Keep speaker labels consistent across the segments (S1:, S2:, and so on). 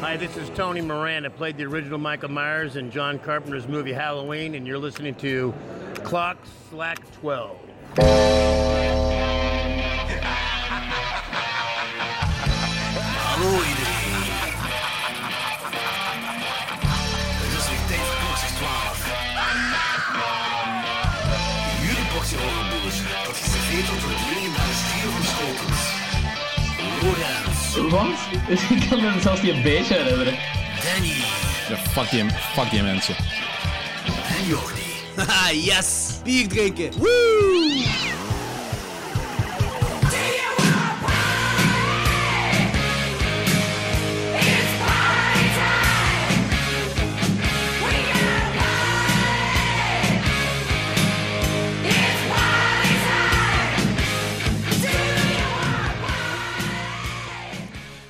S1: Hi, this is Tony Moran. I played the original Michael Myers in John Carpenter's movie Halloween, and you're listening to Clock Slack 12.
S2: Hallo iedereen. Het is weer tijd voor Boxers 12. Jullie boxen overboers. Dat is geveed tot het dringen naar de stier van schotels. Lorenz,
S3: Wat? Ik kan me zelfs niet een beetje herinneren.
S2: Danny
S4: Ja, fuck, die, fuck die mensen.
S2: en Jordi.
S5: Haha, yes! Bier drinken! Woo!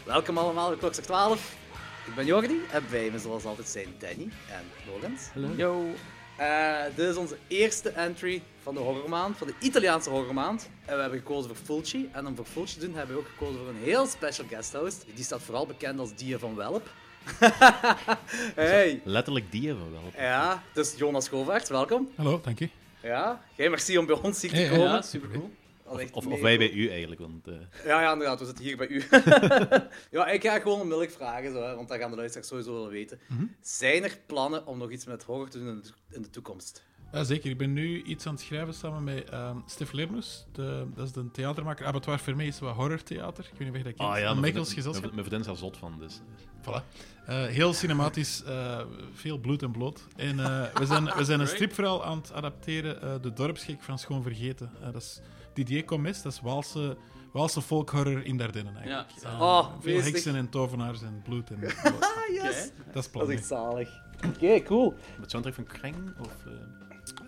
S5: Welkom allemaal bij Klokzak 12. Ik ben Jordi en bij me zoals altijd zijn Danny en Lorenz. Yo. Eh, dit is onze eerste entry van de horrormaand, van de Italiaanse horrormaand. En we hebben gekozen voor Fulci. En om voor Fulci te doen hebben we ook gekozen voor een heel special guest host. Die staat vooral bekend als Dia van Welp. hey,
S6: Letterlijk die van wel.
S5: ja, dus Jonas Govaerts, welkom.
S4: Hallo, dank je.
S5: Ja, geen merci om bij ons hier te
S4: Hey,
S5: komen.
S3: Ja, supercool.
S5: Al echt
S6: Of, of
S5: mega
S6: wij
S5: cool.
S6: bij u eigenlijk, want eh,
S5: Ja, ja, inderdaad, we zitten hier bij u. ja, ik ga gewoon onmiddellijk vragen, zo, hè, want dat gaan de luisteraars sowieso willen weten.
S4: Mhm.
S5: Zijn er plannen om nog iets met horror te doen in de, in de toekomst?
S4: Ja, zeker, ik ben nu iets aan het schrijven samen met ehm Stef Lemnus. De, dat is de theatermaker. Abattoir Vermee is wat horrortheater. Ik weet niet of je dat kent.
S6: ah ja,
S4: Een
S6: mijn
S4: Mechels
S6: vriendin-
S4: gezelschap.
S6: Mijn vriendin is daar zot van, dus.
S4: Voilà. Eh, heel cinematisch, eh, veel bloed en bloot. En eh, we, zijn, we zijn een stripverhaal aan het adapteren, eh, De Dorpsgek van Schoon Vergeten. Eh, dat is Didier Comes, dat is Waalse, Waalse folkhorror in Dardenne eigenlijk.
S3: Ja.
S4: Eh,
S5: Oh,
S4: veel
S5: meestig.
S4: heksen en tovenaars en bloed en bloot.
S5: Ah, yes!
S4: Dat is het plan.
S5: Dat is
S4: hè.
S5: echt zalig. Oké, cool.
S6: Met soundtrack van Kreng? Of, eh,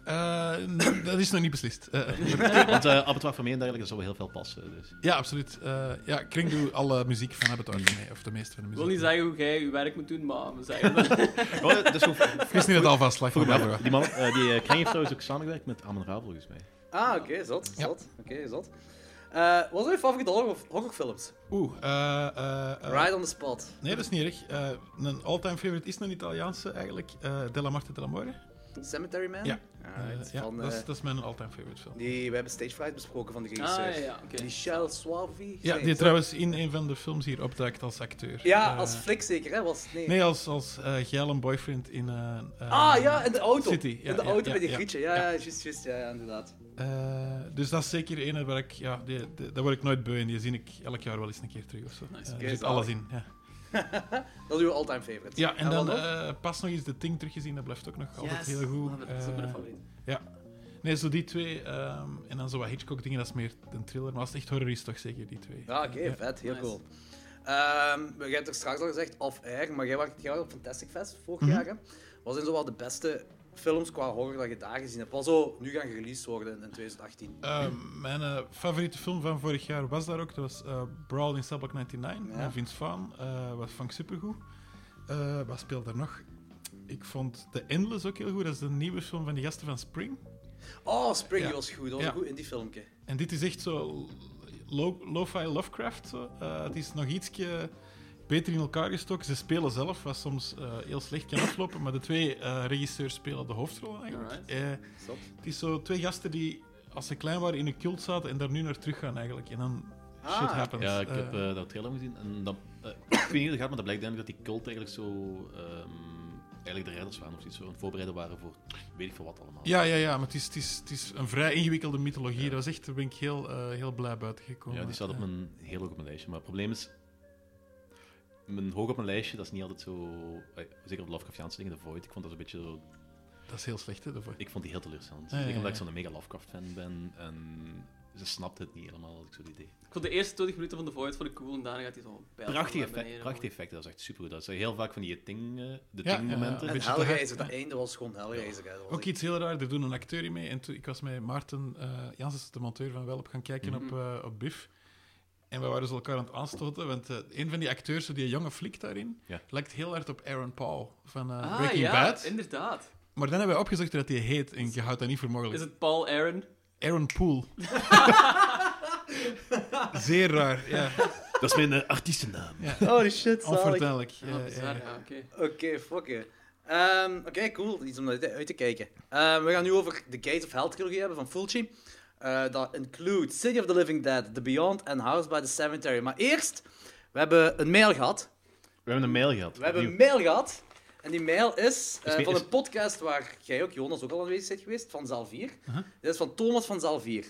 S4: Eh, nee, dat is nog niet beslist. Eh,
S6: want eh Abattoir van mij en dergelijke zou wel heel veel passen. Dus.
S4: Ja, absoluut. Eh, ja, Kring doet alle muziek van Abattoir voor mij, of de meeste van de
S3: Ik
S4: muziek.
S3: wil niet zeggen hoe jij je werk moet doen, maar we zeggen dat.
S6: Oh, dat is goed.
S4: Het is niet het alvast slag van Barbara.
S6: Die, man, eh, die eh, Kreng heeft trouwens ook samengewerkt met Amon Ra, volgens mij.
S5: Ah, oké, zot, zot. Oké, zot. Eh, wat zijn je favoriete horror, horrorfilms?
S4: Oeh, eh, eh, eh,
S5: Right on the spot.
S4: nee, dat is niet erg. Eh, een all-time favorite is een Italiaanse eigenlijk, eh Della Marte della More.
S5: Cemetery Man?
S4: Ja.
S5: Alright,
S4: Eh, ja,
S5: van,
S4: dat, is,
S5: eh,
S4: dat is mijn all-time favorite film.
S5: die, we hebben Stage Fright besproken van de regisseur.
S3: Ah, ja, ja, oké.
S5: Michel Suavi?
S4: Ja,
S5: Nee,
S4: die
S5: zo-
S4: trouwens in een van de films hier opduikt als acteur.
S5: Ja,
S4: Eh,
S5: als flik zeker, hè? Was, nee.
S4: Nee, als, als eh, geil een boyfriend in... eh, eh,
S5: Ah, ja, in de auto.
S4: City, ja,
S5: in de
S4: ja,
S5: auto
S4: ja,
S5: bij die
S4: ja.
S5: grietje. Ja, ja,
S4: Ja.
S5: juist, juist. Ja, ja, inderdaad.
S4: eh, dus dat is zeker een waar ik... Ja, die, die- daar word ik nooit beu en die zie ik elk jaar wel eens een keer terug of zo. Eh,
S5: Oké,
S4: er zit
S5: zalig.
S4: alles in, ja.
S5: Dat is uw all-time favorite.
S4: Ja, en dan
S5: wat
S4: eh, pas nog eens de Ting teruggezien, dat blijft ook nog altijd heel goed.
S3: Ah, Dat is ook
S4: Eh,
S3: mijn favoriet.
S4: ja. Nee, zo die twee. ehm, en dan zo wat Hitchcock-dingen, dat is meer een thriller. Maar als het echt horror is, toch zeker die twee.
S5: Ja, oké, vet. Heel
S3: Nice.
S5: cool. Ehm, jij hebt er straks al gezegd, off-air, maar jij werkt jij werkt op Fantastic Fest vorig
S4: Mhm.
S5: jaar. Hè? Wat zijn zo wel de beste films qua horror dat je daar gezien hebt? Wat zou nu gaan gereleased worden in 2018?
S4: Ehm, mijn eh, favoriete film van vorig jaar was daar ook. Dat was eh, Brawl in Cell Block 99
S5: Ja.
S4: van Vince Vaughn. Eh, wat vond ik supergoed. Eh, wat speelt er nog? Ik vond The Endless ook heel goed. Dat is de nieuwe film van die gasten van Spring.
S5: Oh, Spring
S4: Ja.
S5: was goed. Dat was
S4: Ja.
S5: een goed in die filmpje.
S4: En dit is echt zo lo- lo-fi Lovecraft. Zo. Eh, het is nog ietsje beter in elkaar gestoken. Ze spelen zelf, wat soms eh, heel slecht kan aflopen. Maar de twee eh, regisseurs spelen de hoofdrol eigenlijk.
S3: Alright.
S4: Eh,
S5: Zot.
S4: het is zo twee gasten die als ze klein waren in een cult zaten en daar nu naar terug gaan eigenlijk. En dan
S5: Ah.
S4: shit happens.
S6: Ja, ik
S4: Eh,
S6: heb eh, dat trailer gezien. En dat, eh, ik weet niet hoe het gaat, maar dat blijkt eigenlijk dat die cult eigenlijk zo... ehm, eigenlijk de redders waren of iets zo. aan het Voorbereiden waren voor weet ik veel wat allemaal.
S4: ja, ja, ja, maar het is, het, is, het is een vrij ingewikkelde mythologie. Dat was echt, daar ben ik heel, eh, heel blij buiten gekomen.
S6: Ja, die staat op
S4: Eh,
S6: mijn, heel hoog op mijn lijstje. Maar het probleem is, mijn hoog op mijn lijstje, dat is niet altijd zo... eh, Zeker op de Lovecraftiaanse dingen, de Void. Ik vond dat een beetje zo...
S4: Dat is heel slecht, hè, daarvoor.
S6: Ik vond die heel teleurstellend.
S4: Ja, ja,
S6: Zeker omdat ik
S4: ja.
S6: zo'n mega Lovecraft-fan ben. En ze snapte het niet helemaal, had ik zo'n idee.
S3: Ik vond de eerste 20 minuten van de Void vond ik cool en daarna gaat hij zo bijl.
S6: Prachtige,
S3: naar
S6: effe-
S3: beneden,
S6: prachtige effecten, dat is echt super. Dat zijn heel vaak van die ting, eh, de
S4: Ja, ja,
S6: ting-momenten.
S4: ja.
S5: En
S4: beetje te
S5: Hellraiser, dat
S4: hard,
S5: einde was gewoon Hellraiser. hè. Dat was
S4: Ook
S5: echt-
S4: iets heel raar, er doen een acteur in mee. En toen, ik was met Maarten eh Janssens, de monteur van Welp, gaan kijken
S3: Mhm.
S4: op, eh, op Biff. En we waren ze elkaar aan het aanstoten, want eh, een van die acteurs, zo die jonge flik daarin,
S6: Ja.
S4: lijkt heel hard op Aaron Paul van eh,
S3: hoor. Ah,
S4: Breaking
S3: ja,
S4: Bad.
S3: inderdaad.
S4: Maar dan hebben wij opgezocht hoe dat hij heet en je houdt dat niet voor mogelijk.
S3: Is het Paul Aaron?
S4: Aaron Pool. Zeer raar, ja.
S6: Dat is mijn eh, artiestennaam.
S5: Holy Oh, shit, zalig. Oké,
S4: Onverduidelijk. Ja,
S3: Ah, bizar,
S4: ja.
S3: ja, oké.
S5: fuck je. Ehm, Oké, cool. Iets om uit uit te kijken. Ehm, we gaan nu over de Gate of Hell trilogie hebben van Fulci. Eh, Dat include City of the Living Dead, The Beyond en House by the Cemetery. Maar eerst, we hebben een mail gehad.
S6: We hebben een mail gehad.
S5: We hebben een
S6: opnieuw.
S5: mail gehad. En die mail is eh,
S6: Is-
S5: van
S6: is-
S5: een podcast waar jij ook, Jonas, ook al aanwezig bent geweest, van Zaal 4. Dit is van Thomas van Zaal 4.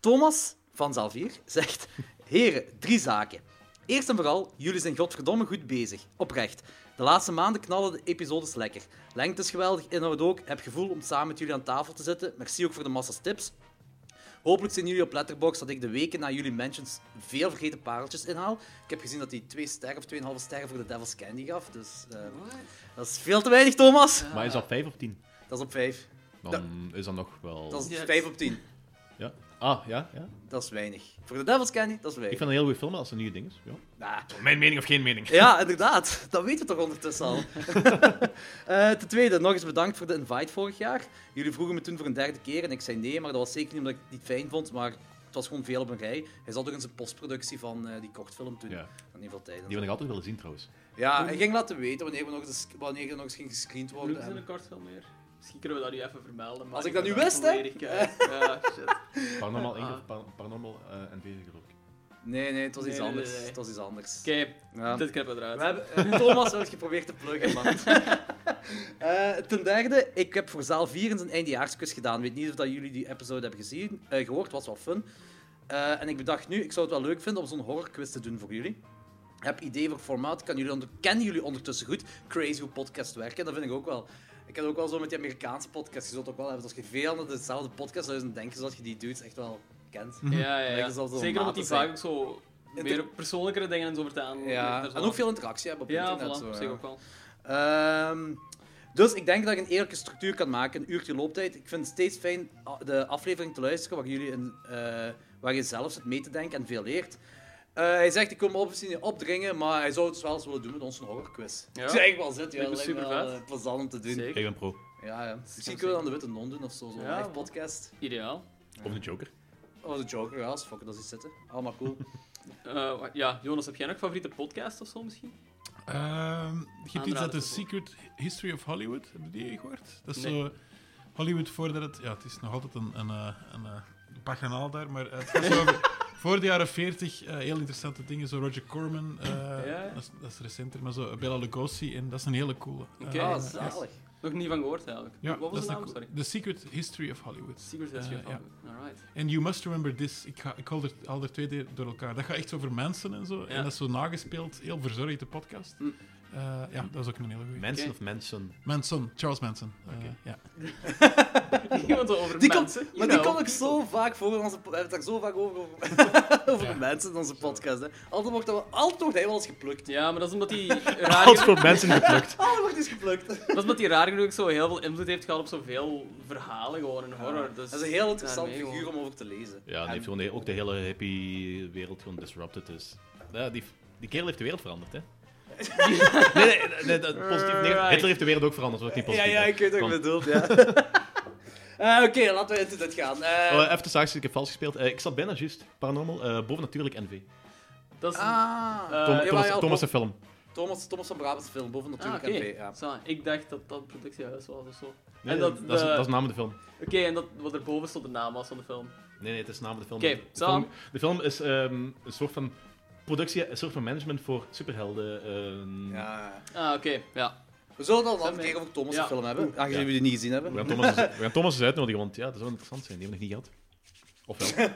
S5: Thomas van Zaal 4 zegt... Heren, drie zaken. Eerst en vooral, jullie zijn godverdomme goed bezig. Oprecht. De laatste maanden knallen de episodes lekker. Lengte is geweldig, inhoud ook. Heb gevoel om samen met jullie aan tafel te zitten. Merci ook voor de massa's tips. Hopelijk zien jullie op Letterboxd dat ik de weken na jullie mentions veel vergeten pareltjes inhaal. Ik heb gezien dat hij twee sterren of 2,5 sterren voor de Devil's Candy gaf. Dus eh, dat is veel te weinig, Thomas.
S3: Ah.
S6: Maar is dat 5 op 10?
S5: Dat is op 5.
S6: Dan is dat nog wel...
S5: Dat is
S3: Ja.
S5: 5 op 10.
S6: Ja. Ah, ja, ja.
S5: Dat is weinig. Voor de Devil's Candy, dat is
S6: Ik
S5: weinig.
S6: vind het een heel goede film als het een nieuw ding is. Ja.
S5: Nah.
S6: Mijn mening of geen mening?
S5: Ja, inderdaad. Dat weten we toch ondertussen al. Eh, ten tweede, nog eens bedankt voor de invite vorig jaar. Jullie vroegen me toen voor een derde keer en ik zei nee, maar dat was zeker niet omdat ik het niet fijn vond, maar het was gewoon veel op een rij. Hij zat ook in zijn postproductie van eh, die kortfilm toen.
S6: Ja.
S5: Dan heeft veel tijd. en
S6: Die
S5: zo.
S6: wil ik altijd willen zien, trouwens.
S5: Ja, hij ging laten weten wanneer, we nog eens, wanneer er nog eens ging gescreend worden.
S3: Noem eens in een kort film meer. Misschien kunnen we dat nu even vermelden. Maar
S5: Als ik dat
S3: ben
S5: nu
S3: daar
S5: wist, hè?
S3: volledig, eh, Ja, shit.
S6: Paranormal 1
S3: Ah.
S6: of par- Paranormal eh, en 2 geloof ik.
S5: Nee, nee, het was iets
S3: Nee, nee,
S5: anders.
S3: nee.
S5: Het was iets anders.
S3: Oké,
S5: Ja.
S3: dit knippen we eruit.
S5: We hebben, eh, Thomas heeft geprobeerd te pluggen, man. Eh, ten derde, ik heb voor zaal 4 in zijn eindejaarskus gedaan. Weet niet of dat jullie die episode hebben gezien, eh, gehoord, was wel fun. Eh, en ik bedacht nu, ik zou het wel leuk vinden om zo'n horrorquiz te doen voor jullie. Heb idee voor formaat, kan jullie onder- kennen jullie ondertussen goed crazy hoe podcasts werken? Dat vind ik ook wel. Ik heb ook wel zo met die Amerikaanse podcasts, je zult het ook wel hebben. Als je veel naar dezelfde podcast zou eens denken, zodat je die dudes echt wel kent.
S4: Mhm.
S3: Ja, ja, ja.
S5: Lijken ze al zo
S3: Zeker omdat
S5: maten
S3: die
S5: zijn.
S3: vaak ook zo
S5: Inter-
S3: meer persoonlijkere dingen en zo vertalen.
S5: Ja,
S3: Dat is
S5: en
S3: wel-
S5: ook veel interactie hebben op
S3: Ja,
S5: internet.
S3: voilà,
S5: zo,
S3: op zich
S5: ja.
S3: ook wel.
S5: Ehm, dus ik denk dat ik een eerlijke structuur kan maken, een uurtje looptijd. Ik vind het steeds fijn a- de aflevering te luisteren waar, jullie een, eh, waar je zelf zit mee te denken en veel leert. Eh, hij zegt, ik kom me opzien niet opdringen, maar hij zou het wel eens willen doen met ons een horrorquiz.
S3: Ja.
S5: Ik zeg echt wel zit, ja,
S3: Lijkt
S5: dat
S3: me
S5: lijkt me
S3: supervet.
S5: wel, eh, plezant om te doen.
S6: Ik
S3: Zeker.
S6: ben pro.
S5: Ja, ja. Misschien kunnen we dan de Witte Non doen of zo, zo'n
S3: Ja,
S5: live
S3: voilà.
S5: podcast.
S3: Ideaal.
S6: Of een Joker.
S5: Oh, de Joker, ja, als fuck, dat is iets zitten. Allemaal cool.
S3: Eh, wa- ja, Jonas, heb jij nog favoriete podcast of zo misschien?
S4: Ehm, je hebt iets
S3: Aanraden
S4: uit de
S3: voor-
S4: Secret History of Hollywood. Hebben jullie die gehoord? Dat is
S3: Nee.
S4: zo... Hollywood voordat het... Ja, het is nog altijd een, een, eh, een, eh, baganaal daar, maar eh, het gaat zo over... Voor de jaren 40 eh, heel interessante dingen, zo Roger Corman, eh,
S3: ja.
S4: Dat, is, dat is recenter, maar zo Bella Lugosi, en dat is een hele coole. eh,
S3: Oké.
S5: Ah,
S3: Ja,
S5: zalig.
S3: Nog niet van gehoord eigenlijk.
S4: ja,
S3: Wat
S4: dat
S3: was de
S4: is
S3: naam?
S4: een
S3: Sorry.
S4: coole- The Secret History of Hollywood.
S3: Secret History of
S4: Eh, ja.
S3: Hollywood. Alright.
S4: En You Must Remember This. Ik, ga, ik haal er, haal er twee de- door elkaar. Dat gaat echt over mensen en zo. En dat is zo nagespeeld. Heel verzorgde podcast.
S3: Hm.
S4: Eh, ja, dat is ook een hele goede.
S6: Mensen
S3: Oké.
S6: of mensen.
S4: Manson. Charles Manson. Eh, ja.
S3: Iemand over
S5: Die komt,
S3: mensen. you
S5: maar die
S3: know.
S5: komt ook zo vaak voor in onze po- We hebben het daar zo vaak over, over, over mensen in onze podcast. Hè. Altijd, wordt dat wel, altijd wordt hij wel eens geplukt.
S3: Ja, maar dat is omdat die
S6: Alles
S3: raar,
S6: voor mensen geplukt.
S5: Altijd wordt hij eens geplukt.
S3: dat is omdat die raar genoeg zo heel veel invloed heeft gehad op zoveel verhalen gewoon in horror. Dus
S5: Ah, Dat is een heel interessant
S3: daarmee
S5: figuur
S3: gewoon.
S5: om over te lezen.
S6: Ja, die
S5: En-
S6: heeft gewoon de- ook de hele hippie wereld gewoon disrupted. Dus. Ja, die, die kerel heeft de wereld veranderd, hè? Nee, nee, nee, nee, dat- positief. nee,
S3: Right.
S6: Hitler heeft de wereld ook veranderd, wat niet
S5: ja,
S6: positief.
S5: ja,
S6: hè.
S5: ik weet wat je
S6: Want-
S5: bedoelt, ja. Eh, Oké, laten we into dit gaan. Eh,
S6: Oh, even de zaakjes, ik heb vals gespeeld. Eh, ik zat bijna juist. Paranormal, eh, bovennatuurlijk NV.
S3: Dat is
S5: ah,
S3: Eh,
S6: Tom-
S5: ja,
S6: Thomas,
S5: ja, ja,
S6: Thomas de
S5: Tom-
S6: film.
S5: Thomas, Thomas van Brabants film, boven
S3: Ah,
S5: natuurlijk
S3: oké.
S5: NV, ja.
S3: Zo, Ik dacht dat dat productiehuis was of zo.
S6: Nee,
S3: en
S6: dat,
S3: dat,
S6: is,
S3: de-
S6: dat is de naam van de film.
S3: Oké, en dat wat erboven stond de naam was van de film.
S6: Nee, nee, het is de naam van de film.
S3: Oké,
S6: de,
S3: Sam.
S6: film de film is ehm, een soort van productie, een soort van management voor superhelden. ehm.
S5: Ja.
S3: Ah, oké, ja.
S5: We zullen het al een
S3: Zijn
S5: keer
S3: we-
S5: over Thomas
S3: Ja.
S5: film hebben, aangezien we die niet gezien hebben.
S6: We, gaan Thomas eens, we gaan Thomas eens uitnodigen, want ja, dat zou interessant zijn. Die hebben we nog niet gehad. Ofwel.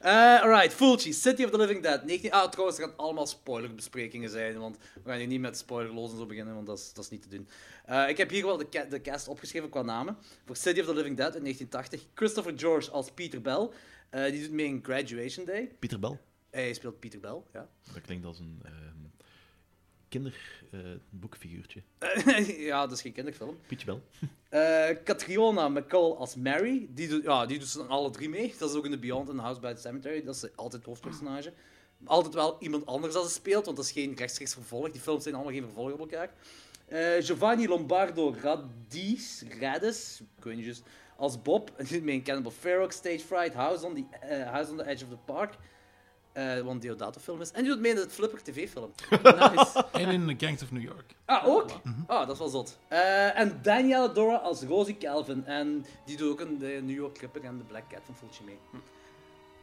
S5: Eh, alright, Fulci, City of the Living Dead. 19... Ah, trouwens, er gaan allemaal spoilerbesprekingen zijn, want we gaan hier niet met spoilerloos en zo beginnen, want dat is, dat is niet te doen. Eh, ik heb hier wel de, ca- de cast opgeschreven qua namen. Voor City of the Living Dead in 1980, Christopher George als Peter Bell. Eh, die doet mee in Graduation Day.
S6: Pieter Bel.
S5: Hij speelt Peter Bell, ja.
S6: Dat klinkt als een ehm eh, kinderboekfiguurtje.
S5: ja, dat is geen kinderfilm.
S6: Pietje Bel.
S5: Eh, Catriona McCall als Mary. Die doet, ja, die doet ze dan alle drie mee. Dat is ook in The Beyond en House by the Cemetery. Dat is altijd het hoofdpersonage. Altijd wel iemand anders dat ze speelt, want dat is geen rechtstreeks vervolg. Die films zijn allemaal geen vervolg op elkaar. Eh, Giovanni Lombardo Radis, Radis, ik weet niet juist, als Bob, niet meer in Cannibal Ferox, Stage Fright, House on the, eh, House on the Edge of the Park, eh wat een Deodato-film is. En die doet mee in de Flipper TV-film.
S3: Nice.
S4: En in Gangs of New York.
S5: Ah, ook? Ah, dat is wel zot. Eh, en Danielle Dora als Rosie Calvin. En die doet ook in de New York Clipper en de Black Cat van Fulci mee.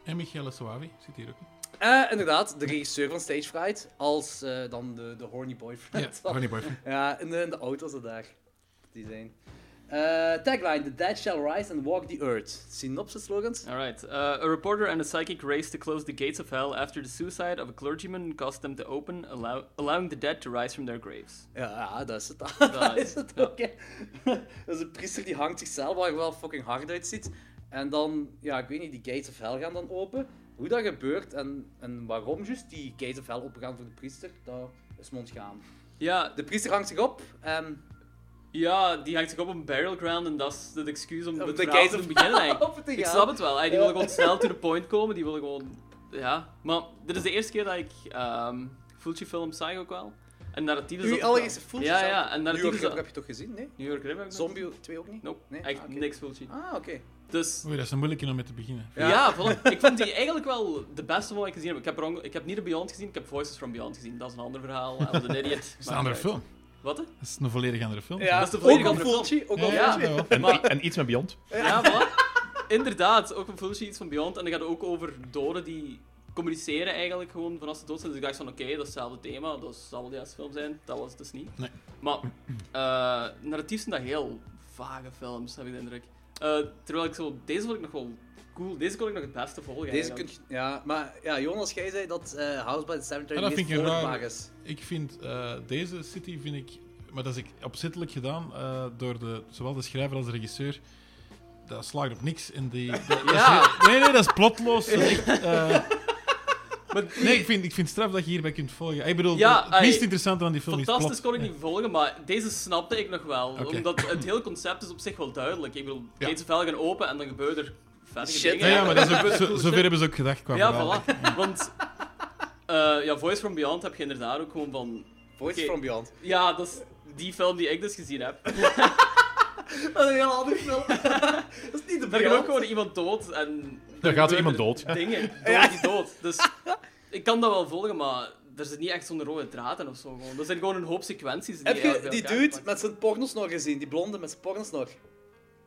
S4: En Michele Soavi zit hier ook. in.
S5: Eh, inderdaad, de regisseur van Stage Fright als eh, dan de, de horny boyfriend.
S4: Ja, Ronnie Boyfriend.
S5: Ja, in de, in de auto's er daar. Die zijn. Eh, tagline: The dead shall rise and walk the earth. Synopsis slogans.
S3: Alright. Uh, a reporter and a psychic race to close the gates of hell after the suicide of a clergyman caused them to open, allow- allowing the dead to rise from their graves.
S5: Ja, ja, dat is het. dat is het ook. hè. dat is een priester die hangt zichzelf, waar je wel fucking hard uitziet. En dan, ja, ik weet niet, die gates of hell gaan dan open. Hoe dat gebeurt en, en waarom juist die gates of hell opengaan voor de priester, dat is me ontgaan.
S3: Ja,
S5: De priester hangt zich op. ehm,
S3: ja, die hangt zich op een burial ground en dat is het excuus om
S5: Om
S3: het
S5: de
S3: verhaal
S5: gates
S3: te
S5: of
S3: beginnen.
S5: hell
S3: eigenlijk.
S5: open te
S3: Ik
S5: gaan.
S3: snap het wel. hè. Die
S5: Ja.
S3: willen gewoon snel to the point komen. Die willen gewoon... Ja. Maar dit is de eerste keer dat ik ehm Fulci-films zag ook wel. En narratief is
S5: uw
S3: dat ook
S5: allereerste
S3: wel.
S5: voeltjes
S3: Ja,
S5: aan.
S3: ja. En
S5: New York
S3: narratief is
S5: Ripper heb
S3: dat...
S5: je toch gezien? Nee?
S3: New York River?
S5: Zombie 2 ook niet?
S3: Nope.
S5: Nee?
S3: Echt
S5: Ah, oké.
S3: niks Fulci.
S5: Ah, oké.
S3: Dus...
S4: Oei, dat is een moeilijke om mee te beginnen.
S3: Ja,
S5: Ja.
S3: voilà. ik vond die eigenlijk wel de beste van wat ik gezien heb. Ik heb, er onge- ik heb niet de Beyond gezien, ik heb Voices from Beyond gezien. Dat is een ander verhaal. I was an
S4: Dat
S3: idiot.
S4: is
S3: Maakt
S4: een andere
S3: uit.
S4: film.
S3: Wat? hè?
S4: Dat is een volledig andere film.
S5: Ja,
S3: dat is de
S5: ook
S3: volledige
S5: al
S3: andere
S5: Fulci, ook al
S4: Ja,
S5: Fulci.
S4: ja, wel.
S7: En,
S3: Maar-
S6: Ah,
S7: en iets met Beyond.
S3: Ja, voilà. Inderdaad, ook een Fulci iets van Beyond. En dan gaat het ook over doden die communiceren eigenlijk gewoon vanaf ze dood zijn. Dus ik dacht van, oké, dat is hetzelfde thema, dat zal wel de juiste film zijn. Dat was het dus niet.
S4: Nee.
S3: Maar eh narratief zijn dat heel vage films, heb ik de indruk. Eh, terwijl ik zo, deze vond ik nog wel cool. Deze kon ik nog het beste volgen
S5: Deze kun
S3: eigenlijk.
S5: je... Ja, maar ja, Jonas, jij zei dat eh, House by the Cemetery
S4: Ja, dat
S5: meest
S4: vind ik raar.
S5: volgbaar is.
S4: Ik vind eh, deze City, vind ik, maar dat is ik opzettelijk gedaan eh, door de, zowel de schrijver als de regisseur. Dat slaagt op niks. En die, dat- dat is
S3: Ja.
S4: heel- nee, nee, dat is plotloos. Dat is echt, eh, nee, ik vind, ik vind straf dat je hierbij kunt volgen. Ik bedoel,
S3: Ja,
S4: het meest
S3: ai,
S4: interessante aan die film is
S3: Fantastisch
S4: plot.
S3: kon ik
S4: Ja.
S3: niet volgen, maar deze snapte ik nog wel.
S4: Oké.
S3: Omdat het hele concept is op zich wel duidelijk. Ik bedoel,
S4: Ja.
S3: gates of hell gaan open en dan gebeuren er vettige
S5: Shit.
S3: dingen.
S4: Ja, ja, maar dat is ook,
S3: Gebeuren
S4: zo,
S3: coole
S4: zover
S3: shit.
S4: hebben ze ook gedacht qua
S3: Ja,
S4: verhaal.
S3: voilà. Want eh, ja, Voice from Beyond heb je inderdaad ook gewoon van...
S5: Voice
S3: Oké.
S5: from Beyond.
S3: Ja, dat is die film die ik dus gezien heb.
S5: Dat is een heel andere film. dat is niet de
S3: Daar gaat
S5: Beyond.
S3: ook gewoon iemand dood en...
S7: Daar gaat er iemand dood.
S3: Dingen, dood die dood. Dus ik kan dat wel volgen, maar er zit niet echt zo'n rode draad in of zo. Gewoon. Er zijn gewoon een hoop sequenties die
S5: Heb je
S3: eigenlijk bij
S5: die
S3: elkaar
S5: dude
S3: gepakt
S5: met zijn pornosnor gezien? Die blonde met zijn pornosnor?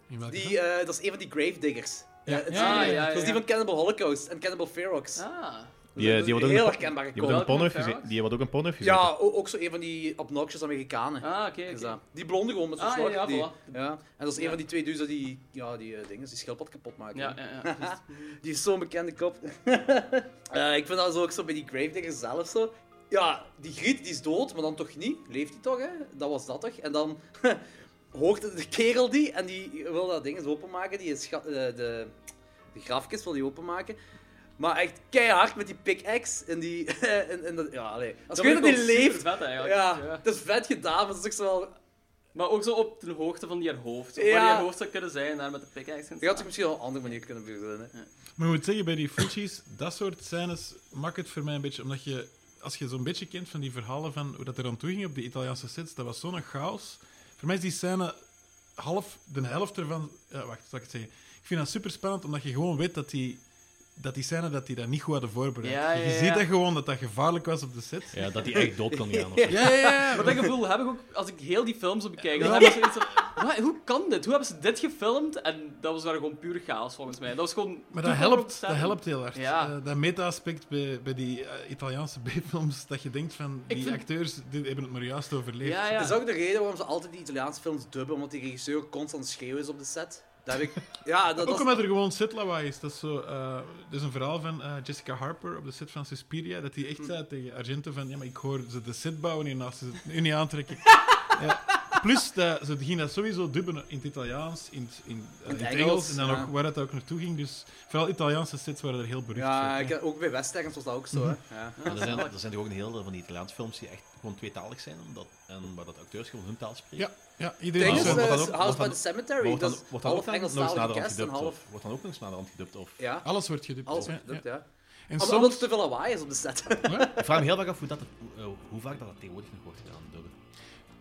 S4: In welke
S5: Die,
S4: film?
S5: eh, dat is een van die gravediggers.
S4: Ja.
S5: Eh, het-
S4: Ah, ja,
S3: ja,
S5: Dat is die
S3: ja.
S5: van Cannibal Holocaust en Cannibal Ferox.
S3: zijn. Ah.
S5: Dat is
S7: Die,
S5: een
S7: die wordt ook
S5: heel
S7: een-
S5: herkenbare
S7: die wordt ook
S5: combo.
S7: een porno heeft
S3: Welke
S7: gezien.
S3: Ferox?
S7: Die wordt ook een porno heeft gezien.
S5: Ja, o- ook zo een van die obnoxious Amerikanen.
S3: Ah, oké,
S5: Is
S3: oké.
S5: dat. Die blonde gewoon met zijn
S3: Ah, ja,
S5: snor.
S3: ja,
S5: die,
S3: voilà.
S5: ja. En dat is een
S3: Ja.
S5: van die twee dudes dat die, ja, die eh, dingen, die schildpad kapot maken.
S3: Ja, ja, ja. Dus-
S5: Die is zo'n bekende kop. Eh, ik vind dat zo ook zo bij die Gravedigger zelf zo. Ja, die Griet die is dood, maar dan toch niet. Leeft die toch, hè? Dat was dat toch? En dan hoort de kerel die en die wil dat ding eens openmaken. Die is scha- eh, de, de grafkist wil die openmaken. Maar echt keihard met die pickaxe en die... en, en dat, ja, allee. Als je weet dat
S3: vond Dus ik
S5: die
S3: wel
S5: leeft...
S3: supervet eigenlijk.
S5: Ja,
S3: Ja.
S5: het is vet gedaan, maar het is ook zo wel...
S3: Maar ook zo op de hoogte van die haar hoofd.
S5: Ja.
S3: Waar die haar hoofd zou kunnen zijn, daar met de pickaxe. en
S5: Je had
S3: zo.
S5: het misschien op een andere manier kunnen verzinnen.
S4: Maar ik moet zeggen, bij die Fuji's, dat soort scènes maakt het voor mij een beetje. Omdat je, als je zo'n beetje kent van die verhalen van hoe dat er aan toe ging op die Italiaanse sets, dat was zo'n chaos. Voor mij is die scène half, de helft ervan. ja, wacht, zal ik het zeggen. Ik vind dat super spannend, omdat je gewoon weet dat die, dat die scène dat die dat niet goed hadden voorbereid.
S3: Ja, ja,
S4: Je
S3: ja.
S4: ziet dat gewoon dat dat gevaarlijk was op de set.
S7: Ja, dat die echt dood kan gaan. of zo.
S4: Ja, ja, ja.
S3: Maar dat gevoel heb ik ook als ik heel die film zo bekijk. Dan
S4: Ja.
S3: heb ik zoiets van, "Wat? hoe kan dit? Hoe hebben ze dit gefilmd? En dat was daar gewoon puur chaos volgens mij. Dat was gewoon...
S4: Maar dat helpt, dat helpt heel hard.
S3: Ja.
S4: Eh, dat meta-aspect bij, bij die eh, Italiaanse B-films, dat je denkt van, die
S3: vind-
S4: acteurs die hebben het maar juist overleefd.
S3: Ja,
S5: Dat is
S3: ja.
S5: ook de reden waarom ze altijd die Italiaanse films dubben, omdat die regisseur constant schreeuwen is op de set. Dat heb ik... Ja, dat,
S4: Ook
S5: dat is...
S4: omdat er gewoon setlawaai is. Dat is zo, eh, er is een verhaal van eh, Jessica Harper op de set van Suspiria, dat hij echt zei tegen Argento van, ja, maar ik hoor ze de set bouwen hiernaast, ze het nu niet aantrekken. Ja. Plus, dat, ze gingen dat sowieso dubben in het Italiaans, in, het- in, eh, in het
S5: Engels,
S4: Engels, en dan
S5: ja.
S4: ook waar het ook naartoe ging. Dus vooral Italiaanse sets waren er heel berucht
S5: Ja,
S4: voor.
S5: ik, ook bij Westerns was dat ook zo, hè. Ja.
S6: Maar er zijn, er zijn toch ook een heel veel van die Italiaanse films die echt gewoon tweetalig zijn. Omdat, en waar dat acteurs gewoon hun taal spreken.
S4: ja, ja,
S5: Het
S4: iedereen
S5: Engels
S4: was
S5: is
S4: er-
S6: wordt dat
S5: eh,
S6: ook-
S5: House
S6: wordt
S5: by
S6: dan-
S5: the Cemetery,
S6: Wordt dan,
S5: dat is
S6: wordt dan ook
S5: half
S6: dan nog eens
S5: Engelstalige
S6: naderhand
S5: cast en
S6: gedubt?
S5: half...
S6: Of wordt dan ook nog eens naderhand gedubt? Of...
S5: Ja,
S4: Alles wordt gedubt.
S5: eh, alles
S4: ja,
S5: gedubt,
S4: ja.
S5: ja.
S4: En
S5: Om- Omdat
S4: soms...
S5: het te veel lawaai is op de set.
S6: Ik vraag me heel erg af hoe, dat, eh, hoe vaak dat, dat tegenwoordig nog wordt gedaan. dubben.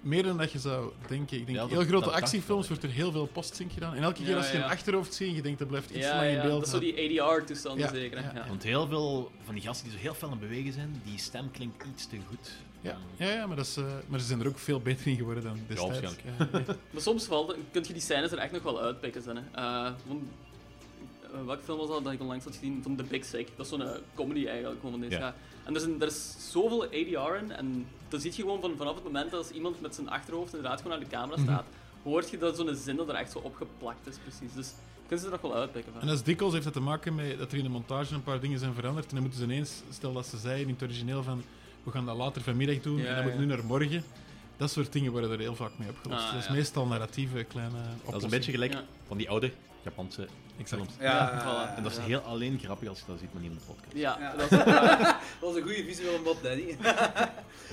S4: meer dan dat je zou denken. Ik denk,
S6: Ja, dat-
S4: heel grote
S6: dat dacht
S4: actiefilms wordt er heel veel postzink gedaan. En elke keer
S3: Ja,
S4: als je
S3: ja.
S4: een achterhoofd ziet, en je denkt dat blijft iets
S3: Ja,
S4: lang in
S3: ja,
S4: beeld.
S3: dat is zo die ADR-toestanden
S4: Ja,
S3: zeker. hè?
S4: ja,
S3: Ja.
S6: Want heel veel van die gasten die zo heel fel aan het bewegen zijn, die stem klinkt iets te goed.
S4: ja, ja, ja, maar, dat is, eh, maar ze zijn er ook veel beter in geworden dan destijds.
S6: waarschijnlijk.
S4: Ja, ja.
S3: Maar soms valt, kun je die scènes er echt nog wel uitpikken. Zijn, hè. Eh, want, eh, welke film was dat dat ik onlangs had gezien? Van The Big Sick. Dat is zo'n eh, comedy eigenlijk gewoon van deze
S7: Ja.
S3: jaar. En er, zijn, er is zoveel ADR in. En dan zie je gewoon van, vanaf het moment dat als iemand met zijn achterhoofd inderdaad gewoon aan de camera staat, hoort je dat zo'n zin dat er echt zo opgeplakt is precies. Dus kun je ze er nog wel uitpikken
S4: En
S3: van.
S4: dat is dikwijls heeft dat te maken met dat er in de montage een paar dingen zijn veranderd. En dan moeten ze ineens, stel dat ze zeiden in het origineel van we gaan dat later vanmiddag doen
S3: Ja,
S4: en dat moet
S3: ja.
S4: nu naar morgen. Dat soort dingen worden er heel vaak mee opgelost.
S3: Ah,
S4: dat is
S3: ja.
S4: meestal narratieve kleine oplossingen.
S6: Dat is een beetje gelijk
S3: Ja.
S6: van die oude Japanse
S4: Exact.
S6: films.
S5: Ja,
S3: voilà.
S6: En dat is heel alleen grappig als je dat ziet, maar niet in de podcast.
S3: Ja,
S5: Ja.
S3: dat is
S5: Dat was een goede visuele mop, Danny. Eh,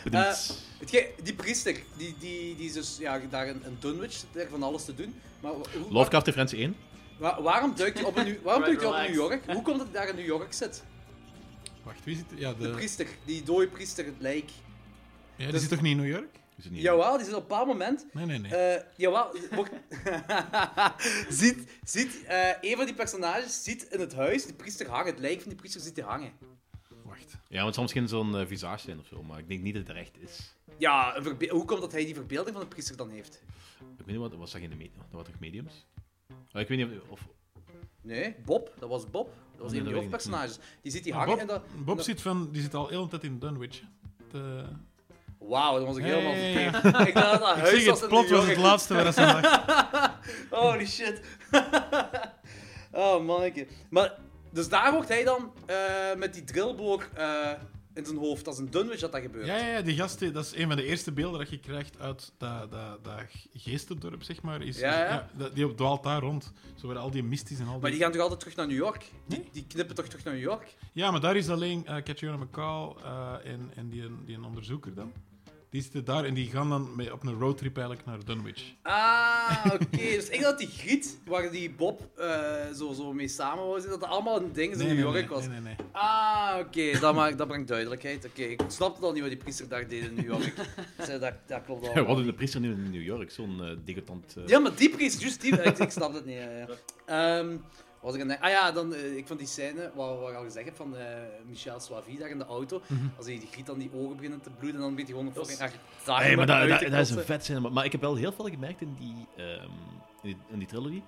S6: Bedankt.
S5: Hetgeen- die priester, die, die, die is dus ja, daar in, in Dunwich, zit er van alles te doen. Maar hoe-
S6: Lovecraft referentie 1.
S5: wa- waarom duikt hij op, een, Nieu- waarom
S3: Right,
S5: duikt hij op New
S3: relax.
S5: York? Hoe komt het dat hij daar in New York zit?
S4: Wacht, wie zit er? Ja, de,
S5: De priester, die dode priester, het lijk.
S4: ja, die
S5: dus-
S4: zit toch niet in New York?
S6: Is het niet
S5: Jawel, die zit op een bepaald moment
S4: Nee, nee, nee.
S5: Eh jawel, wordt- ziet, ziet eh, een van die personages ziet in het huis die priester hangen, het lijk van die priester ziet hij hangen.
S4: Wacht.
S6: Ja, maar het zal misschien zo'n eh, visage zijn of zo, maar ik denk niet dat het echt is.
S5: Ja, een verbe- hoe komt dat hij die verbeelding van de priester dan heeft?
S6: Ik weet niet wat, was dat in de medium? Dat waren toch mediums? Ah, ik weet niet of. of
S5: Nee, Bob, dat was Bob. Dat was
S6: nee,
S5: een van
S6: dat
S5: die
S6: weet ik
S5: hoofdpersonages. Die ziet die
S4: Maar
S5: hangen en
S4: Bob,
S5: dat...
S4: Bob
S5: dat-
S4: zit, van, die zit al heel de tijd in Dunwich. hè. Eh, De,
S5: Wauw, dat was ik helemaal
S4: Hey.
S5: verkeerd. Ik dacht dat dat
S4: ik
S5: huis
S4: zeg
S5: was
S4: het,
S5: in
S4: plot
S5: New
S4: was het
S5: York.
S4: laatste waar ze aan dacht.
S5: Holy shit. oh, manneke. Maar, dus daar wordt hij dan eh, met die drillboor eh, in zijn hoofd. Dat is een dunwich dat dat gebeurt.
S4: Ja, ja, ja, die gast, die- dat is een van de eerste beelden dat je krijgt uit dat, dat, dat geestendorp, zeg maar. Is,
S5: Ja, ja.
S4: dat- die dwaalt daar rond. Zo waar al die mystisch en al
S5: Maar die gaan toch altijd terug naar New York?
S4: Nee.
S5: Die knippen toch terug naar New York?
S4: Ja, maar daar is alleen eh Catriona McCall eh, en, en die, die een onderzoeker dan. Die zitten daar en die gaan dan mee op een roadtrip eigenlijk naar Dunwich.
S5: Ah, oké. dus ik dacht dat die griet waar die Bob eh, zo, zo mee samen was, dat dat allemaal een ding is in New York was.
S4: nee, nee, nee.
S5: Ah, oké. Dat, maakt- dat brengt duidelijkheid. Oké, ik snapte al niet wat die priester daar deed in New York. Dus, eh, dat, dat klopt al.
S6: wat doet de priester nu in New York? Zo'n eh degotant. eh,
S5: Ja, maar die priester, juist die. Ik, ik snap het niet. Ja, ja. Ehm, wat was ik aan het denken? Ah ja, dan, eh, ik vond die scène, wat, wat ik al gezegd heb, van eh, Michel Soavi daar in de auto.
S6: Mhm.
S5: Als hij die griet aan die ogen beginnen te bloeden, dan weet hij gewoon... fucking Ah, echt traag
S6: Nee, Ah, maar
S5: om
S6: dat,
S5: uit
S6: dat,
S5: te
S6: dat is een
S5: kotsen.
S6: vet scène. Maar, maar ik heb wel heel veel gemerkt in die, ehm, in die, in die trilogy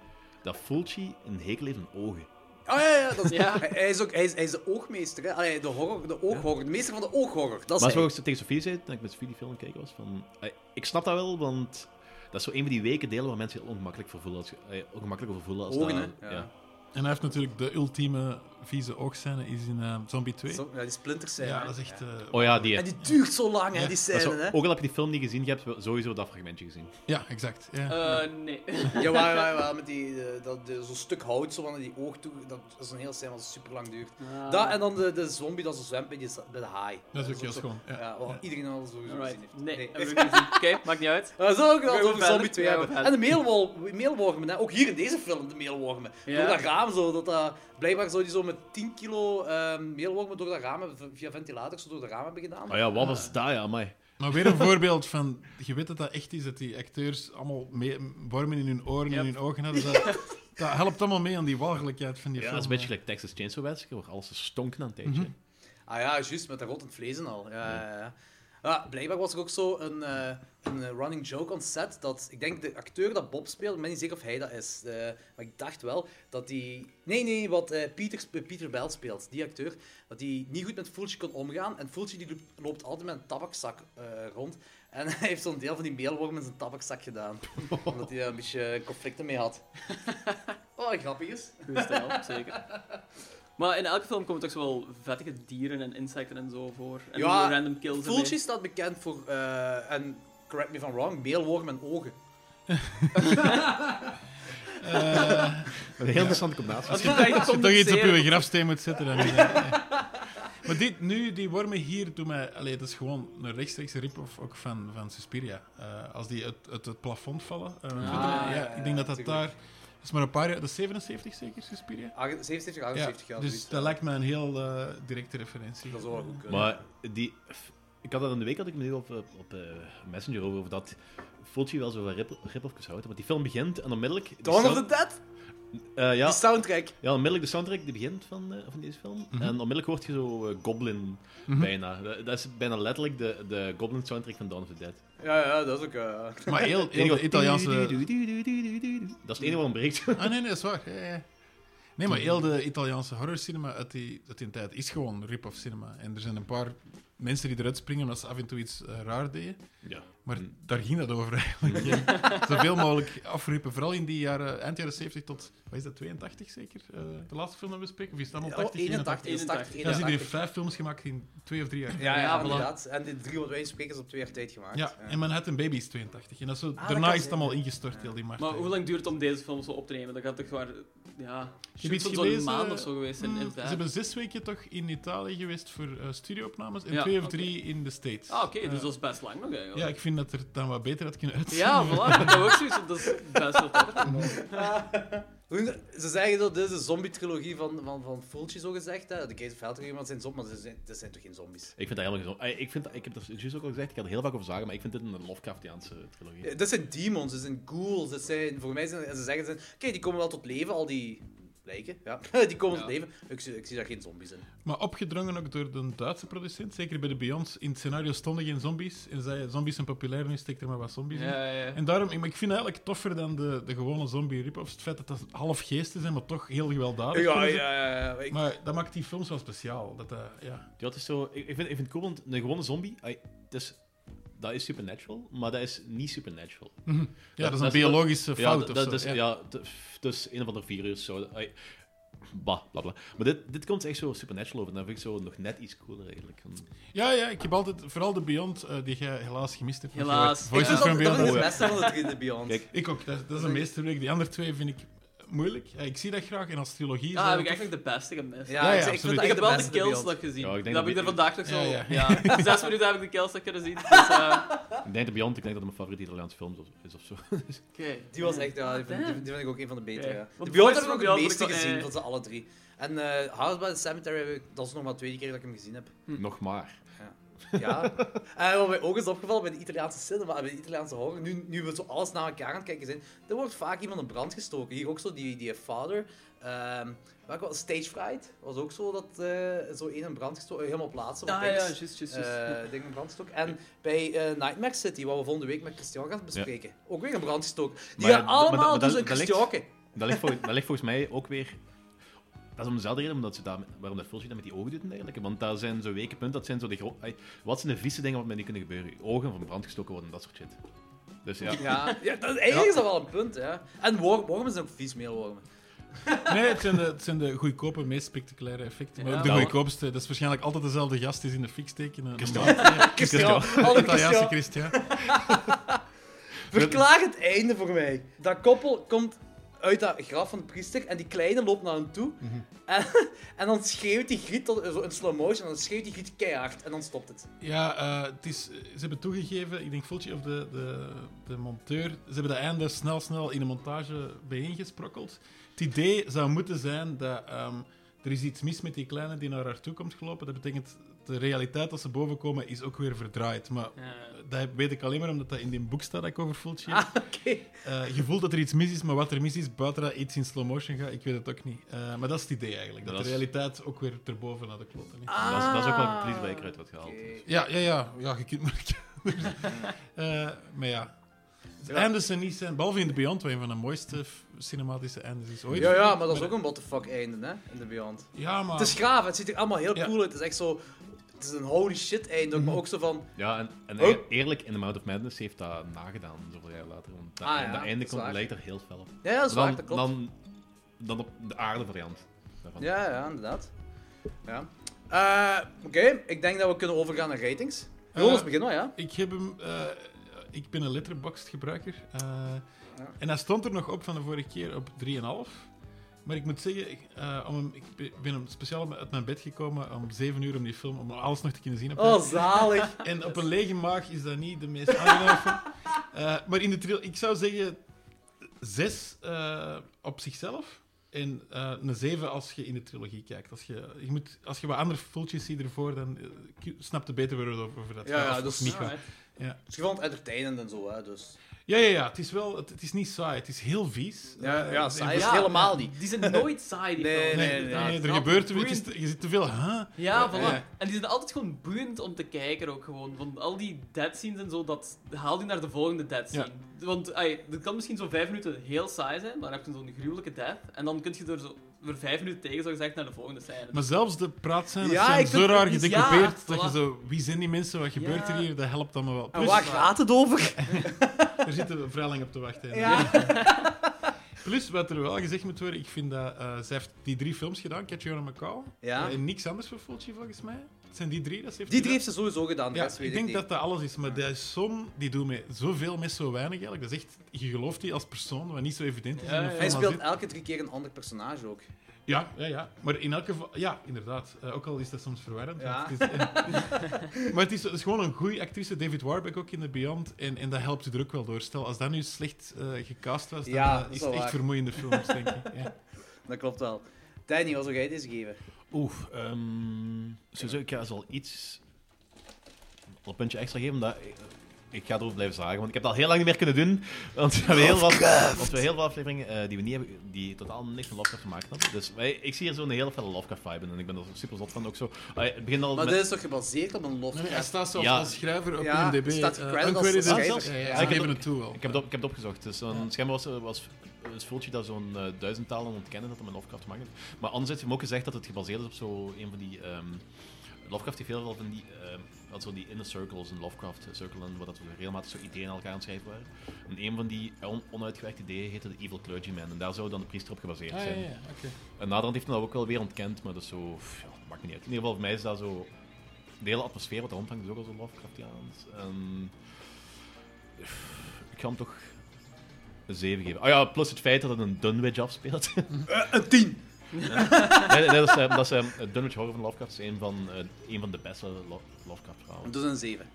S6: dat Fulci een hekel heeft aan ogen.
S5: Oh ja, ja, dat is,
S3: Ja.
S5: Hij, hij is ook, hij, is, hij is de oogmeester. Hè? Allee, de, horror, de ooghorror, de meester van de ooghorror. Dat is
S6: maar
S5: hij.
S6: zoals ik tegen Sofie zei, toen ik met Sofie die film aan het kijken was, van, eh, ik snap dat wel, want dat is zo een van die weken delen waar mensen heel ongemakkelijk voor voelen. Als, je- eh, ongemakkelijk voor voelen als
S5: Ogen,
S6: dat-
S5: hè? Ja.
S6: ja.
S4: En hij heeft natuurlijk de ultieme vieze oogscène is in eh, Zombie 2.
S5: Zo- ja, die splinters zijn.
S4: ja,
S5: hè.
S4: dat is echt... eh,
S6: Oh ja, die.
S5: En die duurt zo lang, hè, die
S4: Ja,
S6: dat is zo-
S5: scène. Hè?
S6: ook al heb je die film niet gezien, je hebt wel sowieso dat fragmentje gezien.
S4: Ja, exact. Ja.
S3: Eh, nee.
S5: Ja, waar, waar, waar, met die, eh, dat, eh, zo'n stuk hout zo van die oog toe. Dat, dat is een hele scène wat super lang duurt.
S3: Ah.
S5: Dat, en dan de, de zombie dat zo zwemt bij, die, bij de haai.
S4: dat is ook heel
S5: zo-
S4: schoon. Ja.
S5: Ja, wat iedereen al sowieso
S3: Alright.
S5: gezien heeft.
S3: Nee,
S5: Nee.
S3: heb ik niet gezien. Oké, maakt niet uit.
S5: Maar zo ook
S3: Gaan
S5: wel
S3: we
S5: over
S3: verder?
S5: Zombie 2
S3: Gaan we
S5: hebben. En de
S3: verder?
S5: meelwol- meelwormen, hè. ook hier in deze film de meelwormen.
S3: Ja.
S5: Door dat raam zo, dat, dat- blijkbaar zou die zo met 10 kilo ehm, meelwormen door dat raam hebben, v- via ventilator zo door dat raam hebben gedaan.
S6: Oh ja, wat was dat? Ja, amai.
S4: Maar weer een voorbeeld van... Je weet dat dat echt is, dat die acteurs allemaal mee, wormen in hun oren en
S3: Yep.
S4: hun ogen hadden. Dat, dat helpt allemaal mee aan die walgelijkheid van die
S6: Ja,
S4: film.
S6: dat is een beetje gelijk Texas Chainsaw Massacre, waar alles stonk na een tijdje.
S5: Ah ja, juist, met dat rottend vlees en al. Ja, ja. ja. Ah, blijkbaar was er ook zo een, eh, een eh, running joke on set dat ik denk de acteur dat Bob speelt, ik ben niet zeker of hij dat is, eh, maar ik dacht wel dat die nee nee wat eh, Pieter, sp- Pieter Bell speelt, die acteur, dat die niet goed met Fulci kon omgaan en Fulci die loopt, loopt altijd met een tabakzak eh, rond en hij heeft zo'n deel van die meelworm in zijn tabakzak gedaan, omdat hij daar een beetje eh, conflicten mee had. Oh, grappig is.
S3: Goeie stijl, zeker. Maar in elke film komen toch wel vettige dieren en insecten en zo voor. En
S5: Ja,
S3: zo random kills erbij.
S5: Fulci staat bekend voor eh, en correct me if I'm wrong, meelworm en ogen.
S6: Een heel interessante combinatie.
S3: Als je het echt
S4: Als je toch iets op
S3: condenseren-
S4: je grafsteen moet zetten. Dan, ja. Maar dit, nu, die wormen hier doen mij... Allee, dat is gewoon een rechtstreeks rip-off ook van, van Suspiria. Eh, als die uit, uit het plafond vallen.
S6: Ah,
S4: eh, ja,
S5: ja,
S4: ik denk dat dat
S5: tuurlijk.
S4: daar... Dat is maar een paar jaar... Dat is 77 zeker, Suspiria?
S5: 77, 78 jaar.
S4: dus dat lijkt me een heel eh, directe referentie.
S5: Dat zou wel goed kunnen.
S6: Maar die, Ik had dat in de week had ik me nu op, op, op, eh, Messenger over, over dat Fulci wel zo van rip- rip-offs houden. Want die film begint en onmiddellijk... die
S5: Dawn of the
S6: sound-
S5: Dead?
S6: eh, ja,
S5: Die soundtrack.
S6: ja, onmiddellijk de soundtrack die begint van, eh, van deze film.
S4: Mhm.
S6: En onmiddellijk hoort je zo eh, Goblin bijna. Eh, Dat, dat is bijna letterlijk de, de Goblin soundtrack van Dawn of the Dead.
S5: Ja, ja, dat is ook... eh,
S4: Maar heel,
S6: Het enige
S4: heel
S6: wat-
S4: de Italiaanse...
S6: Dat is het enige wat ontbreekt.
S4: Ah, nee, nee, dat is waar. Ja, ja. Nee, maar heel de Italiaanse horrorcinema uit die, uit die tijd is gewoon rip-off cinema. En er zijn een paar mensen die eruit springen omdat ze af en toe iets eh, raar deden.
S6: ja.
S4: Maar
S3: Hmm.
S4: daar ging dat over eigenlijk. Zoveel mogelijk afrippen. Vooral in die jaren, eind jaren 70 tot, wat is dat, 82 zeker? Eh, de laatste film dat we spreken? Of is dat al 80?
S5: 81, 81,
S3: 81.
S4: Oh, Ja, ze hebben hier
S5: 81.
S4: vijf films gemaakt in twee of drie jaar.
S5: Ja, ja,
S3: Ja, voilà.
S5: inderdaad. En die drie wat wij spreken is op twee jaar tijd gemaakt.
S4: Ja, Ah, en Manhattan Baby is 82. En dat is zo,
S5: dat
S4: daarna
S5: kan
S4: is het
S5: zijn.
S4: allemaal ingestort, heel die markt.
S3: Maar hoe lang duurt het om deze film zo op te nemen? Dat gaat toch waar... Ja, shoot
S4: iets
S3: van zo'n
S4: gelezen?
S3: maand of zo geweest zijn,
S4: Mm,
S3: inderdaad.
S4: Ze hebben zes weken toch in Italië geweest voor eh, studioopnames en
S3: Ja,
S4: twee of
S3: oké.
S4: drie in de States.
S3: Ah, oké, dus
S4: Eh,
S3: dat is best lang nog eigenlijk.
S4: Ja, ik vind dat er dan wat beter had kunnen uitzien.
S3: Ja, voilà, dat ook zoiets. Dat is best wel tof.
S5: Hoe- Ze zeggen dat dit is de zombie-trilogie van, van, van Fulci, zo gezegd. Hè. De Case of Hell trilogie, maar het zijn zombies, maar ze zijn, dat zijn toch geen zombies?
S6: Ik vind dat helemaal gezond. Eh, Ik, vind, dat- ik heb dat juist ook al gezegd, ik had er heel vaak over zagen, maar ik vind dit een Lovecraftiaanse trilogie.
S5: Eh, Dat zijn demons, dat zijn ghouls, dat zijn... Voor mij zijn... en Ze zeggen, ze zijn- kijk, die komen wel tot leven, al die... Lijken, ja. Die komen tot leven. Ik zie, ik zie daar geen zombies in.
S4: Maar opgedrongen ook door de Duitse producent, zeker bij de Beyond. In het scenario stonden geen zombies. En zei, zombies zijn populair, nu steekt er maar wat zombies in.
S3: Ja, ja, ja.
S4: En daarom, ik maar ik vind het eigenlijk toffer dan de, de gewone zombie rip-offs. Het feit dat dat half geesten zijn, maar toch heel gewelddadig.
S5: Ja, ja,
S4: kunnen ze.
S5: ja. ja. Ik-
S4: Maar dat maakt die films wel speciaal. Dat, dat, ja.
S6: Ja, het is dus zo, ik, ik vind, ik vind cool, want een gewone zombie, ai, het is, dat is supernatural, maar dat is niet supernatural.
S4: ja, dat is een
S6: dat-
S4: biologische
S6: Ja,
S4: fout
S6: dat,
S4: of
S6: dat
S4: zo.
S6: is,
S4: ja.
S6: ja. het pff, het is een of ander virus. Zo, ai, bah, bla bla. Maar dit, dit komt echt zo supernatural over. Dan vind ik zo nog net iets cooler eigenlijk.
S4: Ja, ja, ik heb altijd, vooral de Beyond, eh, die jij helaas gemist hebt. want je
S3: Helaas.
S4: hoort
S5: Ik
S4: Voices
S5: vind
S4: from
S5: dat, dat
S4: Beyond.
S5: vind ik
S4: Oh,
S5: het
S4: ja.
S5: beste van de drie, de Beyond.
S6: Kijk.
S4: Ik ook, dat, dat is een meesterwerk. Die andere twee vind ik moeilijk. Ja, ik zie dat graag en als trilogie.
S3: Ja,
S4: zou
S3: Ah, heb ik
S4: dat
S3: eigenlijk de beste gemist.
S5: Ja,
S4: ja,
S5: ik- ik, vind
S4: absoluut.
S5: dat echt
S3: Ik heb
S5: de
S3: wel de
S5: beste
S3: kills
S5: Beyond.
S3: dat gezien.
S6: Ja, ik denk
S3: dat
S6: dat
S3: heb ik er
S6: die-
S3: vandaag nog zo...
S4: Ja,
S3: Ja,
S4: ja.
S3: Zes minuten heb ik de kills dat kunnen zien. Dus, eh,
S6: Ik denk dat Beyond, ik denk dat het mijn favoriete Italiaanse film is- is of zo.
S3: oké.
S5: Die was echt, ja, die vind, die
S3: Damn.
S5: vind- die vind ik ook een van de betere.
S3: Ja.
S5: ja.
S3: Want
S5: De Beyond
S3: Voice
S5: heb ik
S3: of
S5: ook het
S3: Beyond
S5: meeste
S3: vond ik wel-
S5: gezien
S3: eh.
S5: van ze alle drie. En eh House by the Cemetery, heb ik- dat is nog maar de tweede keer dat ik hem gezien heb.
S6: nog maar.
S5: Ja. en wat mij ook is opgevallen bij de Italiaanse cinema en bij de Italiaanse horror, nu, nu we zo alles naar elkaar aan het kijken zijn, er wordt vaak iemand in brand gestoken. Hier ook zo die, die vader, ehm welke was Stage Fright, was ook zo dat eh, zo één in brand gestoken, helemaal plaatsen.
S3: Ah ja, juist, juist, juist.
S5: Eh, ding in brand gestoken. En bij eh, Nightmare City, wat we volgende week met Christian gaan bespreken, ook weer in brand gestoken. Die
S6: Maar ja,
S5: gaan
S6: d- maar dat-
S5: allemaal
S6: maar dat-
S5: dus een
S6: dat ligt-
S5: Christianke.
S6: Dat ligt, vol- dat ligt volgens mij ook weer... Dat is om dezelfde reden omdat ze daar, waarom dat Fulci dat met die ogen doet en dergelijke. Want daar zijn zo weken punten, dat zijn zo de gro- ai, Wat zijn de vieze dingen wat met die kunnen gebeuren? Ogen van brand gestoken worden, dat soort shit. Dus ja.
S5: Ja, ja dat, eigenlijk is dat wel een punt, ja. En worm, wormen zijn ook vies meelwormen.
S4: Nee, het zijn de, het zijn de goedkope, meest spectaculaire effecten. Maar
S3: Ja.
S4: ook de
S6: Nou.
S4: goedkoopste. Dat is waarschijnlijk altijd dezelfde gast die ze in de eh, fik steken. Een-
S6: Christian.
S4: Een maand.
S5: Christian, alle
S4: Italiaanse
S5: Christian.
S4: Christian.
S5: Verklaar het einde voor mij. Dat koppel komt uit dat graf van de priester en die kleine loopt naar hem toe. En, en dan schreeuwt die griet tot, zo in slow motion en dan schreeuwt die griet keihard en dan stopt het.
S4: Ja, eh, het is, ze hebben toegegeven, ik denk Fulci of de, de, de monteur, ze hebben dat einde snel, snel in de montage bijeengesprokkeld. Het idee zou moeten zijn dat ehm, er is iets mis met die kleine die naar haar toe komt gelopen. Dat betekent, de realiteit als ze boven komen is ook weer verdraaid. Maar dat weet ik alleen maar omdat dat in die boek staat dat ik over Fulci heb.
S5: Ah, oké.
S4: Eh, je voelt dat er iets mis is, maar wat er mis is, buiten dat iets in slow motion gaat, ik weet het ook niet. Eh, maar dat is het idee eigenlijk, dat,
S6: Dat
S4: de
S6: is-
S4: realiteit ook weer erboven naar de kloten ligt.
S6: Dat, is, dat is ook wel
S5: Ah.
S6: een waar ik eruit wat gehaald.
S5: Oké.
S6: Dus.
S4: Ja, ja, ja. Ja, je kunt maar... Eh, maar ja. Het eindes zijn niet zijn... Behalve in The Beyond, wat een van de mooiste f- cinematische eindes is ooit.
S5: Ja, ja, maar dat is ook een what the fuck einde, hè, in de Beyond.
S4: Ja, maar...
S5: Het is graaf, het ziet er allemaal heel
S4: Ja.
S5: cool uit. Het is echt zo... Het is een holy shit einde,
S6: Mhm.
S5: maar ook zo van...
S6: Ja, en, en
S5: Oh.
S6: eer- eerlijk, in The Mouth of Madness heeft dat nagedaan, zoveel jaar later. Want dat,
S5: Ah, ja,
S6: dat einde
S5: dat is
S6: komt,
S5: waar.
S6: lijkt er heel fel op.
S5: Ja, ja, dat is waar,
S6: Dan,
S5: dat klopt.
S6: dan, dan op de aarde variant. daarvan.
S5: Ja, ja, inderdaad. Ja. Eh, Oké, ik denk dat we kunnen overgaan naar ratings. Jonas,
S4: Eh,
S5: begin maar, ja.
S4: Ik heb hem... eh, ik ben een letterboxd gebruiker. eh, En hij stond er nog op van de vorige keer op 3,5. Maar ik moet zeggen, ik, eh, om hem, ik be- ben hem speciaal uit mijn bed gekomen om 7 uur om die film, om alles nog te kunnen zien. op
S5: Oh, zalig.
S4: En op een lege maag is dat niet de meest aangename film. Eh, maar in de tril, ik zou zeggen zes eh, op zichzelf. En eh, een 7 als je in de trilogie kijkt. Als je, je, moet, als je wat andere fultjes ziet ervoor, dan eh, k- snap je beter waar het over over dat
S5: Ja, ja,
S4: gaat, of
S5: dat is-
S4: niet gaat.
S3: Alright.
S5: Dus je vond het entertainend en zo, hè, dus...
S4: Ja, ja, ja. Het is, wel, het, het is niet saai. Het is heel vies.
S5: Ja,
S4: Eh,
S5: ja,
S4: en
S5: saai is
S4: voor-
S5: het helemaal niet.
S3: Ah, Die zijn nooit saai, die
S5: Nee,
S3: films,
S4: Nee, nee,
S3: inderdaad.
S4: nee, er
S3: Altijd
S4: gebeurt te- het is
S3: boeiend.
S4: te- Je zit te veel, huh?
S3: Ja, voilà.
S5: Ja.
S3: En die zijn altijd gewoon boeiend om te kijken ook gewoon. Want al die dead scenes en zo, dat haal die naar de volgende dead scene. Want ai, dat kan misschien zo vijf minuten heel saai zijn, maar dan heb je zo'n gruwelijke death. En dan kun je er zo voor vijf minuten tegen, zo gezegd, naar de volgende scène. Dus
S4: Maar zelfs de praatscènes
S5: Ja,
S4: zijn
S5: ik vind
S4: zo
S5: het
S4: raar
S3: precies-
S4: gedecoupeerd
S3: ja,
S4: dat je
S3: voilà.
S4: zo... Wie zijn die mensen? Wat gebeurt er
S3: Ja.
S4: hier? Dat helpt allemaal wel.
S5: En
S4: Plus,
S5: waar gaat het over?
S4: er zitten we vrij lang op te wachten.
S5: Ja.
S4: Plus, wat er wel gezegd moet worden, ik vind dat... eh, ze heeft die drie films gedaan, Catch Your Macau.
S5: Ja.
S4: En niks anders voor Fulci, volgens mij. Het zijn die drie dat ze heeft
S5: Die drie
S4: gedaan.
S5: heeft ze sowieso gedaan, de
S4: Ja,
S5: rest weet
S4: ik denk
S5: niet.
S4: dat dat alles is, maar die som die doet mij zoveel met zo weinig eigenlijk. Dat is echt, je gelooft die als persoon, wat niet zo evident is.
S3: Ja,
S4: in een
S3: ja.
S4: film
S5: Hij
S4: als
S5: speelt
S4: dit.
S5: elke drie keer een ander personage ook.
S4: Ja, ja, ja. Maar in elk geval... Ja, inderdaad. Eh, ook al is dat soms verwarrend.
S5: Ja.
S4: want Het is, eh, maar het is, het is gewoon een goede actrice. David Warbeck ook in The Beyond. En, en dat helpt je er ook wel door. Stel, als dat nu slecht eh, gecast was, dan
S5: Ja,
S4: eh,
S5: dat is
S4: is
S5: wel
S4: het echt
S5: waar.
S4: vermoeiende films, denk ik. Ja.
S5: Dat klopt wel. Danny, wat zou jij deze geven?
S6: Oeh, ehm sowieso, ik ga ze wel iets. een puntje extra geven, omdat. Ik, ik ga erover blijven zagen, want ik heb dat al heel lang niet meer kunnen doen. Want we hebben heel wat, want we heel veel afleveringen eh, die we niet hebben, die totaal niks van Lovecraft gemaakt hebben. Dus wij- ik zie hier zo'n hele felle Lovecraft vibe in en ik ben er super zot van. Ook zo, Ah, het begint al
S5: Maar
S6: met-
S5: dit is toch gebaseerd op een
S4: Nee, nee, hij
S5: Lovecraft?
S4: staat zelfs
S6: Ja.
S4: als schrijver op
S5: Ja,
S4: IMDb.
S5: staat
S4: eh,
S5: gecredited als
S4: uncredited.
S5: schrijver.
S4: Ah, zelfs?
S6: Ja,
S4: Ja,
S6: ja, ja.
S4: ja,
S6: Ik
S4: Ze
S6: heb
S4: geven
S6: het-
S4: het toe wel.
S6: Ik heb, het op, ik heb het opgezocht. Dus een, Schijnbaar was, was was Fulci dat zo'n eh, duizend talen ontkennen dat hem een Lovecraft mag hebben. Maar anderzijds heeft hem ook gezegd dat het gebaseerd is op zo een van die... ehm, Lovecraft heeft heel veel van die, ehm, had zo die inner circles in Lovecraft Circle, en waar dat we regelmatig zo ideeën aan elkaar aan het schrijven waren. En een van die on- onuitgewerkte ideeën heette de Evil Clergyman, en daar zou dan de priester op gebaseerd
S4: Ah, ja,
S6: zijn.
S4: ja, oké.
S6: En naderhand heeft hij dat ook wel weer ontkend, maar dat is zo... pff, ja, dat maakt niet uit. In ieder geval, voor mij is dat zo... De hele atmosfeer wat er rondhangt is ook al zo Lovecraftiaans. En... ehm, pff, Ik ga hem toch een 7 geven. Ah ja, plus het feit dat het een Dunwich afspeelt.
S5: Eh, Een tien!
S6: nee, nee, dat is, eh, dat is eh, het Dunwich Horror van Lovecraft. is een van, eh, een van de beste Lo- Lovecraft-verhalen.
S5: Dus een zeven.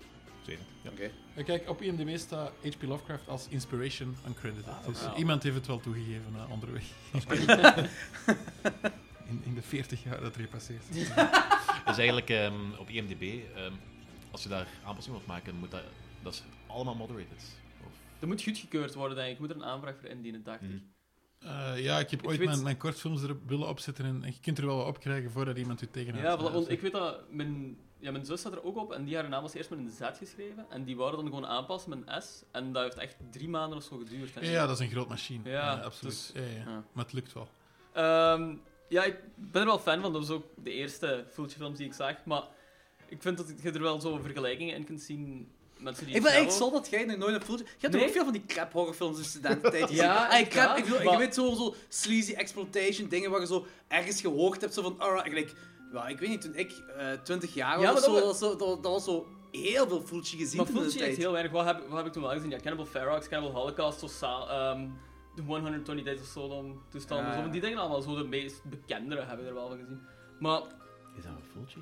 S6: 7. Ja.
S5: Oké.
S4: En Eh, Kijk, op IMDb staat H.P. Lovecraft als inspiration uncredited.
S6: Ah,
S4: dus
S3: wauw.
S4: iemand heeft het wel toegegeven eh, onderweg. in, in de 40 jaar dat er hier passeert.
S6: Dus eigenlijk ehm, op IMDb, ehm, als je daar aanpassing wilt maken, moet dat, dat is allemaal moderated. Of-
S3: Dat moet goedgekeurd worden, denk ik. Ik moet er een aanvraag voor indienen, dacht
S5: Hmm.
S3: ik.
S4: Eh, ja, ik heb ooit
S3: weet-
S4: mijn, mijn kortfilms er willen opzetten en, en je kunt er wel wat op krijgen voordat iemand u tegenhoudt.
S3: Ja, voilà,
S4: Eh,
S3: want
S4: dus-
S3: ik weet dat mijn, ja, mijn zus zat er ook op en die haar naam was eerst met een Z geschreven. En die wouden dan gewoon aanpassen met een S. En dat heeft echt drie maanden of zo geduurd. hè.
S4: Ja, dat is een groot machine.
S3: Ja,
S4: Ja, absoluut.
S3: dus-
S4: Ja, ja.
S5: ja.
S4: Maar het lukt wel.
S3: Ehm, ja, ik ben er wel fan van. Dat was ook de eerste Fulci-films die ik zag. Maar ik vind dat je er wel zo vergelijkingen in kunt zien met ze die
S5: Ik ben
S3: zelf
S5: echt
S3: ook-
S5: zot dat jij nog nooit een filmpje... Je hebt toch
S3: Nee?
S5: ook veel van die crap horrorfilms in studententijd gezien?
S3: Ja,
S5: Ah, ik, crap,
S3: inderdaad,
S5: ik, bedoel,
S3: maar-
S5: ik weet zo, zo sleazy exploitation dingen waar je zo ergens gehoord hebt, zo van... alright, gelijk, ja, ik weet niet, toen ik eh 20 jaar
S3: Ja,
S5: was, of
S3: maar
S5: zo,
S3: dat
S5: dat,
S3: we-
S5: was zo, dat, dat was zo heel veel Fulci gezien
S3: Maar
S5: toen in de
S3: Fulci echt
S5: tijd.
S3: heel weinig. Wat heb, wat heb ik toen wel gezien? Ja, Cannibal Ferox, Cannibal Holocaust, zo sa- ehm, de 120 Days of Sodom toestanden.
S5: Ja,
S3: zo.
S5: ja.
S3: Die dingen allemaal zo de meest bekendere heb ik er wel van gezien. Maar
S6: Is dat een Fulci?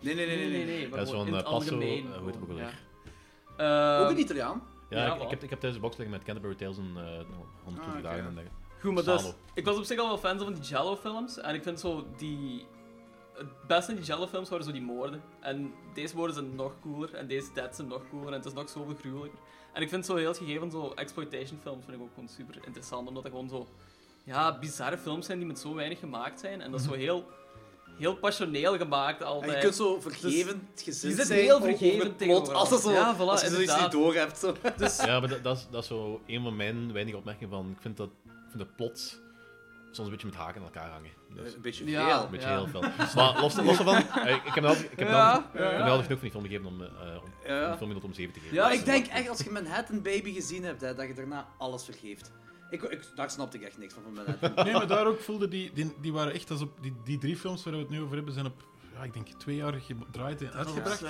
S5: Nee, nee, nee, nee. nee, nee.
S3: maar
S6: Dat is
S3: gewoon
S6: zo'n,
S3: in het
S6: eh, Passo,
S3: algemeen
S6: eh, hoe heet dat ook
S3: gewoon,
S6: alweer?
S3: ja.
S5: Ook
S3: Ehm,
S5: een Italiaan.
S6: Ja,
S3: Ja,
S6: ik,
S3: voilà.
S6: ik heb, ik heb thuis de box liggen met Canterbury Tales en eh 120
S5: Ah, oké.
S6: dagen. en dingen.
S3: Goed, maar dus,
S6: Salo.
S3: ik was op zich al wel fan van die Jello-films. En ik vind zo die... Het beste in die Jello-films waren zo die moorden. En deze moorden zijn nog cooler. En deze deads zijn nog cooler. En het is nog zoveel gruwelijker. En ik vind zo heel het gegeven zo exploitation-films vind ik ook gewoon super interessant. Omdat dat gewoon zo... Ja, bizarre films zijn die met zo weinig gemaakt zijn. En dat
S6: Mhm.
S3: is zo heel... Heel passioneel gemaakt
S5: En
S3: altijd.
S5: je kunt zo vergeven, het gezin
S3: die Dus zit
S5: zijn,
S3: heel
S5: over het
S3: vergevend
S5: plot, als, dat zo,
S3: tegenover ons. Ja, voilà,
S5: als je zoiets
S3: inderdaad.
S5: niet door hebt. Zo.
S3: Dus
S6: Ja, maar dat, dat, is, dat is zo een van mijn weinige opmerkingen van... Ik vind dat ik vind de plot soms een beetje met haken aan elkaar hangen. Dus,
S5: Een beetje
S3: Ja.
S5: veel.
S6: een beetje
S3: ja.
S6: heel veel. Maar los, los daarvan, eh, ik heb nou, ik heb nou,
S3: Ja,
S6: ik heb nou genoeg van die film gegeven om, eh, om
S5: Ja.
S6: om de film om 7 te geven.
S3: Ja,
S5: Maar
S6: Dus,
S5: ik
S6: eh,
S5: denk echt, als je Manhattan Baby gezien hebt, hè, dat je daarna alles vergeeft. Ik, ik, daar snapte ik echt niks van, van Manhattan.
S4: Nee, maar daar ook voelde die, die, die waren echt als op die, die drie films waar we het nu over hebben, zijn op, ja, ik denk twee jaar gedraaid en uitgebracht.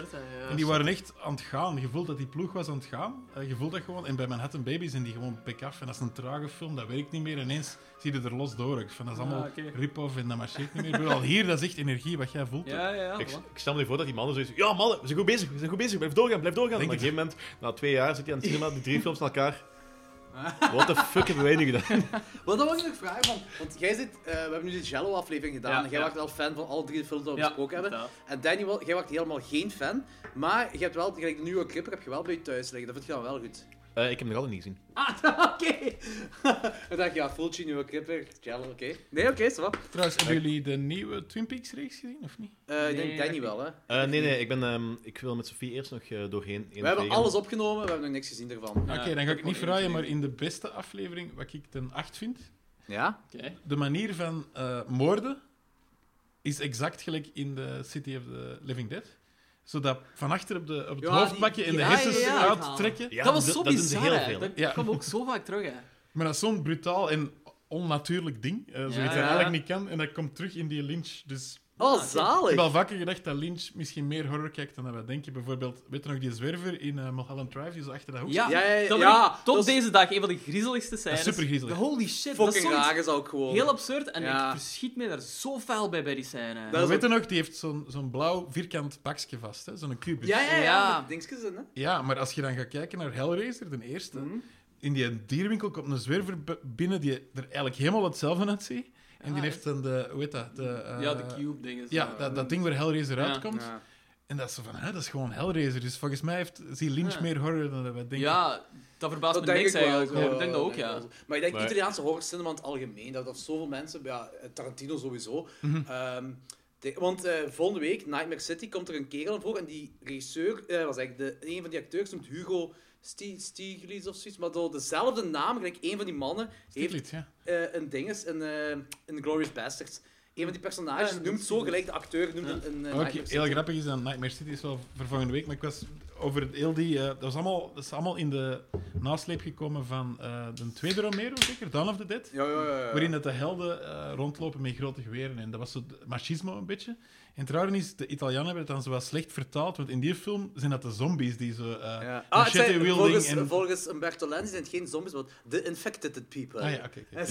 S4: En die waren echt aan het gaan. Je voelt dat die ploeg was aan het gaan. Eh, Je voelt dat gewoon. En bij Manhattan Baby zijn die gewoon pik af. En dat is een trage film, dat werkt niet meer. En ineens zie je er los door. Ik vind dat is allemaal
S3: Ah, oké.
S4: rip-off en dat marcheert niet meer. Ik bedoel, al hier, dat is echt energie wat jij voelt.
S3: Ja, ja, ja.
S6: Ik,
S3: voilà.
S6: ik stel me nu voor dat die mannen zoiets... Ja, mannen, we zijn goed bezig, we zijn goed bezig. Blijf doorgaan, blijf doorgaan. En op
S4: Denk
S6: een gegeven moment, na twee jaar, zit hij aan het cinema, die drie films aan elkaar. What the fuck hebben wij nu gedaan?
S5: Wat dan wil ik nog vragen, van, want jij zit, eh, we hebben nu de Jello-aflevering gedaan.
S3: Ja,
S5: en jij
S3: ja.
S5: was wel fan van alle drie de films die we
S3: Ja,
S5: besproken hebben.
S3: inderdaad.
S5: En Danny, wel- jij was helemaal geen fan. Maar je hebt wel, gelijk de nieuwe clipper heb je wel bij je thuis liggen. Dat vind je dan wel goed.
S6: Eh, ik heb hem nog altijd niet gezien.
S5: Ah, oké. Dan dacht je, ja, Fulci, nieuwe clipper, Jello, oké. Nee, oké, is wel.
S4: Trouwens, hebben jullie de nieuwe Twin Peaks reeks gezien, of niet?
S5: ik
S3: Nee,
S5: denk Danny
S3: ik-
S5: wel, hè.
S6: Eh, nee, nee, ik, ben, ehm, ik wil met Sophie eerst nog eh, doorheen. één
S5: We hebben
S6: tegen.
S5: alles opgenomen, we hebben nog niks gezien ervan.
S4: Oké, dan ga ik niet
S3: maar
S4: verraaien, maar
S3: ingelegd.
S4: in de beste aflevering, wat ik ten 8 vind,
S5: Ja?
S3: Oké.
S4: de manier van eh, moorden is exact gelijk in de City of the Living Dead. Zodat van achter op, de, op het
S5: Ja,
S4: hoofd pakken en
S5: die-
S4: de
S5: ja, ja,
S4: hersens
S5: ja,
S4: eruit
S5: uithalen.
S4: trekken.
S6: Ja,
S3: dat was
S6: dat-
S3: zo
S6: dat doen ze
S3: bizar,
S6: heel
S3: hè.
S6: veel, hè.
S3: Dat
S4: Ja.
S3: kwam ook zo vaak terug, hè.
S4: Maar dat is zo'n brutaal en onnatuurlijk ding. eh, zoiets dat
S3: ja.
S4: eigenlijk niet kan. En dat komt terug in die Lynch. Dus
S5: Oh,
S4: ik heb
S5: zalig!
S4: al vaker gedacht dat Lynch misschien meer horror kijkt dan dat wij denken. Bijvoorbeeld, weet je nog die zwerver in eh, Mulholland Drive die zo achter dat hoek
S3: Ja,
S5: Ja, ja, ja,
S3: dat
S5: ja,
S3: vind ik tot
S5: dat is-
S3: deze dag een van de griezeligste scènes.
S4: supergriezelig.
S3: Holy shit, dat is
S5: Fucking
S3: zoiets
S5: raar is ook gewoon.
S3: heel absurd en
S5: Ja.
S3: ik verschiet me daar zo fel bij bij die scène.
S5: Dat-
S4: Maar weet je nog, die heeft zo'n zo'n blauw vierkant pakje vast, hè? zo'n kubus.
S5: Ja, ja, ja.
S3: Ja.
S5: met Dingetjes in, hè.
S4: Ja, maar als je dan gaat kijken naar Hellraiser, de eerste,
S5: Mhm.
S4: in die dierwinkel komt een zwerver b- binnen die er eigenlijk helemaal hetzelfde uitziet. En die
S3: Ah,
S4: heeft dan de, hoe heet dat? De, eh,
S3: ja, de cube-dingen.
S4: Ja, dat, dat ding waar Hellraiser
S3: Ja.
S4: uitkomt.
S5: Ja.
S4: En dat is zo van, hè, dat is gewoon Hellraiser. Dus volgens mij heeft zie Lynch
S3: Ja.
S4: meer horror dan dat wij denken.
S3: Ja, dat verbaast
S5: Dat
S3: me
S5: denk
S3: niks
S5: ik wel.
S3: eigenlijk.
S5: zo.
S3: ik denk dat ook,
S5: ik
S3: ja.
S5: wel zo. Maar ik denk
S6: Maar-
S5: Italiaanse horrorcinema in het algemeen, dat, dat zoveel mensen, ja, Tarantino sowieso. ehm, de- want eh, volgende week, Nightmare City, komt er een kerel aan voor en die regisseur, eh, was eigenlijk de, een van die acteurs, noemt Hugo Sti- Stiglitz of zoiets, maar door dezelfde naam, gelijk een van die mannen, heeft
S4: Stiglitz, ja.
S5: eh, een dinges, een, eh een Glorious Bastards. Een van die personages
S3: Ja,
S5: noemt zo gelijk de acteur, noemt een, een eh,
S4: Wat
S5: Nightmare
S4: ook heel
S5: City.
S4: grappig is dat Nightmare City is wel voor volgende week, maar ik was over het heel die... eh, dat, was allemaal, dat is allemaal in de nasleep gekomen van eh, de tweede Romero, zeker? Dawn of the Dead?
S5: Ja, ja, ja. ja.
S4: Waarin dat de helden eh, rondlopen met grote geweren. En dat was zo het machismo een beetje. En trouwens, is, de Italianen hebben het dan zo wat slecht vertaald. Want in die film zijn dat de zombies die zo... eh
S5: Ja. Ah, het zijn,
S4: machete wielding
S5: volgens,
S4: en...
S5: volgens Umberto Lenzi zijn het geen zombies, maar de infected people.
S4: Ah ja, oké. oké.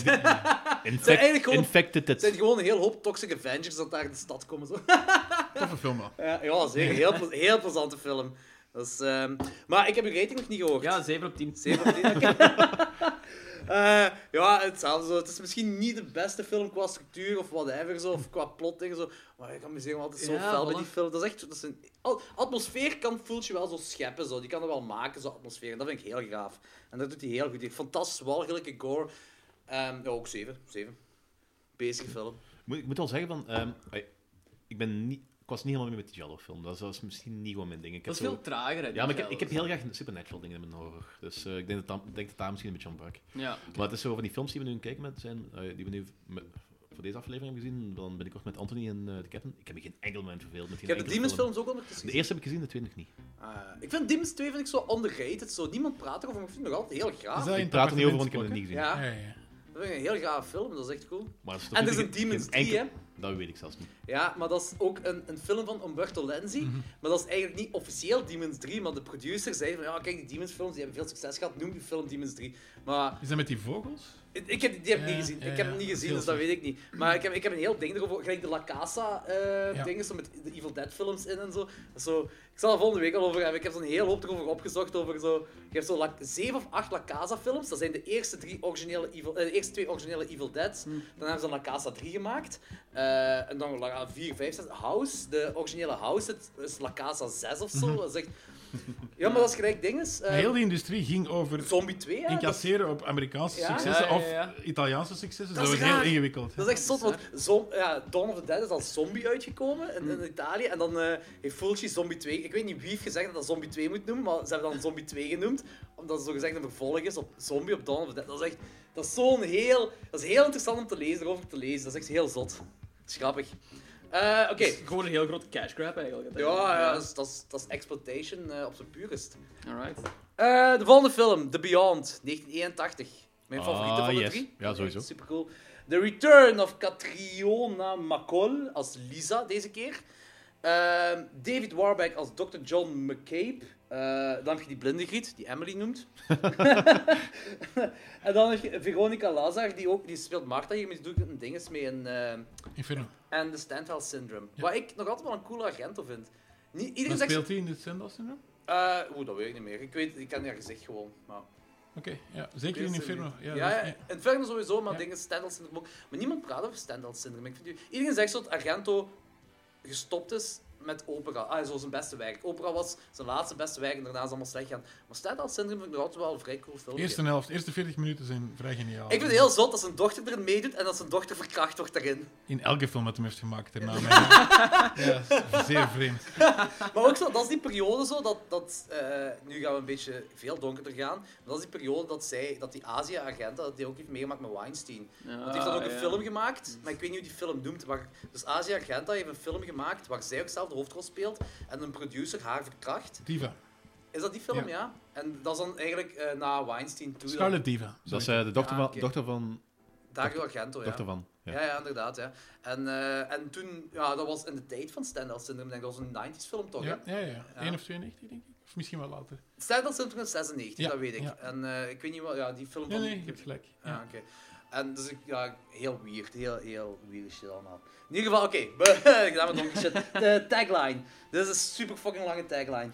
S6: Infect-
S5: eigenlijk gewoon-
S6: Infected
S5: Het zijn
S6: it.
S5: gewoon een heel hoop toxic Avengers dat daar in de stad komen. Zo.
S4: Toffe film wel.
S5: Ja, ja, zeker. Heel, plez- heel plezante film. Dat is, ehm, Maar ik heb uw rating nog niet gehoord.
S3: Ja, 7 op 10.
S5: Zeven op tien, oké. Eh, ja, hetzelfde zo. Het is misschien niet de beste film qua structuur of whatever, zo, of qua plot en zo. Maar ik kan me zeggen, altijd zo
S3: Ja,
S5: fel bij
S3: voilà.
S5: die film. Dat is echt... Dat is een... al- Atmosfeer kan Fultje wel zo scheppen, zo. Die kan er wel maken, zo atmosfeer. En dat vind ik heel gaaf. En dat doet hij heel goed. Die fantastisch walgelijke gore. Ehm, ja, ook zeven. Zeven. Bezige film.
S6: Moet, ik moet wel zeggen, van, ehm, ai, ik, ben niet, ik was niet helemaal mee met die Jello-film. Dat is- dat is misschien niet gewoon mijn ding. Ik heb
S3: Dat is
S6: zo-
S3: veel trager, hè. die
S6: Ja, maar ik heb,
S3: Jello's.
S6: ik heb heel graag supernatural dingen in mijn horror. Dus eh, ik denk dat, daar- ik denk dat daar misschien een beetje ontbrak.
S3: Ja.
S6: Maar het is zo van die films die we nu aan het kijken met zijn, eh, die we nu met- voor deze aflevering hebben gezien, dan ben ik kort met Anthony en eh, de Captain. Ik heb me geen enkel moment verveeld met
S5: Ik
S6: geen
S5: heb de
S6: enkele
S5: Demons
S6: film.
S5: films ook ondertussen
S6: De
S5: gezien.
S6: eerste heb ik gezien, de tweede nog niet.
S5: Ah, ik vind Demons 2 vind ik zo underrated. Zo. Niemand praat erover, maar ik vind het nog altijd heel
S4: Is
S5: gaaf.
S4: dat in
S6: ik
S4: het
S6: praat er niet over, want ik
S4: appartement
S6: heb het niet gezien.
S5: Ja,
S4: ook, hè? Ja, ja, ja.
S5: dat vind ik een heel gaaf film. Dat is echt cool.
S6: Maar het
S5: En er
S6: dus
S5: is een Demons 3, hè.
S6: Dat weet ik zelfs niet.
S5: Ja, maar dat is ook een, een film van Umberto Lenzi. Maar dat is eigenlijk niet officieel Demons 3. Maar de producer zei van, ja, kijk, die Demons films die hebben veel succes gehad. Noem die film Demons 3. Maar
S4: Is dat met die vogels?
S5: ik, ik heb, die heb ik
S4: Ja,
S5: niet gezien.
S4: ja,
S5: ik heb
S4: ja.
S5: hem niet
S4: Dat is
S5: gezien,
S4: heel
S5: dus dat
S4: slecht.
S5: weet ik niet. Maar ik heb, ik heb een heel ding erover. Gelijk de La Casa eh
S4: Ja.
S5: dingen, zo met de Evil Dead films in en zo. zo. Ik zal er volgende week al over hebben. Ik heb zo'n heel hoop erover opgezocht. Over zo, je hebt zo la- zeven of acht La Casa films. Dat zijn de eerste, drie originele Evil, eh, de eerste twee originele Evil Deads.
S4: Hm.
S5: Dan hebben ze La Casa 3 gemaakt. Eh, en dan La Casa 4, 5, 6. House, de originele House, het is La Casa 6 of zo. Dat is echt... Ja, maar dat is gelijk ding. Is, eh,
S4: Mhm. Heel die industrie ging over
S5: Zombie 2, hè? Dat is-
S4: incasseren op Amerikaanse
S5: Ja.
S4: successen
S3: Ja, ja, ja.
S4: of Italiaanse successen.
S5: Dat
S4: Dat,
S5: is
S4: was heel
S5: raar.
S4: ingewikkeld. hè.
S5: Dat is echt zot, want zom, ja, Dawn of the Dead is als zombie uitgekomen in, in Italië. En dan eh, heeft Fulci Zombie 2... Ik weet niet wie heeft gezegd dat dat Zombie 2 moet noemen, maar ze hebben dan Zombie 2 genoemd. Omdat het zogezegd een vervolg is op Zombie op Dawn of the Dead. Dat is echt... Dat is zo'n heel... Dat is heel interessant om te lezen, erover te lezen. Dat is echt heel zot. Dat is grappig. Eh, Oké.
S3: Het is Gewoon een heel grote cash grab, eigenlijk.
S5: Ja, ja, dat is, dat is, dat is exploitation eh, op zijn purest.
S3: Alright.
S5: Eh, de volgende film, The Beyond, 1981. Mijn favoriete
S6: Ah,
S5: van de
S6: yes.
S5: drie.
S6: Ja, sowieso.
S5: Super cool. The Return of Catriona McCall als Lisa deze keer. Ehm, David Warbeck als Dr. John McCabe. Eh, dan heb je die blinde griet, die Emily noemt. en dan heb je Veronica Lazar, die, ook, die speelt Martha hier, maar die doet ook een dinges mee in... eh,
S4: Inferno.
S5: en de Stendhal Syndrome. Wat ik nog altijd wel een coole agento vind. Niet, iedereen
S4: Wat
S5: zegt...
S4: speelt hij in dit syndroom?
S5: Eh, Oeh, dat weet ik niet meer. Ik, weet, ik ken haar gezicht gewoon. Maar...
S4: ja. Zeker in Inferno. Ja,
S5: Ja,
S4: dat
S5: ja,
S4: is- ja.
S5: Inferno sowieso, maar
S4: Ja.
S5: dingen Stendhal syndroom ook. Maar niemand praat over Stendhal syndroom. Ik vind, die- iedereen zegt zo dat Argento gestopt is met opera. Ah, zo zijn beste werk. Opera was zijn laatste beste werk en daarna is allemaal slecht gaan. Maar Stendhal syndroom vind ik nog altijd wel een vrij cool film.
S4: Eerste helft, eerste 40 minuten zijn vrij geniaal.
S5: Ik vind het heel zot dat zijn dochter erin meedoet en dat zijn dochter verkracht wordt daarin.
S4: In elke film dat hem heeft gemaakt daarna. maar- ja, dat is zeer vreemd.
S5: Maar ook zo, dat is die periode zo, dat, dat eh, nu gaan we een beetje veel donkerder gaan. Maar dat is die periode dat zij, dat die Azië-agent, dat die ook heeft meegemaakt met Weinstein. Want die heeft dan ook
S3: Ah,
S5: een film gemaakt, maar ik weet niet hoe die film noemt. Maar, dus Asia Argenta heeft een film gemaakt waar zij ook zelf de hoofdrol speelt en een producer haar verkracht.
S4: Diva.
S5: Is dat die film, ja? En dat is dan eigenlijk eh, na Weinstein toe.
S4: Scarlet Diva.
S6: Dat is eh, de dochter,
S5: Ja,
S6: van,
S5: oké.
S6: dochter van...
S5: Dario Argento, ja.
S6: Dochter van. Ja.
S5: Ja, ja, inderdaad. Ja. En, eh, en toen, ja, dat was in de tijd van Stendhal Syndrome, denk ik. Dat was een 90s film toch?
S4: Ja,
S5: hè?
S4: ja, ja. 1 of 92, denk ik. Of misschien wel later.
S5: Stendhal Syndrome is 96,
S4: Ja,
S5: dat weet ik.
S4: ja.
S5: En eh, ik weet niet wat, ja, die film
S4: Nee,
S5: van.
S4: nee, je hebt gelijk.
S5: Ja,
S4: Ja.
S5: Ah, oké. En dus ik, ja, heel weird, heel, heel weird shit allemaal. In ieder geval, oké, we- gedaan met donkere shit. De tagline. Dit is een super fucking lange tagline.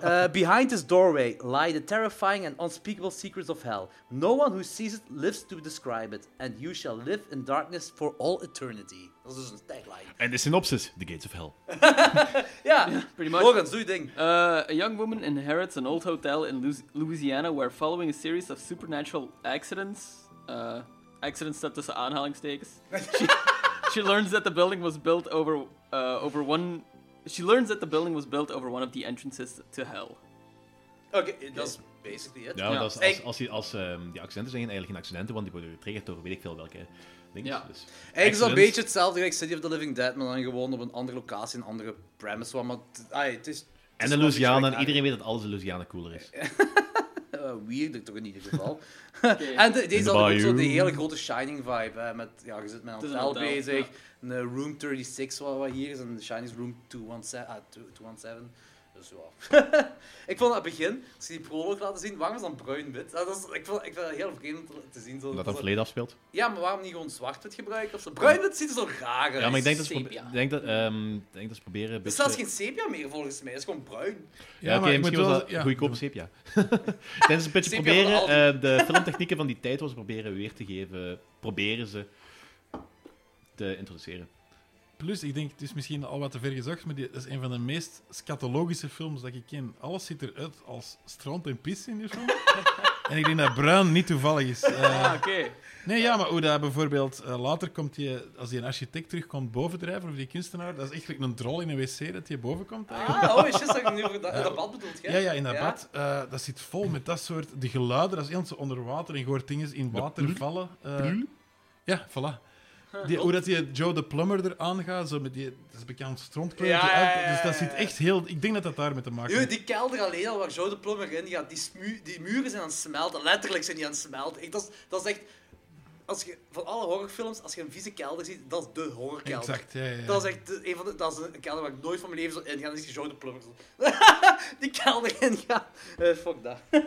S5: Eh, behind this doorway lie the terrifying and unspeakable secrets of hell. No one who sees it lives to describe it. And you shall live in darkness for all eternity. Dat is dus een tagline.
S6: En de synopsis, The Gates of Hell.
S5: Ja,
S3: Pretty much.
S5: Morgens, doe je ding.
S3: Uh, a young woman inherits an old hotel in Lu- Louisiana where, following a series of supernatural accidents, uh, accidents that tussen aanhalingstekens, she, she learns that the building was built over uh, over one. She learns that the building was built over one of the entrances to hell.
S5: Oké, dat is basically it.
S6: Ja,
S3: Ja.
S6: Dat is als,
S5: Ik-
S6: als, die- als, ehm, die accenten zijn eigenlijk geen accenten, want die worden getriggerd door weet ik veel welke dingen.
S3: Ja.
S5: Eigenlijk
S6: Dus,
S5: is dat een
S6: Excellent.
S5: beetje hetzelfde als City of the Living Dead, maar dan gewoon op een andere locatie, een andere premise. waar, Maar t- ai, het is, het
S6: en
S5: is
S6: de
S5: wel iets
S6: Louisiana, en
S5: gelijkaardig.
S6: iedereen weet dat alles in Louisiana cooler is.
S5: Eh, weirder toch in ieder geval. en de, deze had
S6: de
S5: ook
S6: bayou.
S5: zo die hele grote Shining vibe. Hè, met, ja, je zit met een
S3: Het is
S5: hotel,
S3: een hotel,
S5: bezig. Een eh, Room 36 wat, wat hier is. En de Shining is Room 217. ah, 217. Dus ja. ik vond aan het begin, als ze die proloog laten zien, waarom is dan bruin-wit? Dat is, ik, vond, ik vind dat heel vreemd om te zien. Zo,
S6: Omdat dat
S5: zo-
S6: het verleden afspeelt.
S5: ja, maar waarom niet gewoon zwart-wit gebruiken? Of zo? Bruin-wit ziet er zo raar uit.
S6: Ja, maar ik denk dat ze,
S3: sepia.
S6: probe- ik denk dat, ehm, ik denk dat ze proberen... een
S4: Dus
S5: Het is
S6: beetje-
S5: zelfs geen sepia meer volgens mij, het is gewoon bruin.
S6: Ja, oké,
S4: maar ik moet
S6: misschien was
S4: wel-
S6: dat
S4: ja,
S6: goedkoop
S4: doe.
S6: sepia. Tijdens een beetje
S5: Sepia
S6: proberen
S5: van Aldi.
S6: eh, de filmtechnieken van die tijd was proberen weer te geven, proberen ze te introduceren.
S4: Plus, ik denk, het is misschien al wat te ver gezocht, maar die, dat is een van de meest scatologische films dat ik ken. Alles ziet eruit als strand en pis in die film. en ik denk dat bruin niet toevallig is. Eh,
S3: Ah, oké.
S4: nee, ja, maar hoe dat bijvoorbeeld eh, later komt, die, als die een architect terugkomt bovendrijven, of die kunstenaar, dat is echt like een drol in een wc dat die boven komt. eigenlijk.
S5: Ah, oh, is dat ik nu over dat, dat bad bedoeld, hè?
S4: Ja, ja, in dat bad. eh, dat zit vol met dat soort... De geluiden, dat is heel zo onder water. En je hoort dingen in water vallen. eh. ja, voilà. Die, hoe dat die Joe de Plumber er aangaat, zo met die... Dat is bekend strontkleed.
S5: Ja, ja, ja, ja,
S4: Dus dat
S5: ja.
S4: zit echt heel... Ik denk dat dat daarmee te maken
S5: Yo,
S4: heeft.
S5: die kelder alleen al waar Joe de Plummer in gaat, die, smu- die muren zijn aan het smelten. Letterlijk zijn die aan het smelten. Ik, dat, is, dat is echt... Als je, van alle horrorfilms, als je een vieze kelder ziet, dat is de horrorkelder.
S4: Exact, ja, ja, ja.
S5: Dat is echt de- een, van de, dat is een kelder waar ik nooit van mijn leven zou ingaan. Dan is die Joe de Plummer zo. die kelder ingaan. Eh fuck dat.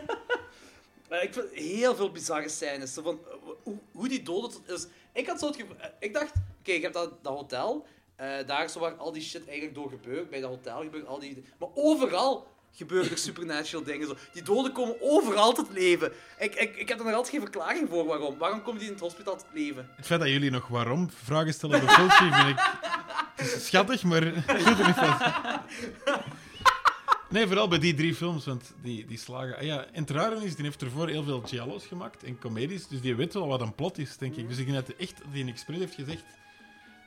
S5: Maar ik vind heel veel bizarre scènes. Zo van, eh, hoe, hoe die doden tot is. Ik had zo het gevo- eh, Ik dacht, oké, ik heb dat, dat hotel. eh, daar is zo waar al die shit eigenlijk door gebeurt. Bij dat hotel gebeurt al die... Maar overal gebeuren er supernatural dingen. Zo. Die doden komen overal tot leven. Ik, ik, ik heb er nog altijd geen verklaring voor waarom. Waarom komen die in het hospitaal tot leven?
S4: Het feit dat jullie nog waarom vragen stellen bij Filthy vind ik het is schattig, maar het doet er niet van. Nee, vooral bij die drie films, want die, die slagen... Ah Ja, Entraren is, die heeft ervoor heel veel giallo's gemaakt en comedies, dus die weet wel wat een plot is, denk ik. Dus ik denk dat hij echt dat hij een expres heeft gezegd...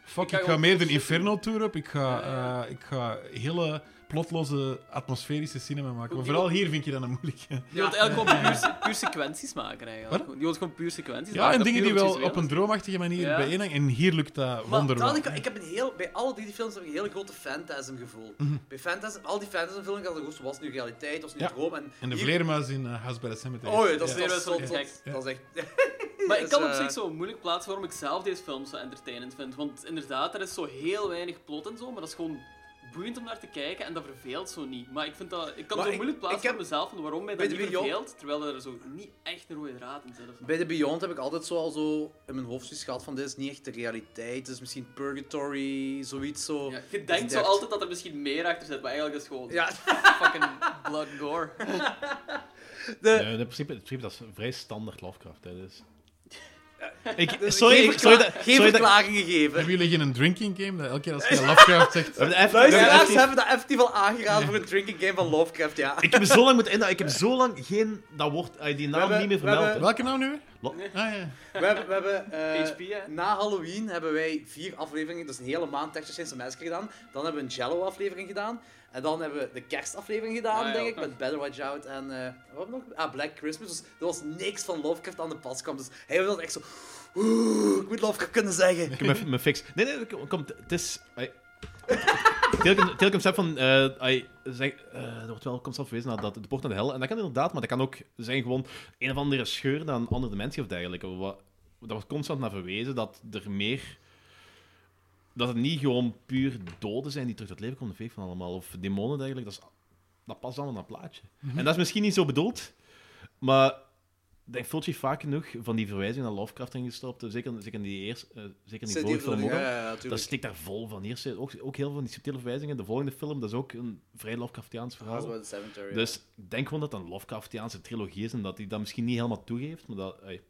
S4: Fuck, ik
S5: Ik
S4: ga,
S5: ga gewoon
S4: meer de
S5: shit
S4: Inferno-tour op, ik ga, eh, ik ga hele plotloze, atmosferische cinema maken. Maar vooral hier vind je dat een moeilijke.
S3: Je wilt eigenlijk gewoon puur, se- puur sequenties maken, eigenlijk.
S4: Wat?
S3: Je wilt gewoon puur sequenties
S4: Ja,
S3: maken.
S4: en
S3: dat
S4: dingen die
S3: puur
S4: wel
S3: visueel
S4: op een
S3: is.
S4: droomachtige manier
S3: Ja.
S4: bijeenhangen, en hier lukt dat
S5: Maar
S4: wonderbaar.
S5: dat ik, ik heb een heel, bij alle drie die films heb ik een hele grote fantasm gevoel. Bij fantasm, al die fantasm films had ik gewoon, zo, was het nu realiteit, was het nu
S4: Mhm. Ja.
S5: droom. En,
S4: En de
S5: hier-
S4: vleermuis in eh, House by the Cemetery.
S5: Oh ja, dat is,
S3: Ja.
S5: dat is,
S3: Ja.
S5: dat is- dat is echt...
S3: Maar ik kan op
S5: Dus, eh,
S3: zich zo moeilijk plaatsen waarom ik zelf deze film zo entertainend vind. Want inderdaad, er is zo heel weinig plot en zo, maar dat is gewoon boeiend om naar te kijken en dat verveelt zo niet. Maar ik vind dat... Ik kan
S5: Maar
S3: zo
S5: ik-
S3: moeilijk plaatsen
S5: ik heb-
S3: voor mezelf van waarom mij dat
S5: Weet je
S3: niet
S5: wie, joh?
S3: verveelt, terwijl er zo niet echt een rode draad in zit. of zo.
S5: Bij de Beyond heb ik altijd zo al zo in mijn hoofd zoiets gehad van dit is niet echt de realiteit, dit is misschien purgatory, zoiets zo.
S3: Ja, je denkt zo
S5: echt-
S3: altijd dat er misschien meer achter zit, maar eigenlijk is het gewoon
S5: Ja,
S3: fucking blood gore.
S5: De,
S6: Eh, in, principe, in principe, dat is vrij standaard Lovecraft. Hè, dus.
S5: dus
S6: sorry,
S5: geen
S6: ik- sorry
S5: verkla-
S6: dat-
S5: geen
S6: sorry dat-
S5: verklaringen geven.
S4: Hebben jullie geen drinking game? Dat elke keer als je Lovecraft zegt...
S5: Luisteraars hebben dat effectief al aangeraden voor een drinking game van Lovecraft, ja.
S6: Ik heb zo lang moeten inhouden. Ik heb zo lang geen, dat woord, eh, die naam
S5: hebben-
S6: niet meer
S5: we
S6: vermeld.
S5: hebben-
S6: hè.
S4: Welke nou nu? weer?
S6: Lo-
S4: Ah, ja.
S5: We hebben, we hebben eh,
S3: HP, hè?
S5: na Halloween hebben wij vier afleveringen, dus een hele maand Texas Chainsaw Massacre gedaan. Dan hebben we een Jello aflevering gedaan. En dan hebben we de kerstaflevering gedaan,
S3: Ah, ja,
S5: denk ik,
S3: oké.
S5: met Better Watch Out en eh, wat hebben we nog? Ah, Black Christmas. Dus er was niks van Lovecraft aan de pas kwam. Dus hij was echt zo, oeh, ik moet Lovecraft kunnen zeggen.
S6: Ik heb mijn- mijn fix. Nee, nee, kom, kom, het is... ai. Telkens telkens heb van... eh, ai, zeg, eh, er wordt wel constant verwezen naar dat, de poort naar de hel. En dat kan inderdaad, maar dat kan ook zijn gewoon een of andere scheur naar een andere dimensie of dergelijke. Wat, dat wordt constant naar verwezen dat er meer... Dat het niet gewoon puur doden zijn die terug tot leven komen, de fake van allemaal. Of demonen dergelijke. Dat, is, dat past allemaal naar een plaatje. En dat is misschien niet zo bedoeld, maar ik denk Fulci vaak genoeg van die verwijzing naar Lovecraft ingestopt. Zeker, zeker in die eerste, eh, zeker in die vorige film ook. al.
S5: Ja, ja,
S6: Dat
S5: natuurlijk.
S6: stikt daar vol van. Hier zit ook, ook heel veel van die subtiele verwijzingen. De volgende film, dat is ook een vrij Lovecraftiaans verhaal.
S5: Ah, wel de Cemetery.
S6: Dus ik denk gewoon dat dat een Lovecraftiaanse trilogie is en dat hij dat misschien niet helemaal toegeeft, maar dat...
S5: ja.
S6: ey. ik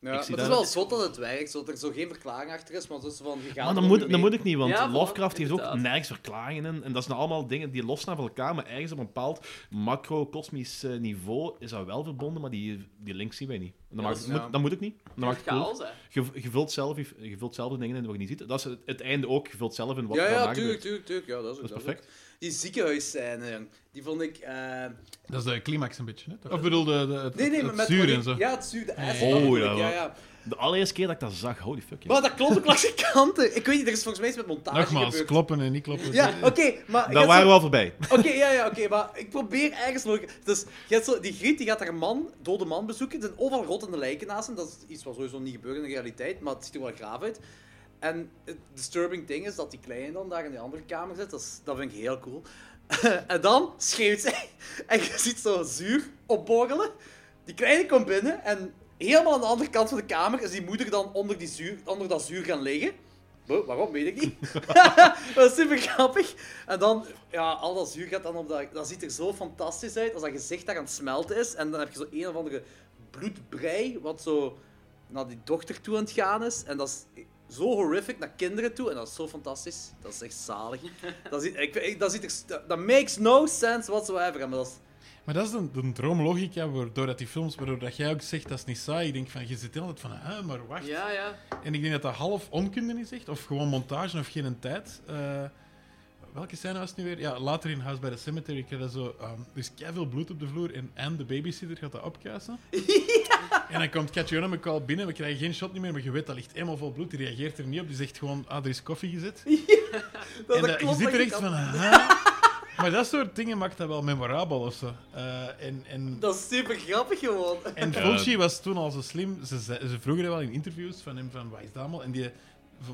S5: maar
S6: zie
S5: het is
S6: dat-
S5: wel zot dat het werkt, zodat er zo geen verklaring achter is, maar dat is van gegaan.
S6: Maar dat moet, dat moet ik niet, want
S3: Ja, voilà,
S6: Lovecraft heeft ook
S3: inderdaad.
S6: nergens verklaringen in. En dat zijn allemaal dingen die losstaan van elkaar, maar ergens op een bepaald macro-kosmisch eh, niveau is dat wel verbonden, maar die, die link zien wij niet. En Dat, maakt,
S5: is- ja.
S6: moet, dat moet ik niet. Dat maakt
S3: Het
S6: het cool.
S3: chaos, hè.
S6: Je, je, vult zelf, je vult zelf de dingen in wat je niet ziet. Dat is het, het einde ook. Je vult zelf in wat
S5: Ja,
S6: er daarna
S5: ja, tuurlijk,
S6: gebeurt.
S5: tuurlijk, tuurlijk. Ja, dat is, ook-
S6: Dat is
S5: ook.
S6: perfect.
S5: Die ziekenhuisscène, jong, die vond ik... eh,
S4: Dat is de climax een beetje, hè? toch? Of bedoel, de, de, het,
S5: Nee, nee,
S4: het
S5: maar met
S4: zuur
S5: van
S4: en
S5: die-
S4: zo.
S5: Ja, het zuur, de acid.
S6: Oh,
S5: natuurlijk, ja,
S6: ja, wel.
S5: ja.
S6: De allereerste keer dat ik dat zag, holy fuck. Ja.
S5: Maar dat klopt ook langs de kanten. Ik weet niet, er is volgens mij iets met montage
S4: Nogmaals,
S5: gebeurd.
S4: kloppen en niet kloppen.
S5: Ja, oh, oké, maar...
S6: Daar
S5: je
S6: waren
S5: hebt
S6: we al voorbij. Dus
S5: zo- Oké, ja, ja, oké, maar ik probeer ergens nog... Dus, je hebt zo, die Griet die gaat haar man, dode man, bezoeken. Er zijn overal rottende lijken naast hem. Dat is iets wat sowieso niet gebeurt in de realiteit, maar het ziet er wel graaf uit. En het disturbing ding is dat die kleine dan daar in die andere kamer zit. Dat, is- dat vind ik heel cool. en dan schreeuwt zij. En je ziet zo zuur opborrelen. Die kleine komt binnen en helemaal aan de andere kant van de kamer is die moeder dan onder, die zuur, onder dat zuur gaan liggen. Wa- Waarom, weet ik niet. dat is super grappig. En dan, ja, al dat zuur gaat dan op dat... Dat ziet er zo fantastisch uit als dat gezicht daar aan het smelten is. En dan heb je zo een of andere bloedbrei, wat zo naar die dochter toe aan het gaan is. En dat is zo horrific naar kinderen toe. En dat is zo fantastisch. Dat is echt zalig. Dat, ziet, ik, ik- dat, ziet er, dat- dat makes no sense whatsoever. En Maar dat is,
S4: Maar dat is een, een droomlogica, waardoor dat die films, waardoor dat jij ook zegt, dat is niet saai. Ik denk van, je zit altijd van, ah, maar wacht.
S3: Ja, ja.
S4: En ik denk dat dat half onkunde is, echt. Of gewoon montage of geen tijd. Eh, welke scène was het nu weer? Ja, later in House by the Cemetery krijg je dat zo... ehm, er is veel bloed op de vloer en Anne, de babysitter, gaat dat opkuisen. En dan komt Catjona McCall binnen, we krijgen geen shot niet meer, maar je weet, dat ligt helemaal vol bloed. Die reageert er niet op, die zegt gewoon, ah, er is koffie gezet.
S5: dat,
S4: en
S5: Oh, dat
S4: dat-
S5: klopt
S4: eh, je zit er
S5: dat
S4: echt
S5: kan-
S4: van, ah. Maar dat soort dingen maakt dat wel memorabel of zo. Eh, en... en
S5: Dat is super grappig gewoon.
S4: en Fulci was toen al zo slim. Ze, ze, ze vroegen dat wel in interviews van hem van wat is dat allemaal? En die,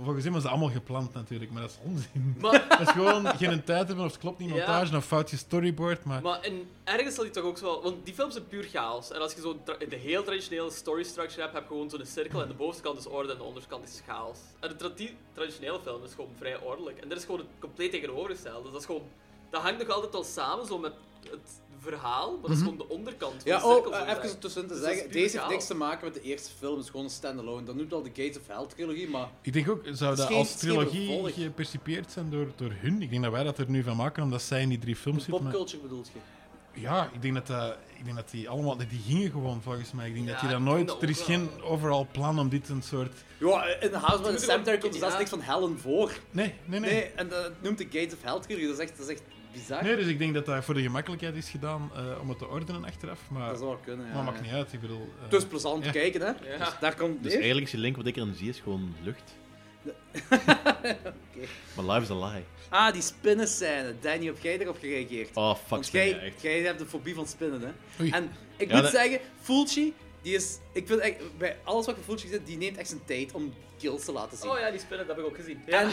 S4: volgens hem was dat allemaal gepland natuurlijk, maar dat is onzin.
S3: Maar,
S4: Dat is gewoon geen tijd hebben of het klopt niet
S3: Ja.
S4: montage of foutje storyboard, maar,
S3: maar in, ergens zal die toch ook zo wel... Want die film is puur chaos. En als je zo tra- de heel traditionele story structure hebt, heb je gewoon zo'n cirkel en de bovenste kant is orde en de onderkant is chaos. En de tra- die traditionele film is gewoon vrij ordelijk. En dit is gewoon het compleet tegenovergestelde. Dus dat is gewoon... Dat hangt nog altijd wel samen zo met het verhaal, maar dat is gewoon de onderkant
S5: Mhm.
S3: van
S5: Ja,
S3: de cirkel.
S5: oh, eh,
S3: zo
S5: even
S3: gezegd.
S5: om tussen te
S3: Dus dat is
S5: zeggen.
S3: puur
S5: Deze heeft
S3: chaos.
S5: niks te maken met de eerste film. Het is gewoon een standalone. Dat noemt al de Gates of Hell trilogie, maar...
S4: ik denk ook, zou
S5: is
S4: dat
S5: geen-
S4: als
S5: het is geen
S4: trilogie
S5: vervolg.
S4: gepercipeerd zijn door, door hun? Ik denk dat wij dat er nu van maken, omdat zij in die drie films zitten. maar-
S5: Popculture bedoelt je?
S4: Ja, ik denk dat, dat, ik denk dat die allemaal, die gingen gewoon volgens mij. Ik denk
S3: Ja,
S4: dat die dat
S3: ik denk
S4: nooit,
S3: dat
S4: er
S3: ook
S4: is
S3: wel.
S4: geen overal plan om dit een soort...
S5: Ja, in House by the
S3: Tuurlijk,
S5: Cemetery komt er zelfs
S3: ja.
S5: niks van Helen voor.
S4: Nee, nee, nee.
S5: Nee, en dat noemt de Gates of Hell trilogie. Dat is echt, dat is echt bizar.
S4: Nee, dus ik denk dat dat voor de gemakkelijkheid is gedaan eh, om het te ordenen achteraf. Maar,
S5: Dat zou wel Dus kunnen, ja.
S4: maar maakt niet uit, ik bedoel... eh,
S5: Het is plezant te
S4: Ja.
S5: kijken, hè.
S3: Ja.
S5: Dus daar komt
S6: Dus
S5: neer.
S6: eigenlijk is die link wat ik erin zie, is gewoon lucht. Maar life is a lie.
S5: Ah, die spinnenscène. Danny, heb jij erop gereageerd?
S6: Oh, fuck,
S5: Want
S6: spin je
S5: jij,
S6: echt.
S5: jij hebt de fobie van spinnen, hè.
S4: Oei.
S5: En ik
S6: Ja,
S5: moet
S6: dat-
S5: zeggen, Fulci, die is... Ik vind echt, bij alles wat ik van Fulci zit, die neemt echt zijn tijd om kills te laten zien.
S3: Oh ja, die spinnen, dat heb ik ook gezien. Ja.
S5: En,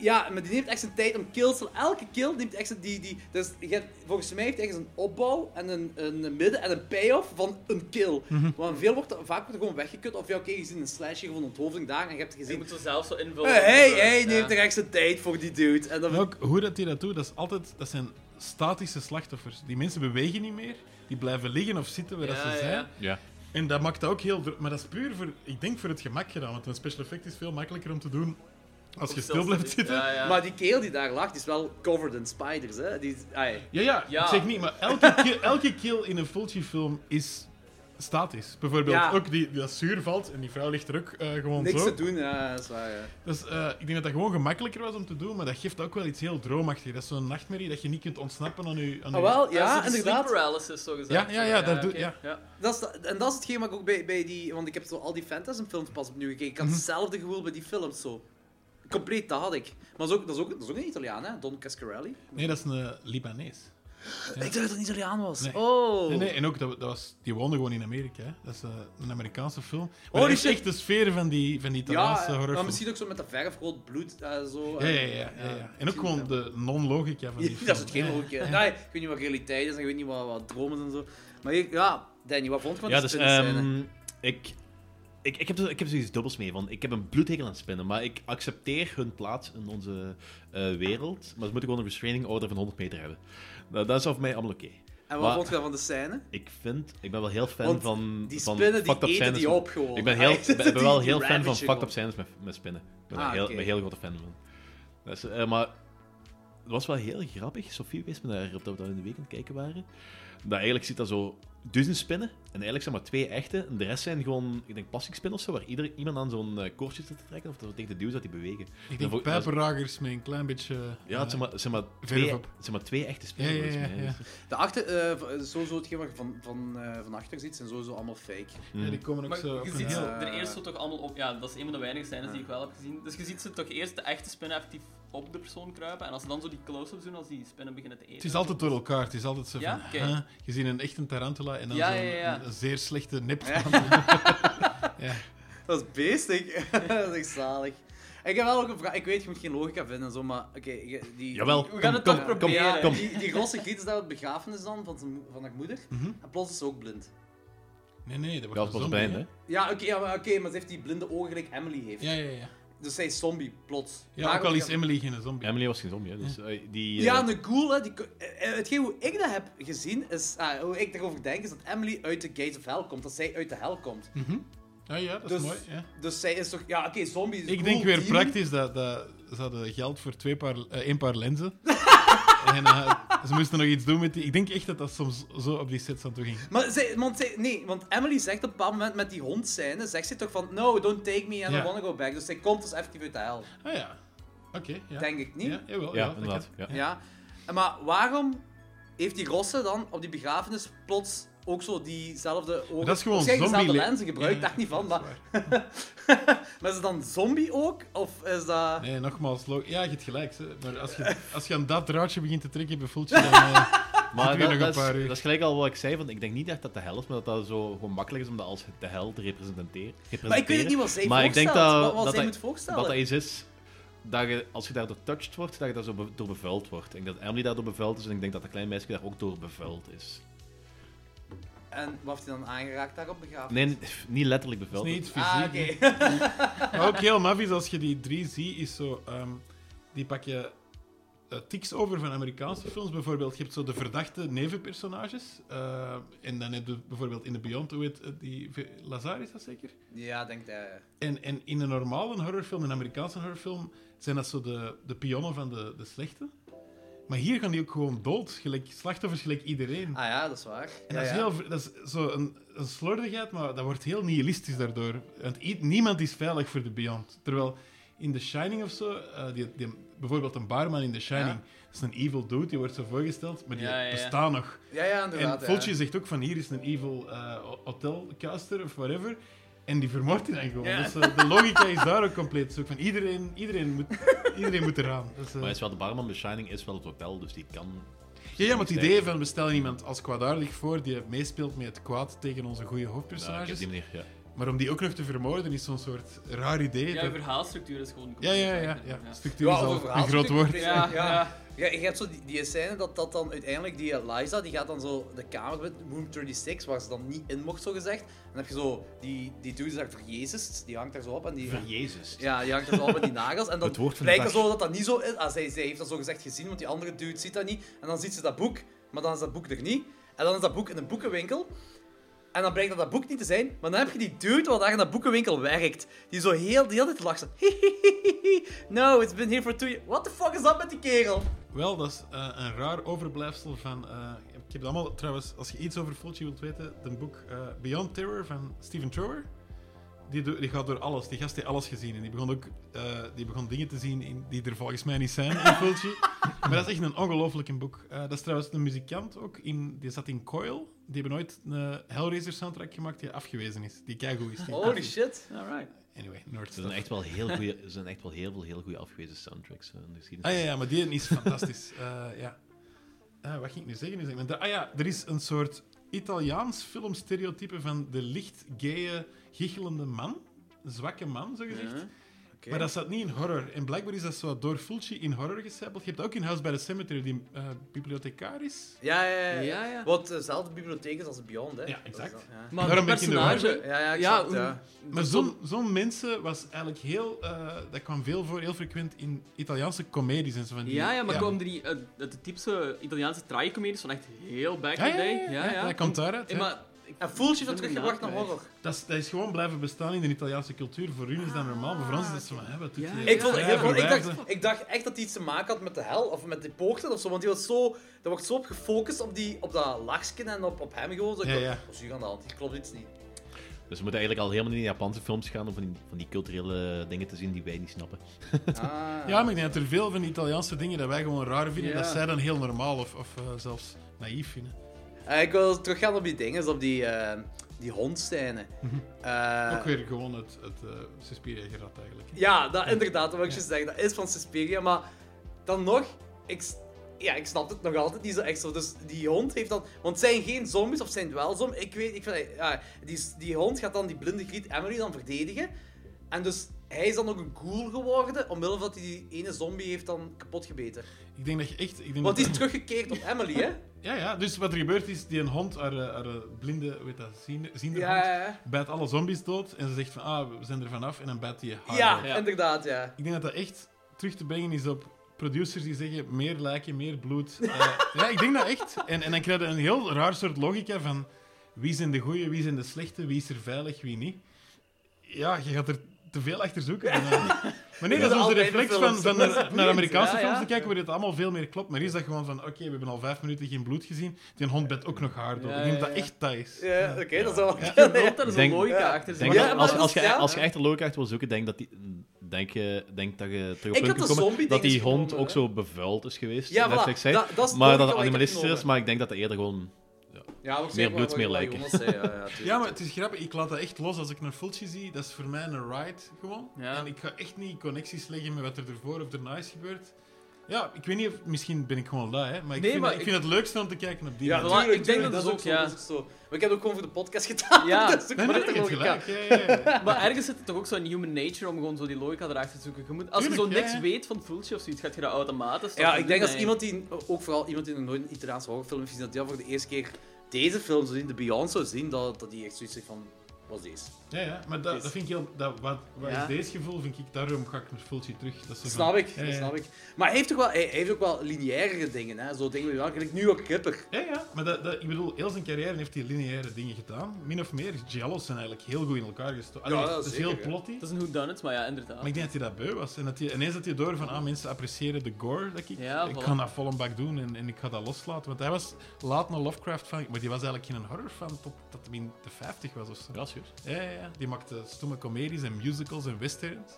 S5: ja, maar die neemt echt zijn tijd om kills. Elke kill neemt echt zijn... Die, die, dus je hebt, volgens mij heeft hij ergens een opbouw en een, een midden en een payoff van een kill.
S3: Mhm.
S5: Want veel wordt, er- vaak wordt er gewoon weggekut. Of ja, oké, je ziet een slasher of een onthoofding daar en je hebt
S3: Je
S5: gezien...
S3: moet zo zelf zo invullen.
S5: Hé, hey,
S3: Ja.
S5: hey, neemt er echt zijn tijd voor die dude. En dan...
S4: En ook hoe dat hij dat doet, dat, is altijd, dat zijn statische slachtoffers. Die mensen bewegen niet meer. die blijven liggen of zitten waar dat dus,
S3: Ja,
S4: ze
S3: ja.
S4: zijn.
S7: Ja.
S4: En dat maakt dat ook heel... ver- Maar dat is puur, voor, ik denk, voor het gemak gedaan. Want een special effect is veel makkelijker om te doen als je stil blijft zitten.
S3: Ja, ja.
S5: Maar die keel die daar lag, die is wel covered in spiders, hè? Die, is- ai.
S4: Ja, ja,
S3: Ja.
S4: ik zeg niet, maar elke kill, elke kill in een Fulci-film is statisch. Bijvoorbeeld
S5: Ja.
S4: ook die, die dat zuur valt en die vrouw ligt er ook eh, gewoon
S5: Niks te
S4: zo.
S5: doen, ja, dat is waar. ja.
S4: Dus eh, ik denk dat dat gewoon gemakkelijker was om te doen, maar dat geeft ook wel iets heel droomachtigs. Dat is zo'n nachtmerrie dat je niet kunt ontsnappen aan je... Aan
S5: Ah,
S4: je-
S5: wel,
S3: Ja,
S5: ja,
S3: zo die sleep
S5: inderdaad.
S3: paralysis, zo gezegd.
S4: Ja, ja, ja, dat doe-
S3: oké.
S4: ja.
S5: Dat is, da- en dat is hetgeen wat ik ook bij, bij die... Want ik heb zo al die Phantasm-films pas opnieuw gekeken. Ik
S4: Mhm.
S5: had hetzelfde gevoel bij die films, zo. Compleet, dat had ik. Maar dat is ook, dat is ook, dat is ook een Italiaan, hè? Don Cascarelli.
S4: Nee, dat is een Libanees.
S5: Ik dacht dat het een Italiaan was.
S4: Nee.
S5: Oh.
S4: Nee, nee, en ook, dat, dat was, die woonde gewoon in Amerika. Hè. Dat is eh, een Amerikaanse film. Maar
S5: Oh,
S4: dat
S5: die
S4: is
S5: shit.
S4: echt de sfeer van die, van die
S5: Ja,
S4: Italiaanse
S5: maar
S4: eh, horrorfilm.
S5: misschien ook zo met dat verf, rood bloed, eh, zo.
S4: Ja,
S5: eh,
S4: ja, ja, ja, ja. En ook
S5: misschien
S4: gewoon
S5: dat.
S4: de non-logica van die
S5: Ja,
S4: film.
S5: dat is het geen
S4: Ja, ja.
S5: logica. Nou, Ja, ik weet niet wat realiteit is, en ik weet niet wat, wat dromen en zo. Maar ik, ja, Danny, wat vond je van
S6: Ja,
S5: die
S6: dus
S5: spinnenscène?
S6: ehm, ik, ik, ik, heb, zo- ik heb zoiets dubbels mee. Want ik heb een bloedhekel aan spinnen, maar ik accepteer hun plaats in onze eh, wereld. Maar ze moeten gewoon een restraining order van 100 meter hebben. Nou, dat is voor mij allemaal oké.
S5: En wat
S6: maar-
S5: vond je dan van de scène?
S6: Ik vind, ik ben wel heel fan
S5: Want
S6: van.
S5: Die
S6: van
S5: spinnen, die
S6: fucked-up
S5: eten
S6: scènes
S5: die
S6: met-
S5: op gewoon.
S6: Ik ben, heel,
S5: Ah,
S6: ik ben
S5: die-
S6: wel
S5: die
S6: heel fan van
S5: ravagen
S6: fucked up
S5: gewoon.
S6: scènes met, met spinnen. Ik ben
S5: Ah,
S6: een heel,
S5: oké.
S6: ben een heel grote fan van. Dat is, eh, maar het was wel heel grappig. Sophie wees me daar op dat we dat in de week aan het kijken waren. Dat eigenlijk zit daar zo duizend spinnen. En eigenlijk zijn maar twee echte. En de rest zijn gewoon, ik denk, plasticspinnen of zo. Waar ieder, iemand aan zo'n eh, koordje zit te trekken. Of dat zo tegen de duw dat die bewegen.
S4: Ik
S6: Dat
S4: denk
S6: vond- dat is-
S4: pijperragers met een klein beetje... eh,
S6: Ja, het zijn maar, het zijn maar,
S4: Verf
S6: twee,
S4: op.
S6: het zijn maar twee echte
S4: ja,
S6: spinnen.
S4: ja, ja,
S6: volgens mij.
S4: ja.
S5: De achter, eh, v- sowieso hetgeen wat je van, van, eh, van achter ziet, zijn sowieso allemaal fake.
S6: Mm.
S4: Ja, die komen ook
S3: Maar
S4: zo op
S3: je
S4: een
S3: ziet
S4: heel-
S3: ze
S5: heel-
S3: er eerst zo toch allemaal op. Ja, dat is een van de weinige scènes die
S5: Ja.
S3: ik wel heb gezien. Dus je ziet ze toch eerst de echte spinnen effectief op de persoon kruipen. En als ze dan zo die close-ups doen, als die spinnen beginnen te eten.
S4: Het is altijd door elkaar. Het is altijd zo van...
S3: Ja? Oké.
S4: huh? Je ziet een echte tarantula en dan
S3: Ja,
S4: zo'n
S3: ja, ja.
S4: een zeer slechte nip.
S5: Ja.
S4: Ja.
S5: Dat is beestig. dat is echt zalig. Ik heb wel ook een vraag. Ik weet, je moet geen logica vinden en zo, maar oké. je- die,
S6: Jawel,
S3: We gaan het
S6: kom,
S3: toch
S6: kom,
S3: proberen.
S6: kom.
S5: Die, die rosse giet is daar op begrafenis dan, van, zijn, mo- van haar moeder.
S4: Mhm.
S5: En plots is ze ook blind.
S4: Nee, nee, dat
S6: Ja,
S4: wordt
S6: dat was
S4: een
S6: bijna,
S4: zombie,
S6: hè?
S5: Ja, oké, ja, maar, oké, maar ze heeft die blinde ogen gelijk Emily heeft.
S4: hè? Ja, ja, ja.
S5: Dus zij is zombie, plots.
S4: Ja, ook al is Emily geen zombie.
S6: Emily was geen zombie. Hè, dus, eh, die, eh,
S5: Ja, een cool, hè. Die, ko- eh, eh, hetgeen hoe ik dat heb gezien, is, ah, hoe ik daarover denk, is dat Emily uit de Gates of Hell komt. Dat zij uit de hel komt.
S4: Ja, Ah, ja, dat is
S5: Dus-
S4: mooi. Ja.
S5: Dus zij is toch... Ja, oké, zombie is
S4: Ik
S5: cool,
S4: denk weer
S5: demon.
S4: praktisch dat, dat ze hadden geld voor twee paar, eh, één paar lenzen. en eh, ze moesten nog iets doen met die... Ik denk echt dat dat soms zo op die sets aan toe ging.
S5: Maar zij, want zij, nee, want Emily zegt op een bepaald moment met die hond scène, zegt ze toch van, no, don't take me and I
S4: Ja.
S5: wanna go back. Dus zij komt dus effectief uit de hel.
S4: Ah ja. Oké, ja.
S5: Denk ik niet.
S4: Ja, jawel,
S6: ja,
S4: jawel, dat
S6: inderdaad.
S4: kan.
S6: Ja.
S5: Ja. En Maar waarom heeft die Rosse dan op die begrafenis plots ook zo diezelfde ogen...
S4: Dat is gewoon
S5: Waarschijnlijk dezelfde
S4: zombie-
S5: lenzen gebruikt,
S4: Ja,
S5: daar niet van,
S4: dat
S5: maar...
S4: is waar.
S5: Maar is het dan zombie ook? Of is dat...
S4: Nee, nogmaals, lo- ja, je hebt gelijk. Hè. Maar als je, als je aan dat draadje begint te trekken, bevoelt je dan... eh,
S6: Maar
S4: Zitten we
S6: dat,
S4: nog
S6: dat
S4: een paar
S6: is,
S4: uur?
S6: dat is gelijk al wat ik zei, want ik denk niet echt dat de hel is, maar dat dat zo gewoon makkelijk is om dat als de hel te representeren.
S5: Maar ik weet niet wat zij
S6: Maar ik
S5: voorstelt.
S6: denk dat-
S5: wat wat
S6: dat
S5: zij
S6: dat-
S5: moet voorstellen.
S6: Wat dat iets is, dat je, als je daardoor touched wordt, dat je daar zo be- door bevuild wordt. Ik denk dat Emily daardoor bevuild is en ik denk dat dat klein meisje daar ook door bevuild is.
S5: En wat heeft hij dan aangeraakt daar op begrafenis?
S6: Nee, niet letterlijk bevuild.
S4: Dat is niet fysiek.
S5: Ah,
S4: hè.
S5: oké.
S4: Maar ook heel maf is als je die drie ziet, is zo... ehm, die pak je eh, tics over van Amerikaanse films. Bijvoorbeeld, je hebt zo de verdachte nevenpersonages. eh, en dan heb je bijvoorbeeld in de Beyond, hoe heet het, die... V- Lazar is dat zeker?
S5: Ja, denk dat...
S4: En, en in een normale horrorfilm, een Amerikaanse horrorfilm, zijn dat zo de, de pionnen van de, de slechte. Maar hier gaan die ook gewoon dood. Gelijk, slachtoffers gelijk iedereen.
S5: Ah ja, dat is waar. ja,
S4: En dat is,
S5: ja.
S4: heel, ver- dat is zo een, een slordigheid, maar dat wordt heel nihilistisch daardoor. Want i- niemand is veilig voor de Beyond. Terwijl in The Shining of zo, eh, die, die- bijvoorbeeld een barman in The Shining,
S5: Ja.
S4: dat is een evil dude, die wordt zo voorgesteld, maar die
S3: Ja, ja, ja.
S4: bestaat nog.
S5: Ja, ja, inderdaad.
S4: En
S5: ja.
S4: Fulci zegt ook van hier is een evil eh, hotelcaster of whatever. En die vermoordt hij dan gewoon.
S3: Ja.
S4: Dus, eh, de logica is daar ook compleet zoek van. Iedereen, iedereen, moet, iedereen moet eraan. Dus, eh,
S6: Maar is wel de barman bij Shining is wel het hotel, dus die kan...
S4: ja, ja, maar het idee van we stellen iemand als kwaadaardig voor die meespeelt met het kwaad tegen onze goede
S6: Nou, ik
S4: hoofdpersonages.
S6: op die manier, ja.
S4: Maar om die ook nog te vermoorden is zo'n soort raar idee.
S3: Ja,
S4: dat-
S3: je verhaalstructuur is gewoon.
S4: ja, ja, ja, ja.
S3: Ja.
S4: Structuur
S5: Ja,
S4: is
S5: over
S4: al een
S5: verhaalstuk-
S4: groot woord.
S5: Ja,
S3: Ja,
S5: ja.
S3: ja.
S5: Ja, je hebt zo die, die scène dat, dat dan uiteindelijk die Eliza, die gaat dan zo de kamer met Room 36, waar ze dan niet in mocht, zo gezegd. En dan heb je zo die, die dude daar voor Jezus, die hangt daar zo op en die...
S6: Voor Jezus.
S5: Ja, die hangt er zo op met die nagels. En dan
S6: Het woord van de
S5: blijkt er
S6: dag.
S5: zo dat dat niet zo is. Ah, zij, zij heeft dat zo gezegd gezien, want die andere dude ziet dat niet. En dan ziet ze dat boek, maar dan is dat boek er niet. En En dan is dat boek in een boekenwinkel. En dan blijkt dat dat boek niet te zijn. Maar dan heb je die dude wat daar in dat boekenwinkel werkt. Die zo heel de hele tijd lacht. zo, No, it's been here for two years. What the fuck is dat met die kerel?
S4: Wel, dat is eh, een raar overblijfsel van. eh, ik heb het allemaal trouwens, als je iets over Fulci wilt weten, een boek eh, Beyond Terror van Steven Trower. Die, do- die gaat door alles. Die gast heeft alles gezien. En die begon ook eh, die begon dingen te zien in, die er volgens mij niet zijn in Fulci. maar dat is echt een ongelooflijk boek. Eh, dat is trouwens een muzikant ook. In, die zat in Coil. Die hebben nooit een Hellraiser soundtrack gemaakt die afgewezen is. Die keigoed is. Die-
S5: Holy shit.
S3: Alright.
S4: Anyway, Nerd
S6: Er zijn echt wel heel goeie- er zijn echt wel heel veel heel goede afgewezen soundtracks eh, in de
S4: Ah
S6: geschiedenis.
S4: ja, ja, maar die is fantastisch. Eh, ja. Eh, wat ging ik nu zeggen? Nu zeg ik- Ah ja, er is een soort Italiaans filmstereotype van de licht gaye, giechelende man. Zwakke man, zo gezegd. Maar dat staat niet in horror. En blijkbaar is dat zo door Fulci in horror gesampeld. Je hebt ook in House by the Cemetery die eh, bibliothecaris.
S5: Ja, ja, ja.
S8: Ja, ja.
S5: Wat dezelfde bibliotheek is als de Beyond, hè?
S4: Ja,
S5: Dat is
S4: exact.
S5: dat, ja.
S8: Maar Daarom
S4: Daarom ben ik in de
S8: personage...
S5: Ja, ja, ik
S8: Ja,
S5: snap het, ja.
S4: Maar zo'n zo'n mensen was eigenlijk heel... eh, dat kwam veel voor, heel frequent in Italiaanse comedies en zo van die...
S3: Ja, ja, maar komen er niet... eh, de typische Italiaanse tragicomedies van echt heel back in
S4: Ja,
S3: the
S4: ja, ja,
S3: day?
S4: ja, ja, dat komt daaruit.
S3: Eh,
S4: hè.
S3: maar... ik-
S5: En Fulci heeft dat
S3: ben
S5: teruggebracht
S3: de naam
S5: naar
S3: kwijt.
S5: horror.
S4: Dat is, dat is gewoon blijven bestaan in de Italiaanse cultuur. Voor hun is dat normaal, voor ons is dat zo van, hè, wat doet
S3: Ja,
S4: die-
S3: ja.
S5: Ik, vond, ik,
S4: Ja,
S5: vond- ik, dacht,
S4: verwijfde.
S5: ik dacht echt dat hij iets te maken had met de hel of met de poorten of zo, want die was zo, er wordt zo op gefocust op, die, op dat lachsken en op, op hem gewoon. Zo, ik
S4: Ja,
S5: dacht,
S4: ja.
S5: Wat is hier aan de hand? Hier klopt iets niet.
S6: Dus we moeten eigenlijk al helemaal niet in Japanse films gaan om van die, van die culturele dingen te zien die wij niet snappen.
S5: Ah.
S4: Ja, maar ik denk dat er veel van die Italiaanse dingen dat wij gewoon raar vinden,
S3: Ja.
S4: dat zij dan heel normaal of, of eh, zelfs naïef vinden.
S5: Eh, ik wil teruggaan op die dingen, op die, eh die hondscène. Eh,
S4: Mhm. Ook weer gewoon het, het eh, Suspiria-gerad eigenlijk. hè.
S5: Ja, dat, inderdaad, dat wil ik je zeggen. Dat is van Suspiria, maar dan nog, ik, s- ja, ik snap het nog altijd niet zo echt zo. Dus die hond heeft dan... Want het zijn geen zombies, of zijn het wel zombies? Ik weet, ik vind, eh, ja, die, s- die hond gaat dan die blinde griet Emery dan verdedigen. En dus hij is dan ook een ghoul geworden, omwille van dat hij die ene zombie heeft dan kapot gebeten.
S4: Ik denk dat je echt... Ik denk
S5: Want die is
S4: dat-
S5: teruggekeerd op Emily, hè?
S4: Ja, ja. Dus wat er gebeurt is, die een hond, haar, eh, haar eh, blinde, weet dat, ziende, ziende
S5: Ja,
S4: hond,
S5: ja, ja.
S4: bijt alle zombies dood en ze zegt van, ah, we zijn er vanaf en dan bijt die haar.
S5: ja,
S4: dood.
S5: inderdaad, ja.
S4: Ik denk dat dat echt terug te brengen is op producers die zeggen meer lijken, meer bloed. Eh, ja, ik denk dat echt. En, en dan krijg je een heel raar soort logica van wie zijn de goeie, wie zijn de slechte, wie is er veilig, wie niet. Ja, je gaat er te veel achter zoeken. En, eh, maar nee, dat is onze
S5: Altijd
S4: reflex van,
S5: films.
S4: van
S5: Dat is
S4: naar, naar
S5: boeiend,
S4: Amerikaanse
S5: ja,
S4: films
S5: ja.
S4: te kijken, waar dit allemaal veel meer klopt. Maar is dat gewoon van, oké, we hebben al vijf minuten geen bloed gezien, die hond bedt ook nog haar door.
S3: Ja,
S4: ik denk
S3: ja,
S4: dat dat
S3: ja.
S4: echt dat is.
S5: Ja, oké, dat is wel...
S3: Ik hoop dat er zo'n
S6: Denk-
S3: logica
S5: Ja.
S3: achter zit.
S6: Denk
S5: Ja,
S6: dat,
S5: maar
S6: als,
S5: dat
S6: als,
S5: is-
S6: je,
S5: ja.
S6: als je echt de logica achter wil zoeken, denk dat, die, denk, je, denk dat je terug
S5: Ik
S6: op
S5: had
S6: punt
S5: de
S6: kunt komen
S5: zombie-dinges
S6: dat die hond
S5: genomen,
S6: ook
S5: hè.
S6: zo bevuild is geweest.
S5: Ja,
S6: net
S5: voilà.
S6: zoals ik zei,
S5: Dat- dat is het
S6: maar dat
S5: logica
S6: het
S5: wat ik heb
S6: animalistisch is,
S5: genomen.
S6: maar ik denk dat dat eerder gewoon...
S5: Ja,
S6: Meer bloed, meer lijken.
S4: Ja, maar het is grappig. Ik laat dat echt los als ik een Fulci zie. Dat is voor mij een ride gewoon.
S3: Ja.
S4: En ik ga echt niet connecties leggen met wat er ervoor of erna is gebeurd. Ja, ik weet niet of... Misschien ben ik gewoon lui, hè. Maar ik,
S3: Nee,
S4: vind,
S3: maar
S4: ik
S3: ik-
S4: vind het leukste om te kijken op die
S5: Ja,
S4: manier.
S3: tuurlijk,
S5: ik denk dat,
S3: tuurlijk,
S5: is ook, zo,
S3: ja.
S5: dat is ook zo. Maar ik heb het ook gewoon voor de podcast gedaan.
S3: Ja.
S5: dat is ook
S4: Nee, nee,
S5: maar
S4: nee,
S5: de
S4: je hebt
S5: logica.
S4: gelijk. Ja, ja, ja.
S3: Maar ergens zit het toch ook zo in human nature om gewoon zo die logica erachter te zoeken. Je moet, als je
S4: Tuurlijk,
S3: zo
S4: ja,
S3: niks
S4: ja.
S3: weet van Fulci of zoiets, gaat je dat automatisch toch
S5: Ja, ik
S3: doen,
S5: denk als
S3: hè.
S5: iemand die, ook vooral iemand die nog nooit een Italiaanse horrorfilm heeft gezien, dat die al voor de eerste keer deze film zou zien, de Beyond zou zien, dat, dat die echt zoiets zegt van, wat is deze?
S4: ja, ja. Maar dat, dat vind ik heel... Dat, wat wat
S3: Ja.
S4: is deze gevoel? Vind ik, daarom ga ik naar Fulci terug. Dat is zo
S5: Dat
S4: van-
S5: snap ik,
S4: Ja,
S5: dat
S4: ja.
S5: snap ik. Maar hij heeft, toch wel, hij, hij heeft ook wel lineaire dingen, hè. Zo dingen, ja, gelijk nu ook Kipper.
S4: Ja, ja. Maar dat, dat, ik bedoel, heel zijn carrière heeft hij lineaire dingen gedaan. Min of meer. Giallo's zijn eigenlijk heel goed in elkaar gestoken.
S5: Ja,
S4: Allee, het is
S5: zeker,
S4: heel
S5: ja.
S4: plotty.
S3: Dat is een whodunit, maar ja, inderdaad.
S4: Maar ik denk dat hij dat beu was. En dat hij, ineens had hij door van, ah, mensen appreciëren de gore. Dat ik,
S3: Ja,
S4: ik
S3: voilà.
S4: ga dat vol een bak doen en, en ik ga dat loslaten. Want hij was laat een Lovecraft fan, maar die was eigenlijk geen horror fan tot dat hij in de 50 was of zo.
S6: Gracias.
S4: Ja, ja, ja. Die maakte stomme comedies en musicals en westerns.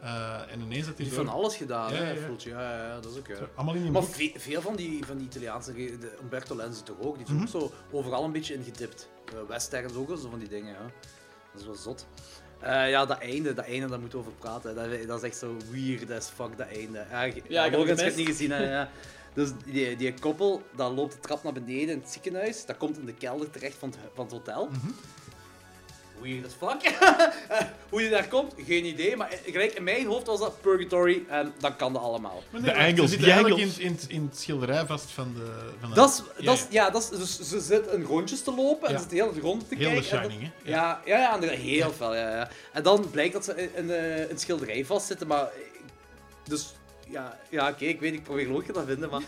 S4: Eh, en ineens had hij
S5: Die heeft
S4: door...
S5: van alles gedaan,
S4: Ja,
S5: hè,
S4: ja, ja.
S5: Fulci. Ja, ja, ja, dat is ook, ja.
S4: Allemaal in een
S5: Maar
S4: boek.
S5: ve- veel van die, van die Italiaanse, re- de Umberto Lenzi toch ook, die
S4: Mhm.
S5: is ook zo overal een beetje ingedipt. Eh, Westerns ook, wel, zo van die dingen, ja. Dat is wel zot. Eh, ja, dat einde, dat einde, daar moeten we over praten. Dat, dat is echt zo weird as fuck, dat einde. Ja, ik
S3: Ja, ik heb
S5: heb
S3: het
S5: het
S3: gemist.
S5: niet gezien, hè, ja. Dus die, die koppel, dat loopt de trap naar beneden in het ziekenhuis, dat komt in de kelder terecht van het, van het hotel.
S4: Mhm.
S5: Weird as fuck. Eh, Hoe je daar komt, geen idee, maar eh, gelijk in mijn hoofd was dat purgatory en dan kan dat allemaal.
S4: Maar
S6: de Engels,
S4: Ze
S6: die
S4: zitten eigenlijk
S6: Engels.
S4: in, in, in het schilderij vast van de... Van de-
S5: Dat is,
S4: Ja,
S5: dat is,
S4: ja.
S5: ja, dat is, dus ze zit in rondjes te lopen en
S4: Ja.
S5: ze zit heel het rond te
S4: Heel de
S5: kijken. en dat-
S4: Shining, hè?
S5: Ja, ja, ja, inderdaad, heel veel. Ja, ja. En dan blijkt dat ze in, in, eh, een schilderij vastzitten, maar eh, dus Ja, ja oké, ik weet, ik probeer ook te dat vinden, maar...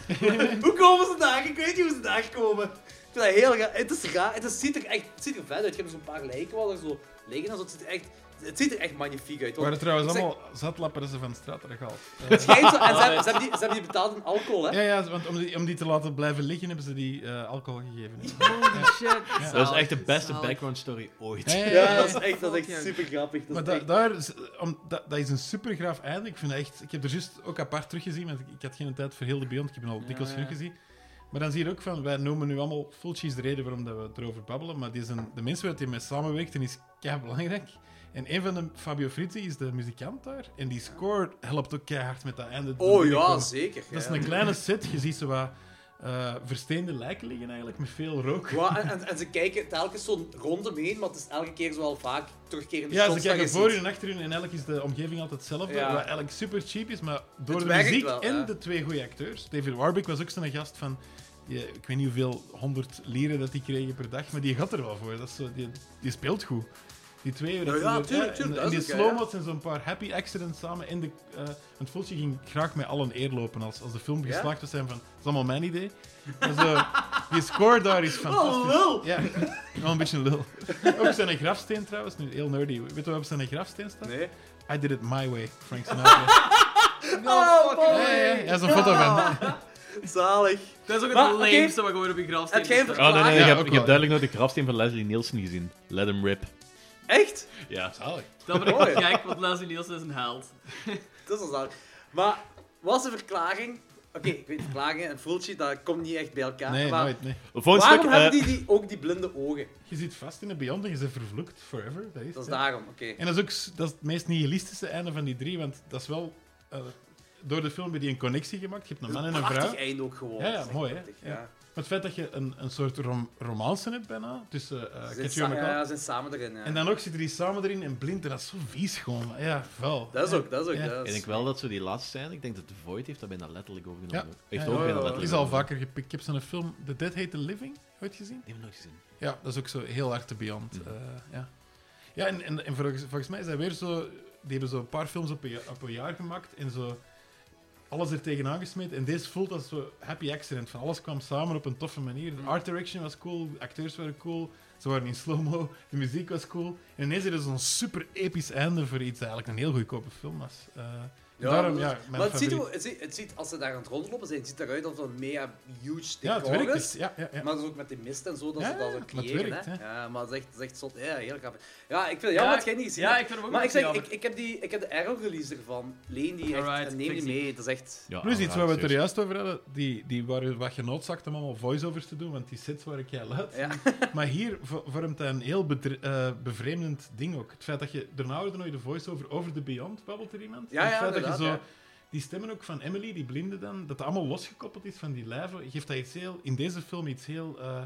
S5: hoe komen ze daar? Ik weet niet hoe ze daar komen. Ik vind dat heel raar. Het is raar. Het, is, ziet er echt het ziet er vet uit. Je hebt zo'n paar lijken wel er zo liggen en zo. Het ziet er echt, het ziet er echt magnifiek uit.
S4: We waren
S5: Want
S4: trouwens
S5: ik zeg-
S4: allemaal zatlappersen van straat gehaald.
S5: het schijnt zo- en ze, hebben, ze, hebben die, ze hebben die betaald in alcohol, hè?
S4: Ja, ja, want om die, om die te laten blijven liggen, hebben ze die eh, alcohol gegeven.
S8: Holy shit.
S6: Dat is echt de beste
S8: Zalig.
S6: background story ooit.
S4: Ja, ja, ja.
S5: Ja, dat is echt, dat is echt super grappig. Dat
S4: Maar
S5: is
S4: da-
S5: echt-
S4: daar, is- om, da- dat is een supergraaf einde. Ik vind dat echt... Ik heb er juist ook apart teruggezien, want ik, ik had geen tijd voor heel de Beyond. Ik heb hem al dikwijls genoeg gezien. Maar dan zie je ook van, wij noemen nu allemaal... Fulci is de reden waarom dat we erover babbelen, maar die zijn, de mensen waar hij mee samenwerkt, en is belangrijk. En een van de, Fabio Fritti, is de muzikant daar. En die score helpt ook keihard met dat einde.
S5: Oh ja,
S4: binnenkomen.
S5: zeker.
S4: Dat is
S5: ja.
S4: een kleine set. Je ziet zo wat eh, versteende lijken liggen eigenlijk, met veel rook.
S5: Ja, en, en, en ze kijken telkens zo rond hem heen, maar het is elke keer zo wel vaak terugkerende
S4: Ja, ze
S5: shots dat
S4: kijken
S5: je
S4: voor
S5: ziet.
S4: en achter hun en elk is de omgeving altijd hetzelfde.
S5: Ja.
S4: Wat eigenlijk super cheap is, maar door
S5: Het
S4: de
S5: werkt
S4: muziek
S5: wel,
S4: en
S5: ja.
S4: de twee goede acteurs. David Warbeck was ook zo'n gast van, die- ik weet niet hoeveel, 100 leren dat die kregen per dag, maar die gaat er wel voor. Dat is zo, die, die speelt goed. Die twee, dat
S5: Ja,
S4: zijn
S5: ja,
S4: zo-
S5: tuurlijk,
S4: en-
S5: tuurlijk,
S4: En,
S5: dat
S4: die
S5: is ook, ja, ja.
S4: slow-mo's en zo'n paar happy accidents samen. In de, eh want Fulci ging graag met allen eer lopen als, als de film
S5: Ja?
S4: geslaagd was. Zijn van, dat is allemaal mijn idee. Maar zo, die score daar
S5: Oh,
S4: is fantastisch.
S5: lul!
S4: Ja, wel een beetje een lul. Op zijn grafsteen trouwens, nu heel nerdy. Weet je wat op zijn grafsteen staat?
S5: Nee.
S4: I did it my way, Frank Sinatra.
S5: Oh,
S4: ja, ja, ja. ja, zo'n foto van.
S5: Zalig.
S3: Dat is ook het
S5: Maar, oké.
S3: leemste wat gewoon op je grafsteen
S5: Het geen
S3: staat.
S6: Ah,
S7: Oh, nee, nee,
S4: Ja,
S7: ik heb,
S4: ook
S7: ik
S4: wel.
S7: heb duidelijk nooit de grafsteen van Leslie Nielsen gezien. Let him rip.
S5: Echt?
S7: Ja.
S3: Dat vind ik
S5: Mooi.
S3: gek, want Leslie Nielsen is een held.
S5: Dat is al zalig. Maar, was de verklaring... Oké, ik weet verklaringen en Fulci, dat komt niet echt bij elkaar.
S4: Nee,
S5: maar
S4: nooit, nee.
S7: Volgens
S5: waarom
S7: stuk, eh,
S5: hebben die, die ook die blinde ogen?
S4: Je zit vast in de Beyond en je bent vervloekt forever. Dat is,
S5: Dat is
S4: ja.
S5: daarom, oké.
S4: En dat is ook s- dat is het meest nihilistische einde van die drie, want dat is wel... eh, door de film heb je een connectie gemaakt. Je hebt een man en een
S5: Prachtig
S4: vrouw.
S5: einde ook gewoon.
S4: Ja, ja,
S5: Dat is echt
S4: mooi, hè?
S5: prachtig,
S4: Ja. Maar het feit dat je een, een soort rom romance hebt bijna, tussen eh
S5: Ze zijn,
S4: Catherine
S5: sa- ja,
S4: McCall...
S5: ze zijn samen erin, ja.
S4: En dan ook zitten die samen erin en blind, en dat is zo vies gewoon. Ja, vuil.
S5: Dat is ook, dat is ook.
S4: Ja.
S5: Dat
S7: Ik
S5: is...
S7: denk wel dat ze die laatste zijn. Ik denk dat The Void heeft dat bijna letterlijk overgenomen.
S4: Ja.
S7: Heeft
S4: Ja,
S7: ook
S4: ja,
S7: bijna
S5: ja.
S7: letterlijk
S4: Die is al
S7: overgenomen.
S4: vaker gepikt. Ik heb zo'n film, The Dead Hate the Living, ooit gezien?
S7: Die hebben we nooit gezien.
S4: Ja, dat is ook zo heel hard te beyond.
S7: Mm.
S4: eh, ja, ja en, en, en volgens, volgens mij is dat weer zo... Die hebben zo een paar films op een, ja- op een jaar gemaakt en zo alles er tegenaan gesmeten. En deze voelt als zo happy accident. Van alles kwam samen op een toffe manier. De art direction was cool, de acteurs waren cool, ze waren in slow-mo, de muziek was cool. En ineens is er zo'n super episch einde voor iets dat eigenlijk een heel goedkope film was. Eh, daarom, ja, mijn
S5: maar het ziet, er
S4: favoriet.
S5: ook- het, ziet, het ziet, als ze daar aan het rondlopen zijn, het ziet eruit als een mega huge
S4: Ja, het
S5: decor
S4: werkt
S5: is.
S4: dus. Ja, ja, ja.
S5: Maar dat is ook met die mist en zo, dat
S4: Ja,
S5: ze dat
S4: ja,
S5: ook
S4: maar het
S5: creëren.
S4: werkt,
S5: hè.
S4: hè.
S5: Ja, maar het is echt, het is echt zot. Ja, heel grappig. Ja, ik vind het jammer dat jij het niet gezien
S3: Ja,
S5: hebt.
S3: ik vind hem ook
S5: maar ik
S3: niet
S5: zeg,
S3: jammer.
S5: ik, ik, heb die, ik heb de Arrow-release ervan. Leen die echt
S3: Alright,
S5: en neem die
S3: fix die.
S5: mee. Dat is echt...
S7: Ja,
S4: Plus iets waar we het er
S7: serieus.
S4: juist over hadden, die, die waren wat genoodzaakt om allemaal voiceovers te doen, want die sets waren heel luid.
S5: Ja.
S4: Maar hier vo- vormt hij een heel bedre- eh, bevreemdend ding ook. Het feit dat je daarna hoorde nooit de voiceover over de Beyond babbelt er iemand.
S5: Ja,
S4: En het
S5: ja,
S4: feit dat je zo
S5: inderdaad,
S4: die stemmen ook van Emily, die blinde dan, dat dat allemaal losgekoppeld is van die lijven, geeft dat iets heel, in deze film iets heel eh,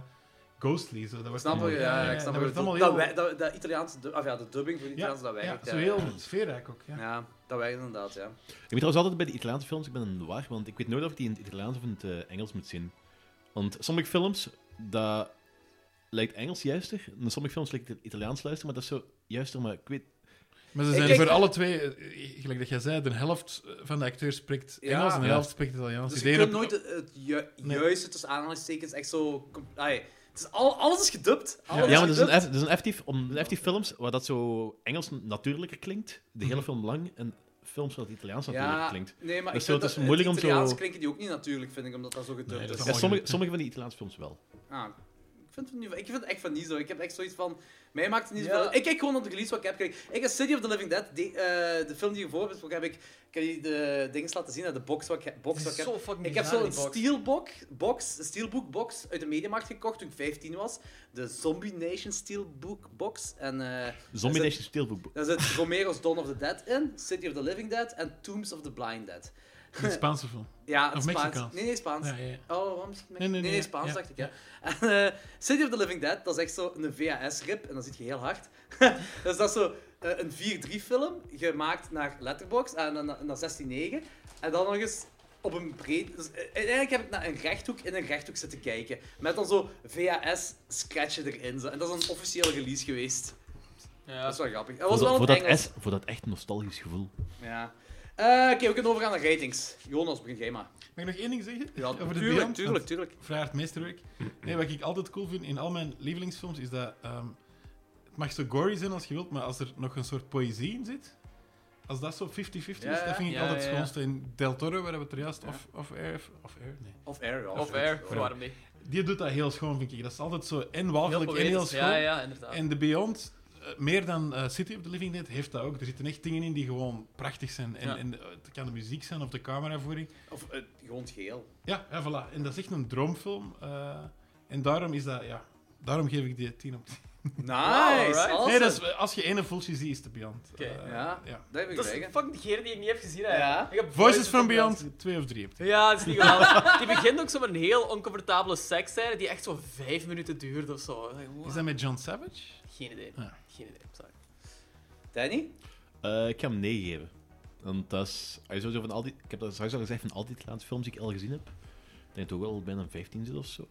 S4: ghostly. Zo. Dat wordt
S5: Snap je? Ja, ja, ik snap
S4: dat wordt
S5: het.
S4: allemaal
S5: Dat, wij-
S4: heel...
S5: dat, dat Italiaanse... dub- Of ja, de dubbing voor de
S4: ja,
S5: Italiaanse, dat
S4: ja,
S5: werkt.
S4: zo heel sfeerrijk ook. Ja.
S5: Ja, dat werkt inderdaad, ja.
S7: Ik ben trouwens altijd bij de Italiaanse films, ik ben een waar, want ik weet nooit of ik die in het Italiaans of in het eh, Engels moet zien. Want sommige films, dat lijkt Engels juister, en sommige films lijkt het Italiaans luister, maar dat is zo juister, maar ik weet...
S5: Oh,
S4: Maar ze
S5: Ik
S4: zijn
S5: denk-
S4: voor alle twee, eh, gelijk dat jij zei, de helft eh, van de acteurs spreekt
S5: Ja.
S4: Engels en de
S7: Ja.
S4: helft spreekt Italiaans.
S5: Dus
S4: Die
S5: je
S4: deden
S5: kunt
S4: op-
S5: nooit het, het ju-
S4: Nee.
S5: juiste tussen aanhalingstekens echt zo... com- Ai, het is al, alles is gedubt. Alles
S7: ja, maar dat
S5: is
S7: is een,
S5: gedubt.
S7: eff- dat is een effectief, om, een effectief films waar dat zo Engels natuurlijker klinkt, de
S5: Mhm.
S7: hele film lang, en films waar het Italiaans natuurlijk klinkt.
S5: Nee, maar
S7: Dus
S5: ik
S7: zo,
S5: vind
S7: het is
S5: dat,
S7: moeilijk om
S5: het
S7: zo-
S5: Italiaans klinken die ook niet natuurlijk, vind ik, omdat dat zo gedubt
S4: Nee, dat
S5: is.
S4: is
S7: Ja,
S4: Mooi
S7: sommige,
S4: goed.
S7: sommige van die Italiaanse films wel.
S5: Ah, ik vind het, niet, ik vind het echt van niet zo. Ik heb echt zoiets van... Mij maakt het niet
S3: Ja.
S5: zoveel uit. Ik kijk gewoon naar de release wat ik heb gekregen. Ik heb City of the Living Dead, die, eh, de film die hiervoor is, heb ik, ik heb die de dingen laten zien, hè, de box wat ik, heb- box
S3: Het
S5: wat
S3: is
S5: ik heb.
S9: Oh,
S3: zo fucking
S5: Ik heb
S3: bizar,
S5: zo'n
S3: die box.
S5: steelbox, box, een steelbook box uit de mediamarkt gekocht toen ik 15 was. De Zombie Nation steelbook box. En eh,
S7: Zombie
S5: daar
S7: Nation
S5: zit-
S7: Steelbook.
S5: daar zit Romero's Dawn of the Dead in, City of the Living Dead en Tombs of the Blind Dead.
S4: Een Spaanse film.
S5: Ja,
S4: Of
S5: het Spaans.
S4: Mexicaans.
S5: Nee, nee, Spaans.
S4: Ja, ja, ja.
S5: Oh, waarom misschien
S4: Nee, nee,
S5: Nee, nee,
S4: nee,
S5: Spaans
S4: ja.
S5: dacht ik, ja. En, eh, City of the Living Dead, dat is echt zo een VHS-rip, en dat zit je heel hard. dus dat is zo eh, een 4-3-film, gemaakt naar Letterboxd, en dan na- naar 16-9. En dan nog eens op een breed... Dus, eh, eigenlijk heb ik naar een rechthoek in een rechthoek zitten kijken. Met dan zo VHS-scratchen erin. Zo. En dat is een officiële release geweest.
S3: Ja.
S5: Dat is wel grappig. Dat was
S7: Voor,
S5: wel
S7: dat-
S5: in
S7: voor,
S5: het
S7: dat
S5: Engels.
S7: S- voor dat echt nostalgisch gevoel.
S5: Ja. Eh, Oké, we kunnen overgaan naar ratings. Jonas, begin jij maar.
S4: Mag ik nog één ding zeggen?
S5: Ja,
S4: Over de
S5: tuurlijk,
S4: Beyond?
S5: tuurlijk, tuurlijk.
S4: Vraagt meesterwerk. Nee, wat ik altijd cool vind in al mijn lievelingsfilms is dat. ehm, het mag zo gory zijn als je wilt, maar als er nog een soort poëzie in zit. Als dat zo 50-50 is,
S5: Ja,
S4: dat vind ik
S9: ja,
S4: altijd
S9: ja,
S4: het
S9: ja.
S4: schoonste. In Del Toro, waar we het er juist of, of Air. Of Air? Nee.
S5: Of Air, ja.
S9: Of air, waarom niet?
S4: Die doet dat heel schoon, vind ik. Dat is altijd zo en
S9: Heel
S4: walgelijk en heel
S9: poëtisch.
S4: schoon.
S9: Ja, ja, inderdaad.
S4: En de Beyond, eh, meer dan eh, City of the Living Dead, heeft dat ook. Er zitten echt dingen in die gewoon prachtig zijn. En,
S9: Ja.
S4: en eh, het kan de muziek zijn of de cameravoering.
S5: Of eh, gewoon het geheel.
S4: Ja, ja, voilà. En dat is echt een droomfilm. eh, en daarom is dat, ja, daarom geef ik die 10 op 10.
S5: Nice!
S9: alright.
S5: awesome.
S4: Nee, dat is, als je ene voeltje ziet, is de Beyond.
S9: Oké.
S4: Eh,
S5: Ja,
S4: ja.
S5: dat heb ik
S9: Dat is
S5: gezegd.
S9: fucking degene die ik niet heb gezien. hè.
S5: Ja.
S9: Ik heb
S4: Voices from Beyond, 2 of 3 op 10.
S9: Ja, dat is niet geweldig. Die begint ook zo met een heel oncomfortabele seksscène die echt zo vijf minuten duurt of zo. Ik denk,
S4: Is
S9: wow.
S4: dat met John Savage?
S9: Geen idee.
S4: Ja.
S9: Geen idee. Sorry.
S5: Danny?
S6: Eh, ik ga hem 9 geven. Want dat is, als je sowieso van al die, ik heb dat straks al gezegd van al die laatste films die ik al gezien heb. Ik denk toch wel bijna een 15 zit of zo.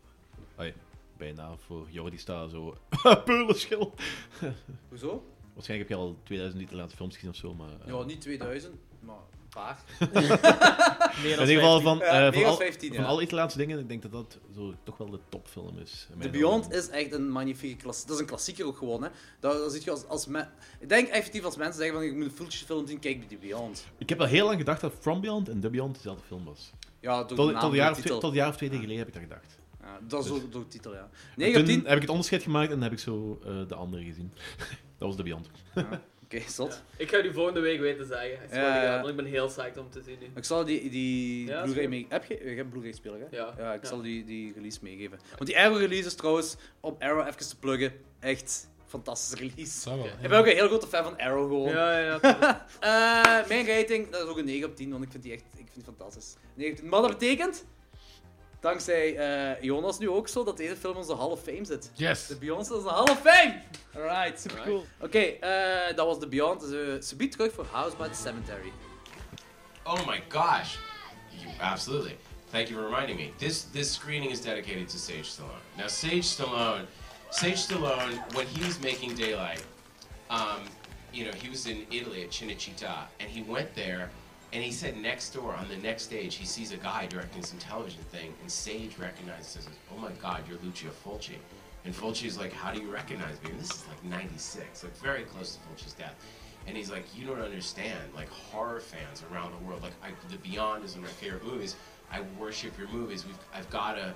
S6: Ai, bijna voor Jordi staat zo. Peulenschil.
S5: Hoezo?
S6: Waarschijnlijk heb je al 2000 Italiaanse films gezien of zo. Maar, eh,
S5: Ja, niet 2000, maar een paar.
S9: Meer
S6: in
S9: dan
S6: ieder geval
S9: 15.
S6: van,
S5: Ja,
S6: eh,
S5: meer
S6: van,
S5: dan
S6: al,
S5: 15,
S6: van
S5: ja.
S6: alle Italiaanse dingen, ik denk dat dat zo, toch wel de topfilm is. in
S5: De
S6: mijn
S5: Beyond
S6: ogen.
S5: is echt een magnifieke klassieker. Dat is een klassieker ook gewoon, hè. Dat, dat zit je als, als men... Ik denk effectief als mensen zeggen van, ik moet een fulltje film zien, kijk bij de Beyond.
S6: Ik heb al heel lang gedacht dat From Beyond en The Beyond dezelfde film was.
S5: Ja, door
S6: Tot,
S5: de
S6: tot,
S5: naam,
S6: een
S5: door
S6: jaar
S5: de
S6: of twee,
S5: titel.
S6: tot een jaar of twee geleden heb ik dat gedacht.
S5: Ja, dat is
S6: Dus-
S5: door, door de titel, ja.
S6: En
S5: 9
S6: Toen
S5: op 10.
S6: heb ik het onderscheid gemaakt en heb ik zo eh, de andere gezien. dat was The Beyond.
S5: Oké, zot.
S9: Ik ga die volgende week weten zeggen. Ik,
S5: Ja, ja.
S9: ik ben heel psyched om te zien nu.
S5: Ik zal die, die
S9: Ja,
S5: Blu-ray
S9: is
S5: mee... Heb je, je hebt Blu-ray speler, hè?
S9: Ja.
S5: Ja, ik
S9: Ja.
S5: zal die, die release meegeven. Want die Arrow release is trouwens, om Arrow even te pluggen, echt fantastische release.
S4: Zou wel.
S9: Oké.
S5: Ik ben ook een heel grote fan van Arrow gewoon.
S9: Ja, ja, ja.
S5: Eh, mijn rating, dat is ook een 9 op 10, want ik vind die echt ik vind die fantastisch. 9 op 10. Maar dat betekent, dankzij eh, Jonas nu ook zo, dat deze film onze Hall of Fame zit.
S4: Yes.
S5: De Beyond is onze Hall of Fame! Alright, super cool. Oké, eh, dat was de Beyond. Dus, eh, subiet terug voor House by the Cemetery.
S3: Oh my gosh! You, absolutely. Thank you for reminding me. This this screening is dedicated to Sage Stallone. Now, Sage Stallone, Sage Stallone, when he was making Daylight, um, you know, he was in Italy at Cinecittà, and he went there, and he said next door on the next stage, he sees a guy directing some television thing, and Sage recognizes, him. "Oh my God, you're Lucio Fulci." And Fulci's like, "How do you recognize me?" And this is like '96, like very close to Fulci's death. And he's like, "You don't understand. Like horror fans around the world, like I, The Beyond is one of my favorite movies. I worship your movies. We've, I've got to."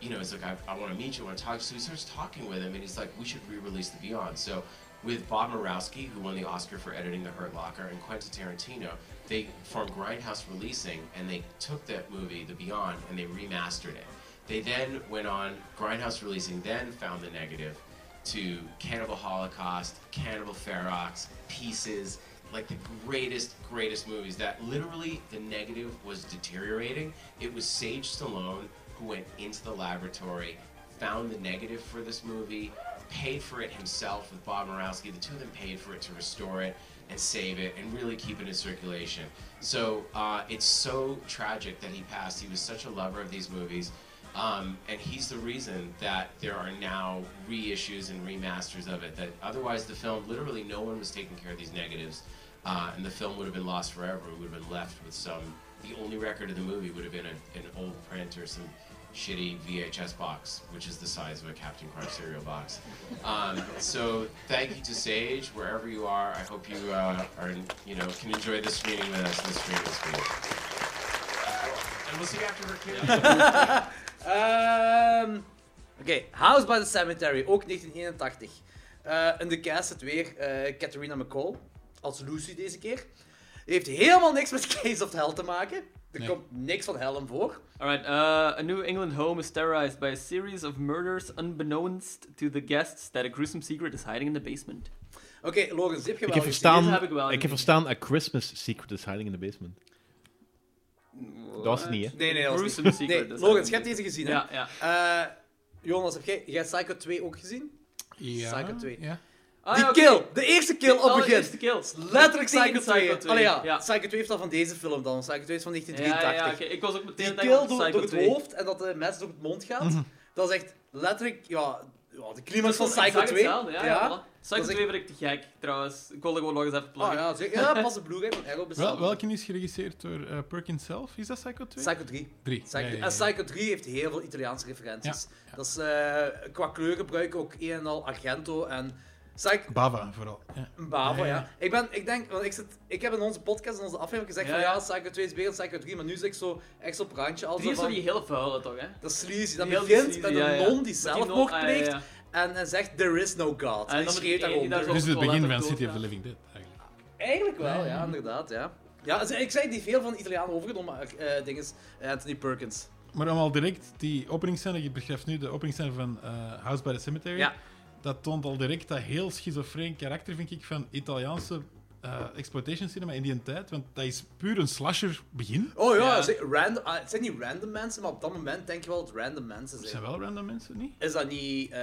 S3: you know, it's like, I, I want to meet you, I want to talk. to you." So he starts talking with him, and he's like, we should re release The Beyond. So with Bob Murawski, who won the Oscar for editing The Hurt Locker, and Quentin Tarantino, they, from Grindhouse Releasing, and they took that movie, The Beyond, and they remastered it. They then went on, Grindhouse Releasing then found the negative to Cannibal Holocaust, Cannibal Ferox, Pieces, like the greatest, greatest movies that literally the negative was deteriorating. It was Sage Stallone who went into the laboratory, found the negative for this movie, paid for it himself with Bob Murawski. The two of them paid for it to restore it and save it and really keep it in circulation. So uh, it's so tragic that he passed. He was such a lover of these movies. Um, and he's the reason that there are now reissues and remasters of it. That otherwise, the film literally no one was taking care of these negatives, uh, and the film would have been lost forever. We would have been left with some. The only record of the movie would have been a, an old print or some shitty VHS box, which is the size of a Captain Crunch cereal box. Um, so, thank you to Sage wherever you are. I hope you uh, are, you know, can enjoy this screening with us this screening this week. And we'll see you after her kid.
S5: Ehm, Oké, House by the Cemetery, ook 1981. Eh in de cast zit weer eh Catherine McCall, als Lucy deze keer. Die heeft helemaal niks met Case of Hell te maken. Er komt niks van Hell hem voor.
S9: Alright, uh, a New England home is terrorized by a series of murders unbeknownst to the guests that a gruesome secret is hiding in the basement.
S5: Oké, Logan, zip je
S6: Ik
S5: wel
S6: heb
S5: eens
S6: verstaan,
S9: deze
S6: ik,
S9: heb ik wel gezien.
S6: heb verstaan A Christmas Secret is Hiding in the Basement. Dat was het niet, hè?
S5: die- Nee, nee, dat was niet.
S9: Gruesome secret.
S5: Nee,
S9: dus
S5: Logan,
S9: dat-
S5: je hebt deze gezien, hè?
S9: Ja, ja.
S5: Eh, Jonas, heb jij, jij Psycho 2 ook gezien?
S4: Ja.
S5: Psycho 2.
S4: Ja.
S9: Ah,
S5: Die
S9: ja, oké.
S5: kill, de eerste kill op
S9: Oh,
S5: het
S9: de
S5: begin.
S9: eerste kill.
S5: Letterlijk Psycho 2.
S9: Psycho 2.
S5: Allee, ja.
S9: Ja.
S5: Psycho 2 heeft al van deze film dan. Psycho 2 is van
S9: Ja, ja,
S5: 1983.
S9: ja, oké. ik was ook meteen
S5: Die
S9: aan het denken
S5: kill
S9: aan
S5: door,
S9: Psycho
S5: door het
S9: 2.
S5: hoofd en dat de mes door het mond gaat. Dat is echt letterlijk, ja, ja, de climax van
S3: Ik zag
S5: Psycho 2.
S3: hetzelfde, Ja, ja. voilà. Psycho
S5: Dat is
S3: 2 vind ik te gek, trouwens. Ik wilde gewoon nog eens even
S5: Ah,
S3: pluggen.
S5: ja, zeker. Ja, pas de Blu-ray van Arrow besteld.
S4: Wel, welke is geregisseerd door eh, Perkins zelf? Is dat Psycho 2?
S5: Psycho 3.
S4: 3.
S5: Psycho,
S4: ja, ja,
S5: En
S4: ja.
S5: Psycho 3 heeft heel veel Italiaanse referenties. Dat is, eh, qua kleurgebruik ook een en al Argento en Psycho
S4: Bava, vooral. Ja.
S5: Bavo,
S4: Ja, ja.
S5: ja. Ik, ben, ik denk, want ik, zit, ik heb in onze podcast, in onze aflevering gezegd
S3: Ja,
S5: van
S3: ja.
S5: ja, Psycho 2 is beter dan Psycho 3, maar nu zit ik zo echt op het randje. Al
S3: Die
S5: zo
S3: is zo
S5: van,
S3: die hele vuile, toch, hè?
S5: dat is sleazy. Dus Dat
S3: Heel
S5: begint
S3: sleazy,
S5: met een
S3: ja, ja.
S5: non
S3: Met
S5: die
S3: die
S5: zelfmoord
S3: non- ah, ja,
S5: pleegt
S3: ja. Ah,
S5: en, en zegt there is no god. En,
S3: dan
S5: die
S3: moet
S5: schreeuwt
S3: die ene die
S5: daaronder. Dus
S3: daar
S4: Dus het begin van
S3: Toilet-
S4: City of the Living Dead, eigenlijk.
S5: Eigenlijk wel, ja, inderdaad, ja. Ja, ze- ik zei die veel van de Italianen overgenomen, maar eh ding is Anthony Perkins.
S4: Maar om al direct die openingscène, je beschrijft nu de openingscène van eh, House by the Cemetery.
S5: Ja.
S4: Dat toont al direct dat heel schizofreen karakter, vind ik, van Italiaanse eh, exploitation cinema in die tijd. Want dat is puur een slasher begin.
S5: Oh ja,
S3: Ja.
S5: ze- random, ah, het zijn niet random mensen, maar op dat moment denk je wel dat het random mensen
S4: Dat
S5: zijn.
S4: zijn wel random mensen, niet?
S5: Is dat niet eh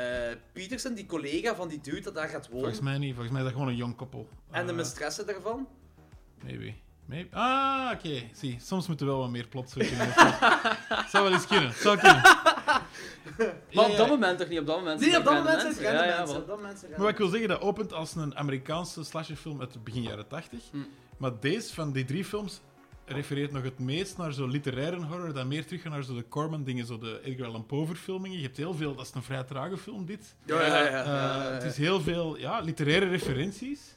S5: Peterson, die collega van die dude dat daar gaat wonen?
S4: Volgens mij niet. Volgens mij is dat gewoon een jong koppel.
S5: En de
S4: Eh,
S5: mistresse daarvan?
S4: Maybe. Maybe. Ah, oké. Zie, soms moeten we wel wat meer plots zoeken. in de film. zou wel eens kunnen. Zou kunnen.
S3: Maar
S4: Ja,
S3: op dat
S4: ja.
S3: moment toch niet? Op dat moment
S5: Nee,
S3: zijn
S5: op
S3: het
S5: dat moment zijn
S3: mensen.
S5: het random
S3: Ja, ja,
S5: mensen.
S3: wel.
S5: op dat moment zijn het
S4: Maar wat
S5: random
S4: ik wil zeggen, dat opent als een Amerikaanse slasherfilm uit begin jaren 80.
S5: Hm.
S4: Maar deze van die drie films refereert nog het meest naar zo'n literaire horror, dan meer terug naar zo de Corman-dingen, zo de Edgar Allan Poe-verfilmingen. Je hebt heel veel, dat is een vrij trage film, dit.
S5: mensen. Ja, ja, ja, ja,
S4: Eh,
S5: ja, ja.
S4: Het is heel veel ja, literaire referenties.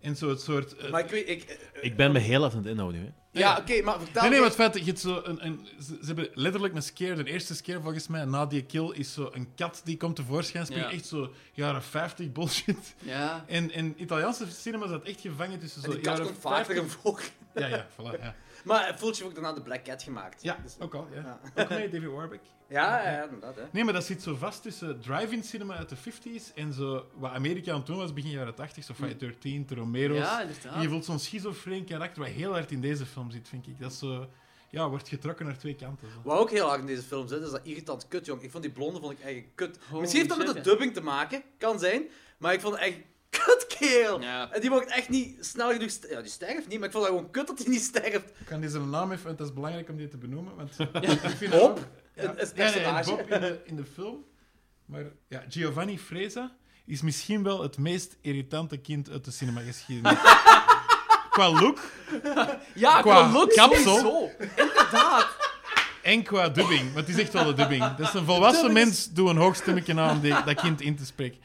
S4: En zo het soort... eh,
S5: Maar ik weet... Ik, eh,
S6: Ik ben me heel hard aan het inhouden. Hè.
S5: ja, oké, maar vertel
S4: Nee, nee,
S5: me-
S4: maar het feit dat je het zo... Een, een, ze, ze hebben letterlijk een scare, de eerste scare volgens mij, na die kill, is zo een kat die komt tevoorschijn springen.
S3: Ja.
S4: Echt zo jaren 50 bullshit.
S3: Ja.
S4: En, en Italiaanse cinema zat echt gevangen tussen zo
S5: Die kat
S4: jaren
S5: komt vaak
S4: 50
S5: tegen voor.
S4: Ja, ja, voilà. Ja,
S5: Maar eh, voelt je ook daarna de Black Cat gemaakt?
S4: ja
S5: Dus-
S4: ook al. Ja. Ook mee David Warbeck.
S5: ja, ja, ja, inderdaad, hè.
S4: Nee, maar dat zit zo vast tussen drive-in cinema uit de 50s en zo wat Amerika aan het doen was begin jaren 80, zo Friday 13, de Romero's.
S3: Mm. Ja,
S4: En je
S3: inderdaad.
S4: voelt zo'n schizofreen karakter wat heel hard in deze film zit, vind ik. Dat is zo... Ja, wordt getrokken naar twee kanten. Zo.
S5: Wat ook heel hard in deze film zit, is dat irritant kut, jong. Ik vond die blonde vond ik eigenlijk kut.
S3: Holy
S5: Misschien heeft dat
S3: shit,
S5: met de
S3: ja.
S5: dubbing te maken, kan zijn. Maar ik vond het echt kutkeel.
S3: Ja.
S5: En die mocht echt niet snel genoeg... st- Ja, die sterft niet, maar ik vond dat gewoon kut dat hij niet sterft.
S4: Ik kan deze een naam even, want dat is belangrijk om die te benoemen. Want ik vind
S5: Bob?
S4: dat-
S5: Het is het
S4: Ja, nee, en
S5: personage.
S4: Bob in de, in de film. Maar ja, Giovanni Freza is misschien wel het meest irritante kind uit de cinemageschiedenis. Qua look,
S3: Ja,
S4: qua
S3: look
S4: kapsel.
S3: sowieso. Inderdaad.
S4: En qua dubbing, want het is echt wel de dubbing. Dat is een volwassen mens, doe een hoogstemmetje aan om die, dat kind in te spreken.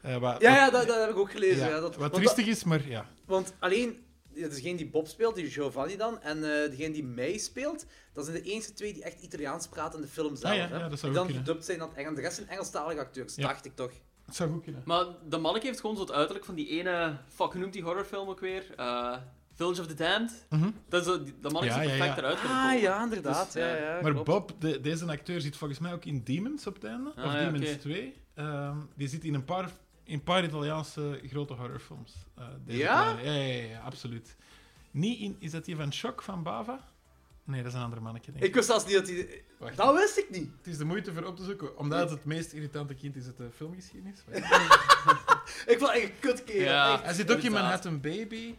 S4: Eh, wat,
S5: Ja, ja dat, dat heb ik ook gelezen. Ja,
S4: ja,
S5: dat,
S4: wat
S5: want, dat-
S4: triestig is, maar ja.
S5: want alleen... ja, dus Degene die Bob speelt, die Giovanni dan, en eh, degene die mij speelt, dat zijn de enige twee die echt Italiaans praten in de film zelf.
S4: Ah, ja,
S5: hè.
S4: ja, dat zou
S5: die
S4: ook
S5: dan
S4: kunnen.
S5: gedubt zijn naar het Engels. De rest zijn Engelstalige acteurs,
S4: Ja.
S5: dacht ik toch.
S4: Het zou goed kunnen.
S3: Maar de manneke heeft gewoon zo het uiterlijk van die ene... Fuck, hoe noemt die horrorfilm ook weer? Eh, Village of the Damned. Dat is zo, die- dat manneke
S4: Mhm. Ja,
S3: is er
S4: ja,
S3: perfect
S4: ja.
S3: eruit kunnen
S5: Ah
S3: komen.
S5: ja, inderdaad.
S3: Dus,
S5: ja,
S3: ja.
S5: ja,
S4: Maar
S5: klopt.
S4: Bob, de- deze acteur zit volgens mij ook in Demons op het einde.
S3: Ah,
S4: of
S3: ja,
S4: Demons
S3: oké.
S4: 2. Ehm, die zit in een paar, in een paar Italiaanse grote horrorfilms. Eh, deze
S5: Ja?
S4: kleine. Ja, ja, ja, ja, absoluut. Niet in, is dat die van Shock van Bava? Nee, dat is een ander mannetje, denk ik.
S5: Ik wist zelfs niet dat hij...
S4: Wacht.
S5: Dat wist ik niet.
S4: Het is de moeite voor op te zoeken, omdat het het meest irritante kind is uit de filmgeschiedenis.
S5: Ik vond echt een kutkerel.
S3: Ja.
S5: echt. Oh,
S4: Hij zit ook in
S3: Inderdaad.
S4: Manhattan Baby.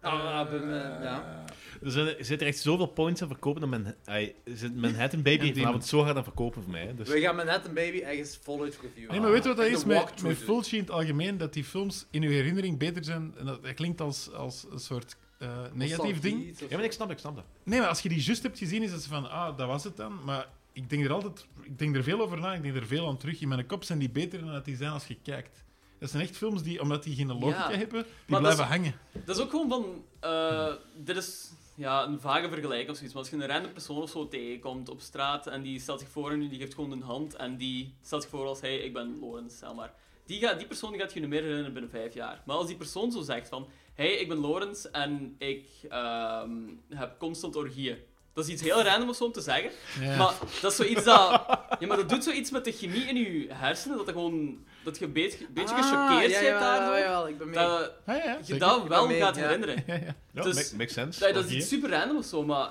S5: Ah, bij me, ja.
S6: Er zijn- er zitten echt zoveel points aan verkopen dat men, ai, zit Manhattan Baby vanavond zo hard aan verkopen voor mij. hè. Dus
S5: We gaan met net een baby ergens voluit reviewen.
S4: Nee, maar weet je wat dat
S5: Echt
S4: is
S5: een
S4: met,
S5: walkthrough dus.
S4: met
S5: doen.
S4: Fulci in het algemeen? Dat die films in uw herinnering beter zijn. En dat, dat klinkt als, als een soort eh, negatief
S5: Nostalgie,
S4: ding.
S5: iets of-
S6: ja, maar ik snap dat, ik snap dat.
S4: Nee, maar als je die juist hebt gezien, is het zo van, ah, dat was het dan. Maar ik denk er altijd, ik denk er veel over na, ik denk er veel aan terug. In mijn kop zijn die beter dan dat die zijn als je kijkt. Dat zijn echt films die, omdat die geen logica
S3: Ja.
S4: hebben, die
S3: dat
S4: blijven
S3: is-
S4: hangen.
S3: Dat is ook gewoon van... eh, dit is ja, een vage vergelijking of zoiets. Maar als je een random persoon of zo tegenkomt op straat en die stelt zich voor en die geeft gewoon een hand en die stelt zich voor als hey, ik ben Lorenz, zeg maar. Die, gaat, die persoon gaat je nu meer herinneren binnen vijf jaar. Maar als die persoon zo zegt van... hey, ik ben Lorenz en ik ehm, heb constant orgieën. Dat is iets heel random of zo om te zeggen.
S4: Ja.
S3: Maar dat is zoiets dat... Ja, maar dat doet zoiets met de chemie in je hersenen. Dat, dat, gewoon, dat je een beetje, beetje
S5: Ah,
S3: gechoqueerd
S5: ja,
S3: bent daardoor.
S5: Ja, jawel, ik ben mee.
S3: Dat,
S4: Ah, Ja, ja,
S3: je
S4: zeker.
S3: dat wel
S5: mee,
S3: gaat
S5: ja.
S3: herinneren.
S6: Ja,
S3: Dus-
S6: make- makes sense.
S3: Ja, dat is
S6: Oké.
S3: iets super random of zo, maar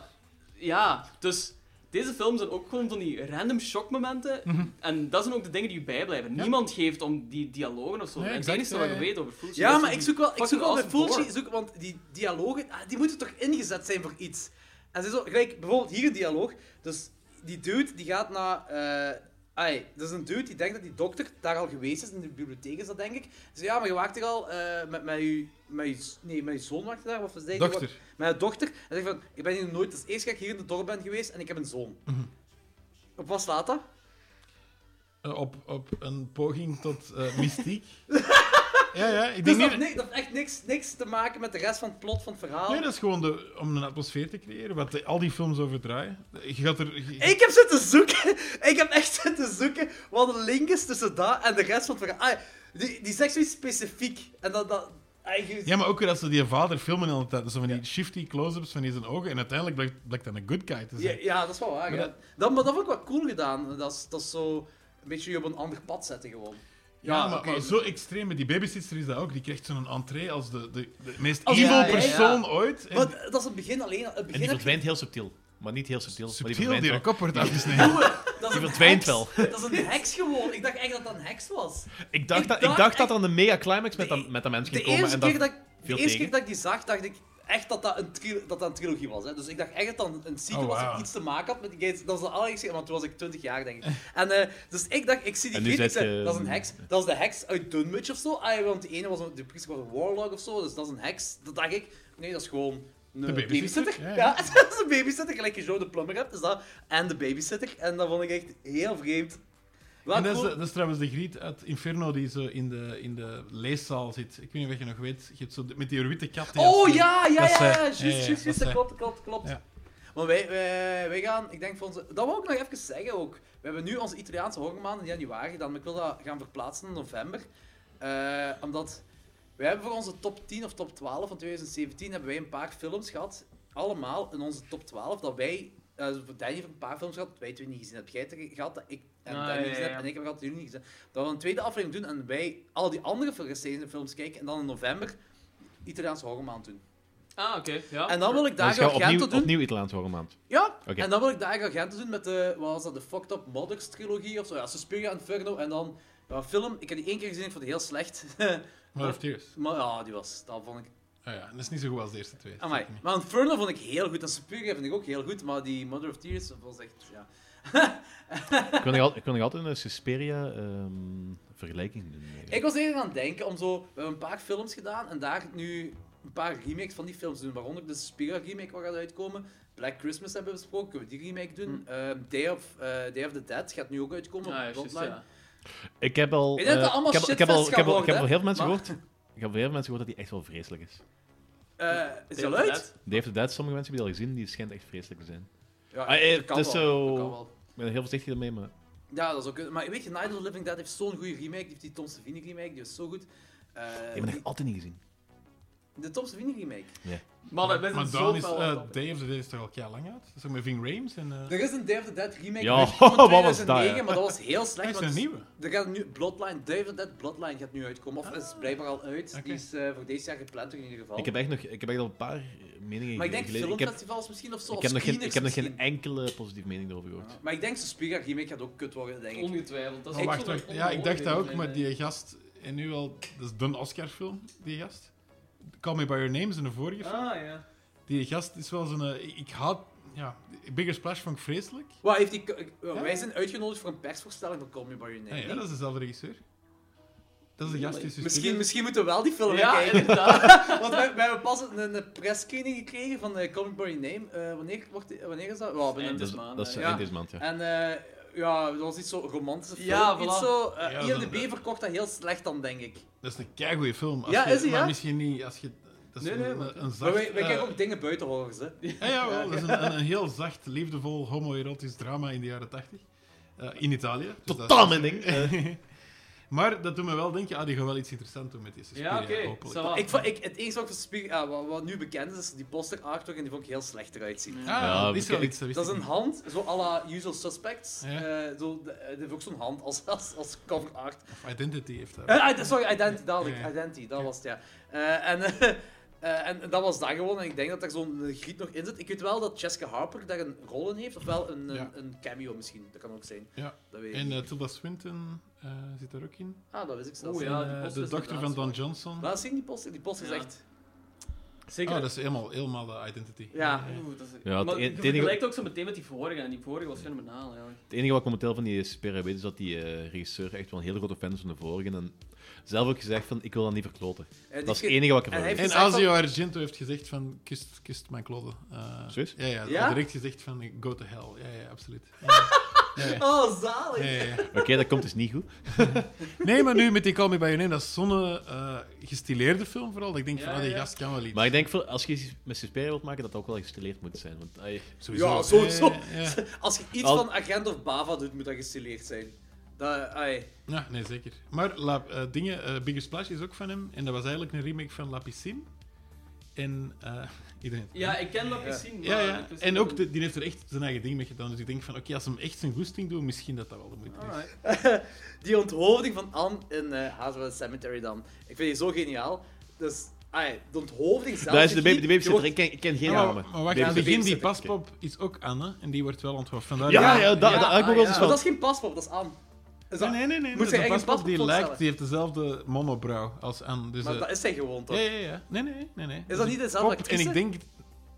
S3: ja, dus deze films zijn ook gewoon van die random shockmomenten. En dat zijn ook de dingen die je bijblijven.
S4: Ja.
S3: Niemand geeft om die dialogen of zo.
S4: Nee,
S3: En het
S4: exact,
S3: enige
S4: ja,
S3: wat
S4: ja.
S3: ik weet over Fulci.
S5: ja,
S3: is
S5: maar
S3: die
S5: ik zoek wel, ik zoek
S3: fucking
S5: wel bij
S3: awesome
S5: Fulci,
S3: gore.
S5: zoek, want die dialogen, ah, die moeten toch ingezet zijn voor iets. En ze zo, gelijk, bijvoorbeeld hier een dialoog. Dus die dude, die gaat naar eh, Ai, dat is een dude die denkt dat die dokter daar al geweest is, in de bibliotheek is dat denk ik. Ze ja, maar je waakt er al eh, met, met, je, met, je, nee, met je zoon waakt je daar, of zei die-
S4: Dochter.
S5: Met een dochter. En zegt van, ik ben hier nooit, het is eerst dat ik hier in het dorp ben geweest en ik heb een zoon.
S3: Mhm.
S5: Op wat slaat dat?
S4: Eh, op, op een poging tot eh, mystiek. ja, ja, ik
S5: Dus
S4: denk
S5: dat,
S4: niet...
S5: heeft ni- dat heeft echt niks, niks te maken met de rest van het plot van het verhaal.
S4: Nee, dat is gewoon de, om een atmosfeer te creëren, wat de- al die films over draaien. Je gaat er... je-
S5: Ik heb zitten zoeken. Ik heb echt zitten zoeken wat de link is tussen dat en de rest van het verhaal. Ah, die, die zegt zoiets specifiek. En dat... dat ah, eigenlijk...
S4: Ja, maar ook weer als ze die vader filmen de hele tijd. Dus zo van die shifty close-ups van die zijn ogen. En uiteindelijk blijkt, blijkt dat een good guy te
S5: ja,
S4: zijn.
S5: ja, dat is wel waar.
S4: Maar
S5: ja.
S4: dat-
S5: Dat, maar dat vond ik wel cool gedaan. Dat is, dat is zo... Een beetje je op een ander pad zetten gewoon.
S4: Ja, maar,
S5: oké.
S4: maar zo extreem. Met die babysitter is dat ook. Die krijgt zo'n entree als de, de, de meest
S5: Als-
S4: evil
S5: ja, ja, ja.
S4: persoon ooit. En
S5: Maar dat is het begin alleen. Het
S6: En
S5: begin
S6: die
S5: heb je-
S6: verdwijnt heel subtiel. Maar niet heel subtiel. maar die
S4: subtiel
S6: verdwijnt
S4: die
S6: wel.
S4: haar kop wordt afgesneden.
S5: dat is
S6: die
S5: een
S6: verdwijnt
S5: heks.
S6: wel.
S5: Dat is een heks gewoon. Ik dacht echt dat dat een heks was.
S6: Ik dacht,
S5: Ik
S6: dat,
S5: dacht
S6: ik dacht
S5: echt-
S6: dat aan de mega climax met, dat, met dat mens
S5: De
S6: ging komen.
S5: eerste,
S6: En dat,
S5: keer, dat ik, de
S6: viel
S5: eerste keer
S6: tegen.
S5: dat ik die zag, dacht ik echt dat dat een, tri- dat dat een trilogie was. Hè. Dus ik dacht echt dat dat een sequel
S4: Oh,
S5: was
S4: wauw.
S5: die iets te maken had met die gates. Dat was de allereerste keer, want toen was ik 20 jaar, denk ik. En, eh, dus ik dacht, ik zie die
S6: En nu
S5: gate, ik
S6: zet
S5: zei,
S6: je-
S5: dat is een heks. Dat is de heks uit Dunwich of zo. Ah, ja, want de ene was een, de priester was een warlock of zo, dus dat is een heks. Dat dacht ik, nee, dat is gewoon een
S4: babysitter,
S5: babysitter.
S4: ja,
S5: Ja,
S4: ja.
S5: dat is een babysitter, gelijk je zo de plumber hebt. Dus dat, en de babysitter. En dat vond ik echt heel vreemd. Wel
S4: En dat is,
S5: cool.
S4: dat is trouwens de griet uit Inferno die zo in de, in de leeszaal zit. Ik weet niet of je nog weet. Je hebt zo de- met die witte kat. die
S5: Oh
S4: als-
S5: ja, ja,
S4: Dat
S5: ja,
S4: zij-
S5: ja,
S4: ja, ja,
S5: juist, juist,
S4: dat
S5: juist, dat
S4: zij-
S5: klopt, klopt, klopt.
S4: Ja.
S5: Maar wij, wij, wij gaan, ik denk voor onze, dat wil ik nog even zeggen ook. We hebben nu onze Italiaanse hongermaand in januari gedaan, maar ik wil dat gaan verplaatsen naar november. Eh, omdat wij hebben voor onze top 10 of top 12 van 2017 hebben wij een paar films gehad, allemaal in onze top 12, dat wij, eh voor Danny heeft een paar films gehad, dat wij twee niet gezien hebben. Jij hebt er gehad, dat ik en
S3: Ah,
S5: Danny
S3: ja,
S5: gezien
S3: ja,
S5: heb,
S3: ja.
S5: en ik heb gehad, dat jullie niet gezien hebben. Dat we een tweede aflevering doen en wij al die andere recente films kijken en dan in november Italiaanse hongermaand doen.
S3: Ah, oké. Ja.
S5: En dan wil ik
S6: Dus
S5: daar
S6: ga opnieuw,
S5: Argento doen.
S6: opnieuw Italiaans horen, maand.
S5: Ja,
S6: Oké.
S5: en dan wil ik daar Argento doen met de, wat was dat, de Fucked Up Mothers trilogie of zo. Ja, Suspiria, Inferno en dan ja, een film. Ik heb die één keer gezien, ik vond die heel slecht.
S4: Mother of Tears.
S5: maar ja, die was, dat vond ik...
S4: Oh ja, dat is niet zo goed als de eerste twee.
S5: Amai.
S4: Zeker niet.
S5: Maar Inferno vond ik heel goed en Suspiria vond ik ook heel goed, maar die Mother of Tears was echt, ja.
S6: Ik wil nog al- ik wil nog altijd een Suspiria-vergelijking doen.
S5: Ik was even aan het denken om zo... We hebben een paar films gedaan en daar nu een paar remakes van die films doen. Waaronder de Suspiria remake waar gaat uitkomen. Black Christmas hebben we besproken, kunnen we die remake doen.
S6: Hm.
S5: Ehm, Day, of, eh, Day of the Dead gaat nu ook uitkomen op
S3: Ah, juist,
S5: Bloodline.
S3: ja.
S6: Ik heb al.
S5: Ik denk dat
S6: eh,
S5: dat allemaal
S6: ik heb, ik heb al,
S5: shitfest
S6: ik heb, al,
S5: gaat
S6: ik heb al heel veel
S5: worden,
S6: mensen
S5: hè?
S6: gehoord. Ik heb al heel veel mensen gehoord dat die echt wel vreselijk is.
S5: Eh, is die
S3: Deel
S5: al uit?
S3: net.
S6: Die heeft inderdaad, sommige mensen hebben die al gezien, die schijnt echt vreselijk te zijn.
S5: Ja,
S6: Ah, eh,
S5: dat kan
S6: het is
S5: wel,
S6: zo-
S5: dat kan wel.
S6: Ik ben heel voorzichtig ermee, maar.
S5: Ja, dat is ook... Maar weet je, Night of the Living Dead heeft zo'n goede remake. Die heeft die Tom Savini remake, die is zo goed. Eh,
S6: Ik heb het altijd niet gezien.
S5: De Tom Savini remake.
S3: Mannen, wij zijn
S4: Maar dan
S3: zo
S4: is
S3: fel
S4: eh,
S3: aan het
S4: Day of the Day is toch al keihard lang uit? Dat is ook met Ving Rames en... eh
S5: Er is een Day of the Dead remake
S6: Ja,
S5: uit van
S6: wat was
S5: 2009,
S6: dat, hè?
S5: maar dat was heel
S4: dat
S5: slecht.
S4: is
S5: want
S4: een nieuwe. Ah,
S5: Er gaat nu Bloodline, Day of the Dead Bloodline gaat nu uitkomen. Of is blijkbaar al uit.
S4: Oké.
S5: Die is eh, voor deze jaar gepland in ieder geval.
S6: Ik heb echt, nog, ik heb echt al een paar meningen
S5: maar ik denk
S6: geleden. Ik heb,
S5: filmfestivals misschien of zo.
S6: ik
S5: of
S6: heb, nog, geen,
S5: screeners
S6: ik heb nog geen
S5: misschien.
S6: enkele positieve mening erover gehoord.
S5: Maar ik denk Suspiria remake gaat ook kut worden, denk
S3: doen.
S5: ik.
S3: Ongetwijfeld. Dat is
S4: Oh, wacht,
S3: echt zo'n
S4: wacht. Ja, ik dacht dat ook,
S3: nee,
S4: maar
S3: nee.
S4: die gast... En nu al... Dat is de Oscar-film, die gast. Call Me By Your Name is een vorige film.
S3: Ah, ja.
S4: Die gast is wel zo'n... eh, Ik haat... Ja, Bigger Splash vond ik vreselijk. Ah
S5: Wat heeft die... Wij zijn uitgenodigd voor een persvoorstelling van Call Me By Your Name.
S4: Ah, Ja, ja, dat is dezelfde regisseur. Dat is de gast die Suspiria-
S5: Misschien, misschien moeten we wel die film
S3: Ja,
S5: kijken.
S3: inderdaad.
S5: Want wij, wij hebben pas een, een pressscreening gekregen van eh Call Me By Your Name. Eh, wanneer, wordt die- wanneer is dat? Ja, binnen-
S3: Eind
S6: Dat is,
S3: maand,
S6: dat is
S3: hè.
S5: dus ja.
S6: eind deze maand, ja.
S4: Dus
S5: En eh, ja, dat was iets zo romantische film.
S3: Ja,
S5: Iets
S3: voilà.
S5: zo, eh,
S4: Ja, dat is
S5: IMDb
S4: een-
S5: verkocht dat heel slecht dan, denk ik.
S4: Dat is een keigoeie film. Als
S5: Ja,
S4: je-
S5: is die,
S4: Maar
S5: ja?
S4: misschien niet als je... Dat is
S3: Nee, nee,
S4: een,
S3: maar-
S4: een, een
S5: Maar
S4: zacht...
S5: wij, wij
S4: eh,
S5: kijken ook dingen buiten horrors, hè.
S4: Ja, ja, wel. Dat is een, een, een heel zacht, liefdevol, homoerotisch drama in de jaren 80 Eh, in Italië. Dus dat is-
S6: Totaal mijn ding. Eh,
S4: maar dat doet me wel denken, ah, die gaan wel iets interessants doen met die Suspiria,
S3: Ja, oké.
S4: hopelijk.
S3: ça va.
S5: Ik, vond- ik, het enige wat, ik van Spiegel- ah, wat, wat nu bekend is, is die poster artwork en die vond ik heel slecht eruit zien.
S4: Ah,
S6: Ja,
S4: dat is wel
S6: ik-
S4: iets, dat wist
S5: Dat is
S4: ik
S5: een
S4: niet.
S5: hand, zo à la Usual Suspects.
S4: Ja.
S5: Eh, zo, de- eh, die heeft ook zo'n hand als, als, als cover art.
S4: Of Identity heeft dat.
S5: Eh, ide- sorry, Identity, dadelijk.
S4: Ja, ja.
S5: Identity, dat was het, ja. Eh, en, eh, eh, en dat was dat gewoon. En ik denk dat daar zo'n eh, griet nog in zit. Ik weet wel dat Jessica Harper daar een rol in heeft. Ofwel een, een,
S4: Ja.
S5: een cameo misschien. Dat kan ook zijn.
S4: Ja.
S5: Dat weet ik
S4: En
S5: niet.
S4: eh, Tilda Swinton eh, zit daar ook in.
S5: Ah, dat wist ik zelfs.
S3: Oeh,
S5: niet.
S3: ja,
S4: Eh,
S3: die poster
S4: de
S3: is
S4: dochter van
S3: inderdaad
S4: Don
S3: zo.
S4: Johnson.
S5: Maar zie je die poster? Die poster
S3: Ja.
S5: is echt...
S4: Oh,
S5: Zeker.
S4: dat is helemaal, helemaal de identity.
S5: Ja,
S3: Oeh, dat is...
S7: Ja, het
S3: maar
S7: e-
S3: je
S7: het enige-
S3: vergelijkt ook zo meteen met die vorige, en die vorige was fenomenaal, eigenlijk.
S7: Het enige wat ik momenteel van die Spera weet, is dat die eh, regisseur echt wel een hele grote fan is van de vorige. En zelf ook gezegd van, ik wil dat niet verkloten.
S5: En die
S7: Dat is het
S5: ge-
S7: enige wat ik
S5: en
S7: ervan
S5: hij
S7: weet.
S4: En
S5: Gezegd
S4: Azio Argento heeft gezegd van, kust, kust mijn kloten. Eh,
S7: Serieus?
S4: Ja, ja,
S5: Ja?
S4: direct gezegd van, go to hell. Ja, ja, absoluut.
S5: Oh, zalig.
S4: Ja, ja, ja.
S7: Oké, dat komt dus niet goed.
S4: Nee, maar nu met die Call Me By Your Name, dat is zo'n eh, gestileerde film vooral. dat Ik denk van,
S3: Ja,
S4: oh, die
S3: ja.
S4: gast kan wel iets.
S7: Maar ik denk, voor- als je iets met Suspiria wilt maken, dat dat ook wel gestileerd moet zijn. Want, ai,
S4: Sowieso.
S5: Ja, sowieso.
S4: Ja, ja, ja.
S5: Als je iets
S7: Al-
S5: van Agent of Bava doet, moet dat gestileerd zijn. Dat, ai.
S4: Ja, nee, zeker. Maar La, eh, dingen, eh, Bigger Splash is ook van hem. En dat was eigenlijk een remake van La Piscine. En eh, iedereen...
S3: Ja, ik ken dat gezien,
S4: Ja,
S3: maar
S5: Ah,
S4: ja.
S5: dus
S3: ik wist
S4: En
S3: niet
S4: ook,
S3: dat-
S4: de- die heeft er echt zijn eigen ding mee gedaan. Dus ik denk van, oké, als hem echt zijn goesting doet, misschien dat dat wel de moeite is.
S3: Alright.
S5: Die onthoofding van Anne in eh Hazard Cemetery dan. Ik vind die zo geniaal. Dus, ai, de onthoofding zelf...
S7: daar is de,
S5: die-
S7: baby, de
S5: die
S7: babysitter.
S5: wordt-
S7: Ik ken, ik ken geen
S4: Ja,
S7: namen.
S4: maar, maar wacht, aan
S7: Babysitter.
S4: het begin, die
S5: babysitter.
S4: paspop is ook Anne. En die wordt wel onthoofd. Vandaar
S7: Ja,
S4: die-
S7: ja, dat, dat,
S5: ah,
S7: ik ook wel
S5: ja.
S7: eens
S5: Maar
S7: van-
S5: dat is geen paspoort, dat is Anne. Is dat-
S4: Nee, nee, nee. nee.
S5: Moet
S4: de
S5: je eigen
S4: paspop
S5: paspoort
S4: die lijkt,
S5: opstellen?
S4: die heeft dezelfde monobrow als Anne. Dus,
S5: Maar
S4: eh,
S5: dat is zij gewoon, toch?
S4: ja, ja, ja. Nee, nee, nee. nee.
S5: dat
S4: is
S5: niet
S4: een
S5: dezelfde
S4: pop, En
S5: actrice?
S4: ik denk...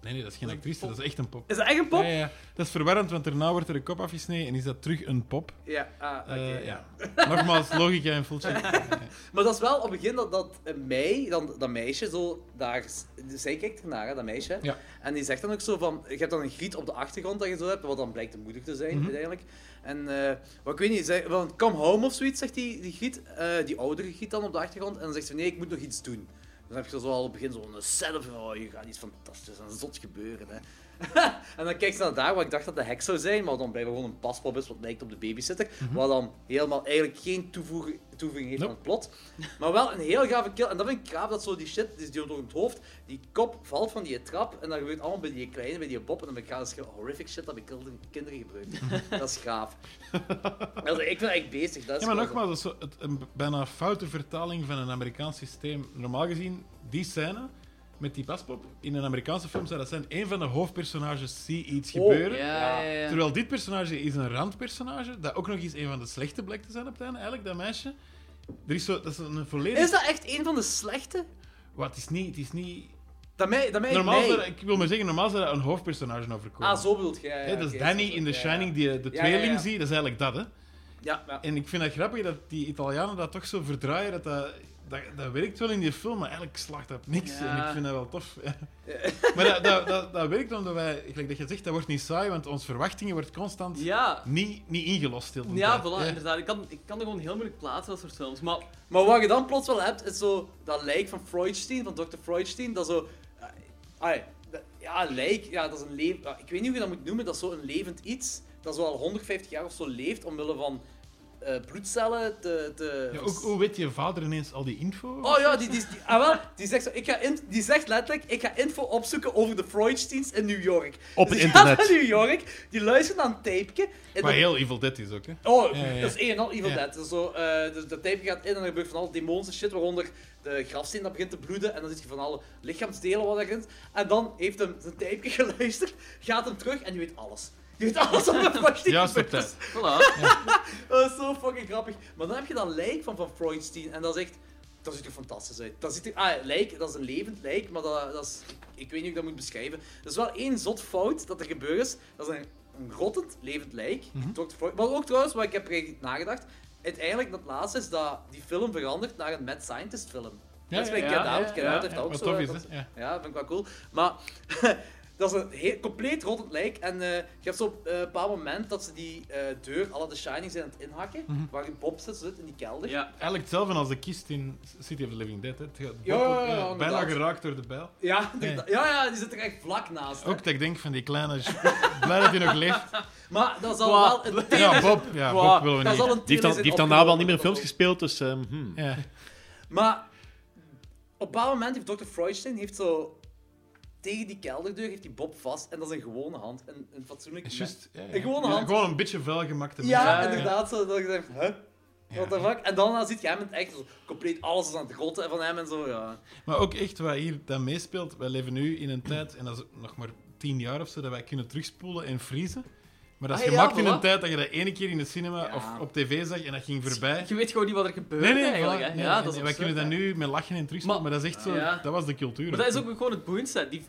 S4: Nee, nee, dat is geen actrice. Dat is echt een pop.
S5: Is dat echt een pop?
S4: Ja,
S5: Ja,
S4: ja. Dat is verwarrend, want daarna wordt er een kop afgesneden en is dat terug een pop.
S5: ah,
S4: Eh,
S5: oké. ja.
S4: ja. Nogmaals, logica en full check.
S5: Maar dat is wel op het begin dat, dat eh, mij, dan, dat meisje, zo daar, zij kijkt ernaar, hè, dat meisje.
S4: Ja.
S5: En die zegt dan ook zo van, je hebt dan een griet op de achtergrond dat je zo hebt, wat dan blijkt de moeder te
S4: Mhm.
S5: zijn uiteindelijk. En eh, wat ik weet niet, zij, van come home of zoiets, zegt die, die griet, eh, die oudere griet dan op de achtergrond. En dan zegt ze, nee, ik moet nog iets doen. Dan heb je zo al op het begin zo'n setup van, oh, hier gaat iets fantastisch en zot gebeuren, hè. en dan kijkt ze naar daar, waar ik dacht dat de heks zou zijn, maar dan blijft gewoon een paspop is wat lijkt op de babysitter,
S4: Mhm.
S5: wat dan helemaal eigenlijk geen toevoeging, toevoeging heeft aan het plot. Maar wel een heel gave kill. En dat vind ik gaaf, dat zo die shit, dus die door het hoofd, die kop valt van die trap, en dat gebeurt allemaal bij die kleine, bij die bob, en dan ben ik gaaf, dat is gewoon horrific shit dat bij kinderen, kinderen gebruikt. dat is gaaf. also, ik ben echt bezig, dat is
S4: Ja, maar
S5: gewoon-
S4: nogmaals, dat is zo het, een bijna foute vertaling van een Amerikaans systeem. Normaal gezien, die scène met die paspop in een Amerikaanse film zou dat zijn. Een van de hoofdpersonages zie iets
S5: Oh,
S4: gebeuren.
S3: Ja, ja, ja.
S4: Terwijl dit personage is een randpersonage, dat ook nog eens een van de slechte blijkt te zijn op het einde. Eigenlijk, dat meisje. Er is zo, dat is een volledig...
S5: Is dat echt een van de slechte?
S4: Wat, het is niet... Het is niet...
S5: Dat mij, dat mij,
S4: Normaal
S5: mij-
S4: zou, dat- ik wil maar zeggen, normaal zou dat een hoofdpersonage overkomen.
S5: Ah, zo bedoelt jij. Ja,
S4: Hè, dat
S5: oké,
S4: is
S5: zo
S4: Danny
S5: bedoel-
S4: in The
S5: ja, ja.
S4: Shining, die de
S5: ja,
S4: tweeling
S5: ja.
S4: zie, dat is eigenlijk dat, hè.
S5: Ja, ja.
S4: En ik vind het grappig dat die Italianen dat toch zo verdraaien, dat dat, dat, dat werkt wel in die film, maar eigenlijk slaagt dat op niks.
S3: Ja.
S4: En ik vind dat wel tof. ja. maar dat, dat, dat, dat werkt omdat wij, gelijk dat je zegt, dat wordt niet saai, want onze verwachtingen worden constant
S3: Ja,
S4: niet, niet ingelost. heel de
S3: ja
S4: tijd.
S3: voilà,
S4: Ja.
S3: inderdaad. Ik kan, ik kan er gewoon heel moeilijk plaatsen, dat soort films. Maar
S5: Maar wat je dan plots wel hebt, is zo dat lijk van Freudstein, van Dr. Freudstein, dat zo... ah, ah, dat- ja, lijk, ja, dat is een leven... ah, ik weet niet hoe je dat moet noemen, dat is zo een levend iets, dat zo al 150 jaar of zo leeft, omwille van eh, bloedcellen te... te
S4: Ja, ook, hoe weet je vader ineens al die info?
S5: Oh ja, die, die, die- ah, wel, die, zegt zo, ik ga in, die zegt letterlijk, ik ga info opzoeken over de Freudsteins in New York.
S7: Op
S5: dus
S7: het
S5: die gaat
S7: internet.
S5: naar New York, die luistert naar een tapeje. en
S4: Maar
S5: dan-
S4: heel Evil Dead is ook, hè.
S5: Oh,
S4: Ja, ja.
S5: dat is één en al Evil
S4: Ja.
S5: Dead. Dus zo, eh, dus dat tape gaat in en er gebeurt van alle demonische shit, waaronder de grafsteen dat begint te bloeden en dan zit je van alle lichaamsdelen wat erin zit. En dan heeft hem zijn tapeje geluisterd, gaat hem terug en die weet alles. Die weet alles over de fucking
S4: Juist op
S5: gebeurt.
S4: tijd.
S3: voilà.
S5: Dat is zo fucking grappig. Maar dan heb je dat lijk van Van Freudstein en dat is echt... Dat ziet er fantastisch uit. Dat ziet er, ah, lijk, dat is een levend lijk, maar dat, dat is... Ik weet niet hoe ik dat moet beschrijven. Er is wel één zot fout dat er gebeurd is. Dat is een, een rottend levend lijk.
S4: Mhm.
S5: Dr. Freud. Maar ook trouwens, wat ik heb er nagedacht. Uiteindelijk, dat laatste is dat die film verandert naar een Mad Scientist film.
S4: Ja,
S5: dat is bij
S4: ja,
S5: Get
S3: ja,
S5: Out.
S3: ja,
S5: Get
S3: ja.
S5: Out heeft
S4: Ja,
S5: dat ook
S4: wat
S5: zo.
S4: tof
S5: hè,
S4: is,
S5: dat-
S4: hè. Ja.
S5: ja, vind ik wel cool. Maar dat is een heel, compleet rottend lijk. En eh, je hebt zo op eh, een bepaald moment dat ze die eh, deur, alle de Shining zijn aan het inhakken,
S7: Mhm.
S5: waar die Bob zit, zit in die kelder.
S3: Ja.
S4: Eigenlijk hetzelfde als de kist in City of the Living Dead, hè. Het gaat
S5: Ja, ja, ja,
S4: eh, bijna
S5: inderdaad.
S4: geraakt door de bijl.
S5: Ja, inderdaad. ja, ja, die zit er echt vlak naast. hè.
S4: Ook dat ik denk van die kleine... Blij dat hij nog leeft.
S5: Maar dat zal
S3: Wow.
S5: wel een
S4: Ja, Bob. Ja, Bob willen we
S5: dat
S4: niet.
S5: zal een
S7: Die heeft, dan, die heeft
S6: nou
S7: daarna wel niet meer films gespeeld, dus... ehm,
S6: hm,
S7: hmm.
S4: Ja.
S5: Maar op een bepaald moment heeft Dr. Freudstein heeft zo tegen die kelderdeur heeft die Bob vast en dat is een gewone hand. Een, een fatsoenlijke.
S4: Is juist, ja, ja.
S5: Een gewone hand.
S4: Ja, gewoon een beetje vuil gemaakt.
S5: Ja,
S3: Ja,
S5: inderdaad. Zo, dat ik dacht, huh? What the
S4: Ja.
S5: fuck? En dan ziet je hem in het echt zo, compleet alles is aan het rotten van hem en zo, ja.
S4: Maar ook echt wat hier dan meespeelt. Wij leven nu in een tijd, en dat is nog maar tien jaar of zo, dat wij kunnen terugspoelen en vriezen. Maar dat is
S3: Ah, ja,
S4: gemaakt in een
S3: voilà.
S4: tijd dat je dat ene keer in de cinema of op tv zag en dat ging voorbij.
S3: Je weet gewoon niet wat er gebeurt
S4: Nee, nee,
S3: eigenlijk.
S4: voilà.
S3: hè.
S4: Nee,
S3: ja,
S4: en
S3: dat is
S4: wij
S3: absurd,
S4: kunnen dat
S3: hè.
S4: nu met lachen en terugstellen, maar,
S3: Maar-
S4: dat is echt zo,
S3: Ja.
S4: dat was de cultuur.
S3: Maar dat is ook gewoon het boeiendste. hè. Die,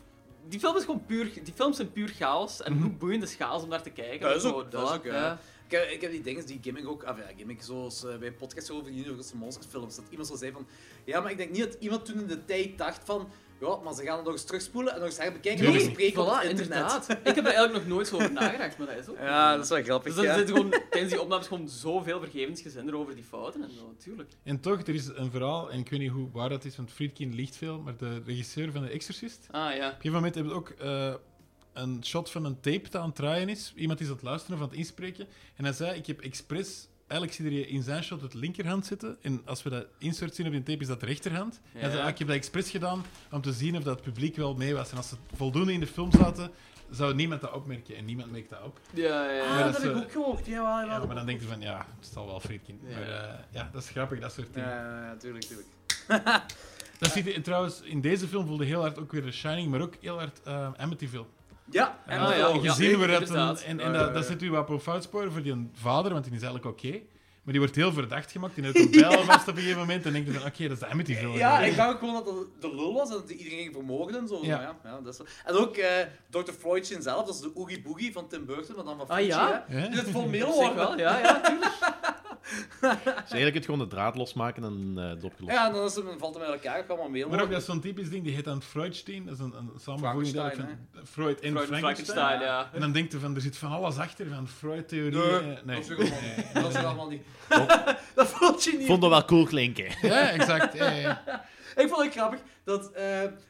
S3: die, film is gewoon puur, die films zijn puur chaos.
S4: Mhm.
S3: En hoe boeiend is chaos om naar te kijken?
S5: Dat is
S3: Gewoon,
S5: ook- dat is
S3: voilà,
S5: ook, ja.
S3: ja.
S5: Ik heb, ik heb die dingen, die gimmick ook, af ja, gimmick zoals eh, bij een podcast over die Universal Monsters films, dat iemand zo zei van, ja, maar ik denk niet dat iemand toen in de tijd dacht van, ja, maar ze gaan het nog eens terugspoelen en nog eens herbekijken en
S4: Nee,
S5: bespreken op
S3: Voilà,
S5: het internet.
S3: inderdaad. Ik heb er eigenlijk nog nooit zo over nagedacht, maar dat is ook.
S5: Ja, dat is wel grappig,
S3: Dus er
S5: ja.
S3: zitten gewoon tijdens die opnames gewoon zoveel vergevensgezinder over die fouten en zo, natuurlijk.
S4: En toch, er is een verhaal, en ik weet niet hoe, waar dat is, want Friedkin ligt veel, maar de regisseur van De Exorcist,
S3: Ah ja.
S4: Op een gegeven moment hebben we ook eh, een shot van een tape dat aan het draaien is. Iemand is aan het luisteren of aan het inspreken. En hij zei, ik heb expres... Eigenlijk zie je in zijn shot het linkerhand zitten. En als we dat insert zien op die tape, is dat de rechterhand. En hij zei,
S3: Ja.
S4: ah, ik heb dat expres gedaan om te zien of dat het publiek wel mee was. En als ze voldoende in de film zaten, zou niemand dat opmerken. En niemand merkt dat op.
S3: Ja, ja, ja.
S4: Maar
S5: Ah,
S4: dat
S5: dat,
S4: is,
S5: heb
S4: eh,
S5: ik ook gehoord, ja,
S4: Ja,
S5: ja,
S4: maar dan denk je van, ja, het is al wel Friedkin.
S3: Ja.
S4: Maar eh, ja, dat is grappig, dat soort dingen.
S5: Ja, tuurlijk, tuurlijk.
S4: Dat ziet, en trouwens, in deze film voelde heel hard ook weer The Shining, maar ook heel hard eh, Amityville.
S5: Ja,
S4: En
S3: Ah,
S4: dat-
S3: ja,
S4: en
S3: ja,
S4: gezien we dat
S3: inderdaad.
S4: een- en, en
S5: Ja,
S4: dat,
S5: ja,
S4: dat
S5: ja.
S4: zit u wat op een foutspoor voor die vader, want die is eigenlijk oké. Maar die wordt heel verdacht gemaakt. Die heeft een bijl vast op een gegeven moment. En denkt hij van, oké, dat is de Amityville.
S5: ja, ik dacht ook gewoon dat dat de lul was en dat die iedereen ging vermoorden en zo.
S4: Ja.
S5: Ja. Ja, dat is wel- En ook eh, Dr. Freudchen zelf, dat is de Oogie Boogie van Tim Burton, maar dan van
S3: Ah,
S5: Fuji,
S3: ja?
S5: hè.
S4: Ja.
S5: Die het formeel
S3: Op zich
S5: wordt.
S3: wel, ja, ja, tuurlijk.
S6: Dus eigenlijk het gewoon de draad losmaken en eh het opgelost.
S5: Ja, en dan, is het, dan valt hem uit elkaar, kan maar meer
S4: Maar ook
S5: worden.
S4: dat is zo'n typisch ding. Die heet dan Freudstein. Dat is een, een samenvoeging
S5: Frankenstein,
S4: eigenlijk van Freud en
S3: Freud en
S4: Frankenstein.
S3: Frankenstein, ja.
S4: En dan denkt hij van, er zit van alles achter. Van Freud-theorie.
S5: Nee,
S4: eh,
S5: dat is ook allemaal- Dat is ook allemaal niet. dat voelt je niet.
S6: Vond dat wel cool klinken.
S4: Ja, exact. ja, ja.
S5: Ik vond het grappig dat eh,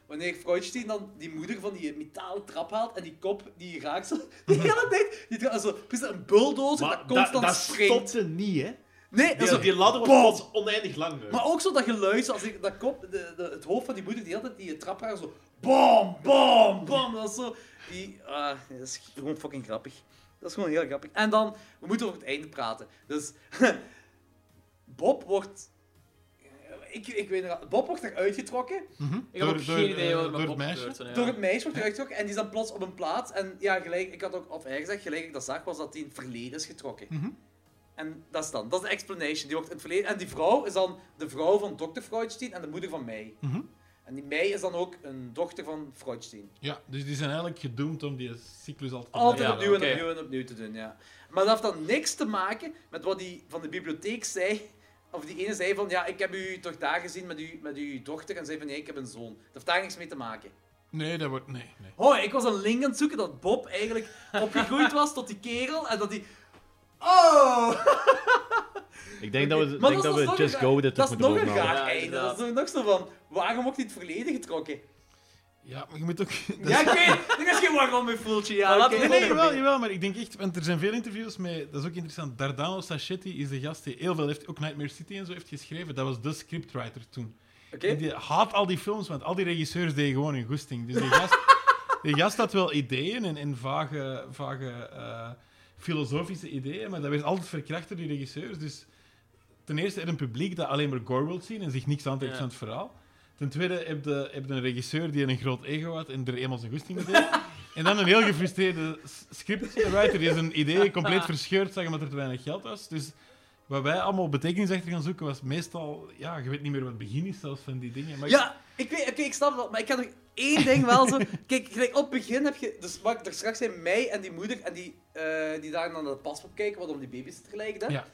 S5: wanneer Freudstein dan die moeder van die metalen trap haalt en die kop die raakt zo, die hele tijd, die tra- zo, precies een bulldozer dat constant springt.
S6: ze niet, hè?
S5: Nee, dat is
S6: Die,
S5: ook-
S6: die ladder was plots oneindig lang. hè.
S5: maar ook zo dat geluid, zo als ik, dat kop, de, de- het hoofd van die moeder die hele tijd die trap raakt, zo bam, bam, bam, dat is zo, die, ah, dat is gewoon fucking grappig. Dat is gewoon heel grappig. En dan, we moeten over het einde praten. Dus, Bob wordt, ik, ik weet nog, Bob wordt eruit getrokken
S3: Ik heb
S4: Door-
S3: ook
S4: door-
S3: geen idee
S4: eh,
S3: wat
S4: door
S3: er
S4: het
S3: op
S4: meisje?
S3: gebeurt.
S5: Door het meisje wordt teruggetrokken en die is dan plots op een plaats. En ja, gelijk, ik had ook of hij gezegd, gelijk ik dat zag, was dat die in het verleden is getrokken. En dat is dan, dat is de explanation. Die wordt in het verleden. En die vrouw is dan de vrouw van dokter Freudstein en de moeder van mij. En die mij is dan ook een dochter van Freudstein.
S4: Ja, dus die zijn eigenlijk gedoemd om die cyclus altijd te
S5: Altijd opnieuw
S4: blijven
S5: en
S3: oké.
S5: opnieuw en opnieuw te doen, ja. Maar dat heeft dan niks te maken met wat die van de bibliotheek zei. Of die ene zei van, ja, ik heb u toch daar gezien met, u, met uw dochter. En zei van, nee, ik heb een zoon. Dat heeft daar niks mee te maken.
S4: doen. Nee, dat wordt... Nee, nee.
S5: Oh, ik was een link aan het zoeken dat Bob eigenlijk opgegroeid was tot die kerel en dat die. Oh!
S6: Ik denk dat we,
S5: Maar
S6: denk dat
S5: is
S6: we
S5: nog
S6: Just
S5: een-
S6: Go dit
S5: Dat
S6: toch
S5: is
S6: moeten
S5: nog een
S6: bovenhalen.
S5: raar
S3: Ja,
S5: einde.
S3: inderdaad.
S5: Dat is nog zo van. Waarom wordt hij in het verleden getrokken?
S4: Ja, maar je moet ook...
S5: Ja, ik weet. Er is geen waarom in voeltje. Ja,
S3: Maar laten
S5: oké.
S3: we
S4: Nee, nee, jawel, jawel, maar ik denk echt, want er zijn veel interviews met, dat is ook interessant, Dardano Sacchetti is de gast die heel veel heeft, ook Nightmare City en zo heeft geschreven, dat was de scriptwriter toen.
S5: Oké.
S4: En die haat al die films, want al die regisseurs deden gewoon hun goesting. Dus die gast, die gast had wel ideeën en, en vage, vage eh, filosofische ideeën, maar dat werd altijd verkracht door die regisseurs. Dus ten eerste heb je een publiek dat alleen maar gore wil zien en zich niks aantrekt
S3: Ja.
S4: van het verhaal. Ten tweede heb je, heb je een regisseur die een groot ego had en er eenmaal zijn goesting in deed. En dan een heel gefrustreerde s- scriptwriter die zijn ideeën compleet verscheurd zag omdat er te weinig geld was. Dus wat wij allemaal betekenis achter gaan zoeken was meestal... Ja, je weet niet meer wat het begin is zelfs van die dingen. Maar ik-
S5: Ja, ik weet, oké, ik snap dat, maar ik had nog één ding wel zo. Kijk, gelijk op het begin heb je. Dus wat ik er straks zei, mij en die moeder en die, eh, die daar dan naar de paspoort kijken, wat om die baby's te lijken. hè.
S4: Ja.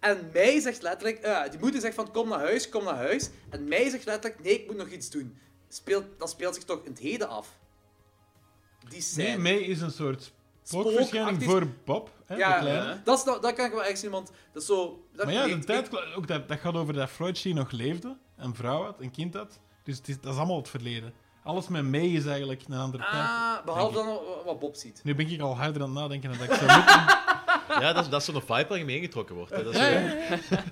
S5: En mij zegt letterlijk, eh, die moeder zegt van kom naar huis, kom naar huis. En mij zegt letterlijk, nee, ik moet nog iets doen. Speelt, dat speelt zich toch in het heden af? Die scène.
S4: Nee, May is een soort spookverschijning
S5: Spookachtig-
S4: voor Bob, hè, de
S5: ja,
S4: kleine.
S5: dat, is, nou- dat kan ik wel echt zien, want dat is zo... Dat
S4: Maar ja,
S5: ik-
S4: de tijd, ook dat, dat gaat over dat Freud die nog leefde, een vrouw had, een kind had. Dus het is, dat is allemaal het verleden. Alles met May is eigenlijk een andere tijd.
S5: Ah, behalve dan wat- wat Bob ziet.
S4: Nu ben ik al harder aan het nadenken dan dat ik zou moeten.
S6: Ja, dat is, dat is zo'n vibe waar je mee ingetrokken wordt. hè. Dat is
S4: Ja,
S6: zo-
S4: ja, ja.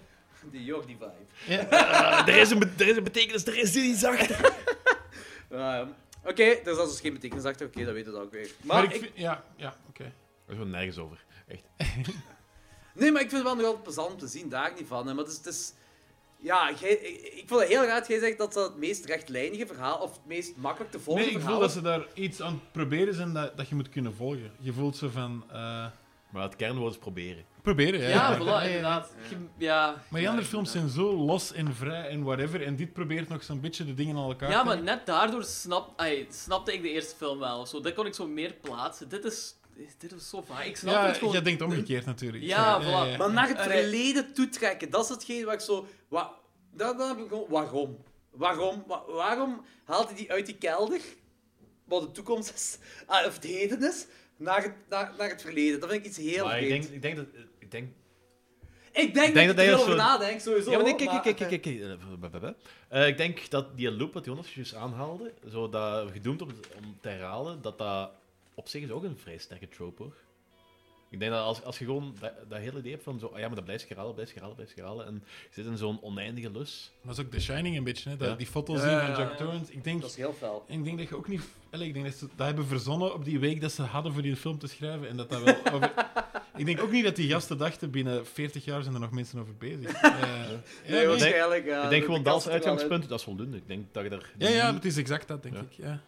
S5: Die Jordi vibe.
S6: Ah, er, is een, be- er is een betekenis, er is iets achter.
S5: Ja, ja. Oké, dus dat is dus geen betekenis achter. Oké, dat weten we ook weer. Maar,
S4: Maar ik
S5: ik
S4: vind- Ja, ja oké.
S6: Er is wel nergens over. Echt.
S5: Nee, maar ik vind het wel nog altijd plezant om te zien, daar niet van. hè. Maar het is... Het is ja, jij- ik, ik vond het heel raar dat jij zegt dat dat het meest rechtlijnige verhaal, of het meest makkelijk te volgen
S4: Nee, ik
S5: verhaal
S4: voel dat
S5: is.
S4: ze daar iets aan het proberen zijn dat, dat je moet kunnen volgen. Je voelt zo van... eh,
S6: Maar het kernwoord is proberen.
S4: Proberen, ja.
S3: Ja, voilà, inderdaad. Je- Ja,
S4: Maar die
S3: ja,
S4: andere films zijn zo los en vrij en whatever. En dit probeert nog zo'n beetje de dingen aan elkaar
S3: Ja,
S4: te
S3: maar net daardoor snap, ai, snapte ik de eerste film wel. of Zo. Dit kon ik zo meer plaatsen. Dit is, dit is zo vaag. Ik snap
S4: Ja,
S3: het gewoon.
S4: jij denkt omgekeerd natuurlijk.
S3: Ja, voilà.
S5: Maar naar het
S3: Eh,
S5: verleden toetrekken, dat is hetgeen waar ik zo... Wa, dat, dat heb ik gewoon... Waarom? Waarom? Wa- waarom haalt hij die uit die kelder, wat de toekomst is, ah, of het heden is, naar het, naar, naar het verleden? Dat vind ik iets heel
S6: maar ik
S5: vreemd.
S6: denk, ik denk dat... Ik denk,
S5: Ik denk,
S6: denk
S5: dat,
S6: dat
S5: ik
S6: hij
S5: er
S6: als
S5: over
S6: zo-
S5: nadenk, sowieso.
S6: Ja, maar nee, kijk,
S5: maar-
S6: kijk, kijk, kijk, kijk, eh, b- b- b- eh, ik denk dat die loop wat Jonas juist aanhaalde, zo dat gedoemd om, om te herhalen, dat dat op zich is ook een vrij sterke trope, hoor. Ik denk dat als, als je gewoon dat, dat hele idee hebt van zo, ah ja, maar dat blijft zich herhalen, blijft zich herhalen, blijft zich herhalen, en je zit in zo'n oneindige lus.
S4: Dat is ook The Shining een beetje, hè. Dat,
S6: Ja.
S4: die foto's
S5: Ja,
S4: zien
S5: ja,
S4: van Jack
S5: ja.
S4: Torrance. Ik denk,
S5: Dat is heel fel.
S4: ik denk dat je ook niet... Allee, ik denk dat ze dat hebben verzonnen op die week dat ze hadden voor die film te schrijven. En dat dat wel... over- ik denk ook niet dat die gasten dachten, binnen 40 jaar zijn er nog mensen over bezig. Eh, ja, nee.
S5: waarschijnlijk. ja,
S6: ik denk
S5: de
S6: gewoon dat
S5: kans
S6: als
S5: zit er wel in.
S6: uitgangspunt, dat is voldoende. Ik denk dat je daar...
S4: Ja, ja, het is exact dat, denk
S6: Ja.
S4: ik. Ja.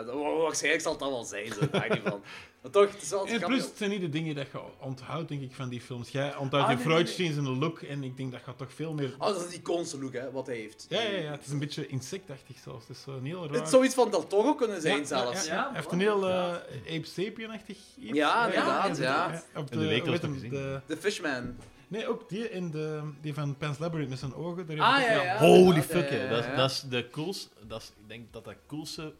S5: Eh, dat- wa- waarschijnlijk zal het dan wel zijn, zo, daar niet van. Maar toch, het is wel...
S4: En plus, het zijn niet de dingen dat je onthoudt, denk ik, van die films. Jij
S5: Ah,
S4: onthoudt die
S5: nee, nee, nee.
S4: Freudsteins en de look en ik denk dat gaat toch veel meer...
S5: Oh, dat is die icoonse look, hè, wat hij heeft.
S4: Ja, ja, ja. Het is een beetje insectachtig zelfs. Het is zo een heel raar...
S5: Het zou iets van Del Toro kunnen zijn,
S4: Ja,
S5: zelfs.
S4: Ja, ja, ja. Hij heeft een heel eh Ape Sapien-achtig iets.
S5: Ja, inderdaad, ja.
S4: Op
S6: In de week
S4: hoe
S6: was
S4: heet
S6: het
S4: hem?
S6: nog
S4: De-
S5: The Fishman.
S4: Nee, ook die in de... Die van Pan's Labyrinth met zijn ogen. Daar
S5: Ah,
S4: heeft
S5: ja,
S4: hij-
S5: ja.
S6: Holy
S5: inderdaad,
S6: fuck,
S5: ja,
S6: hè.
S5: ja,
S6: Dat,
S5: ja.
S6: is- dat is de coolste... Dat is, ik denk dat dat coolste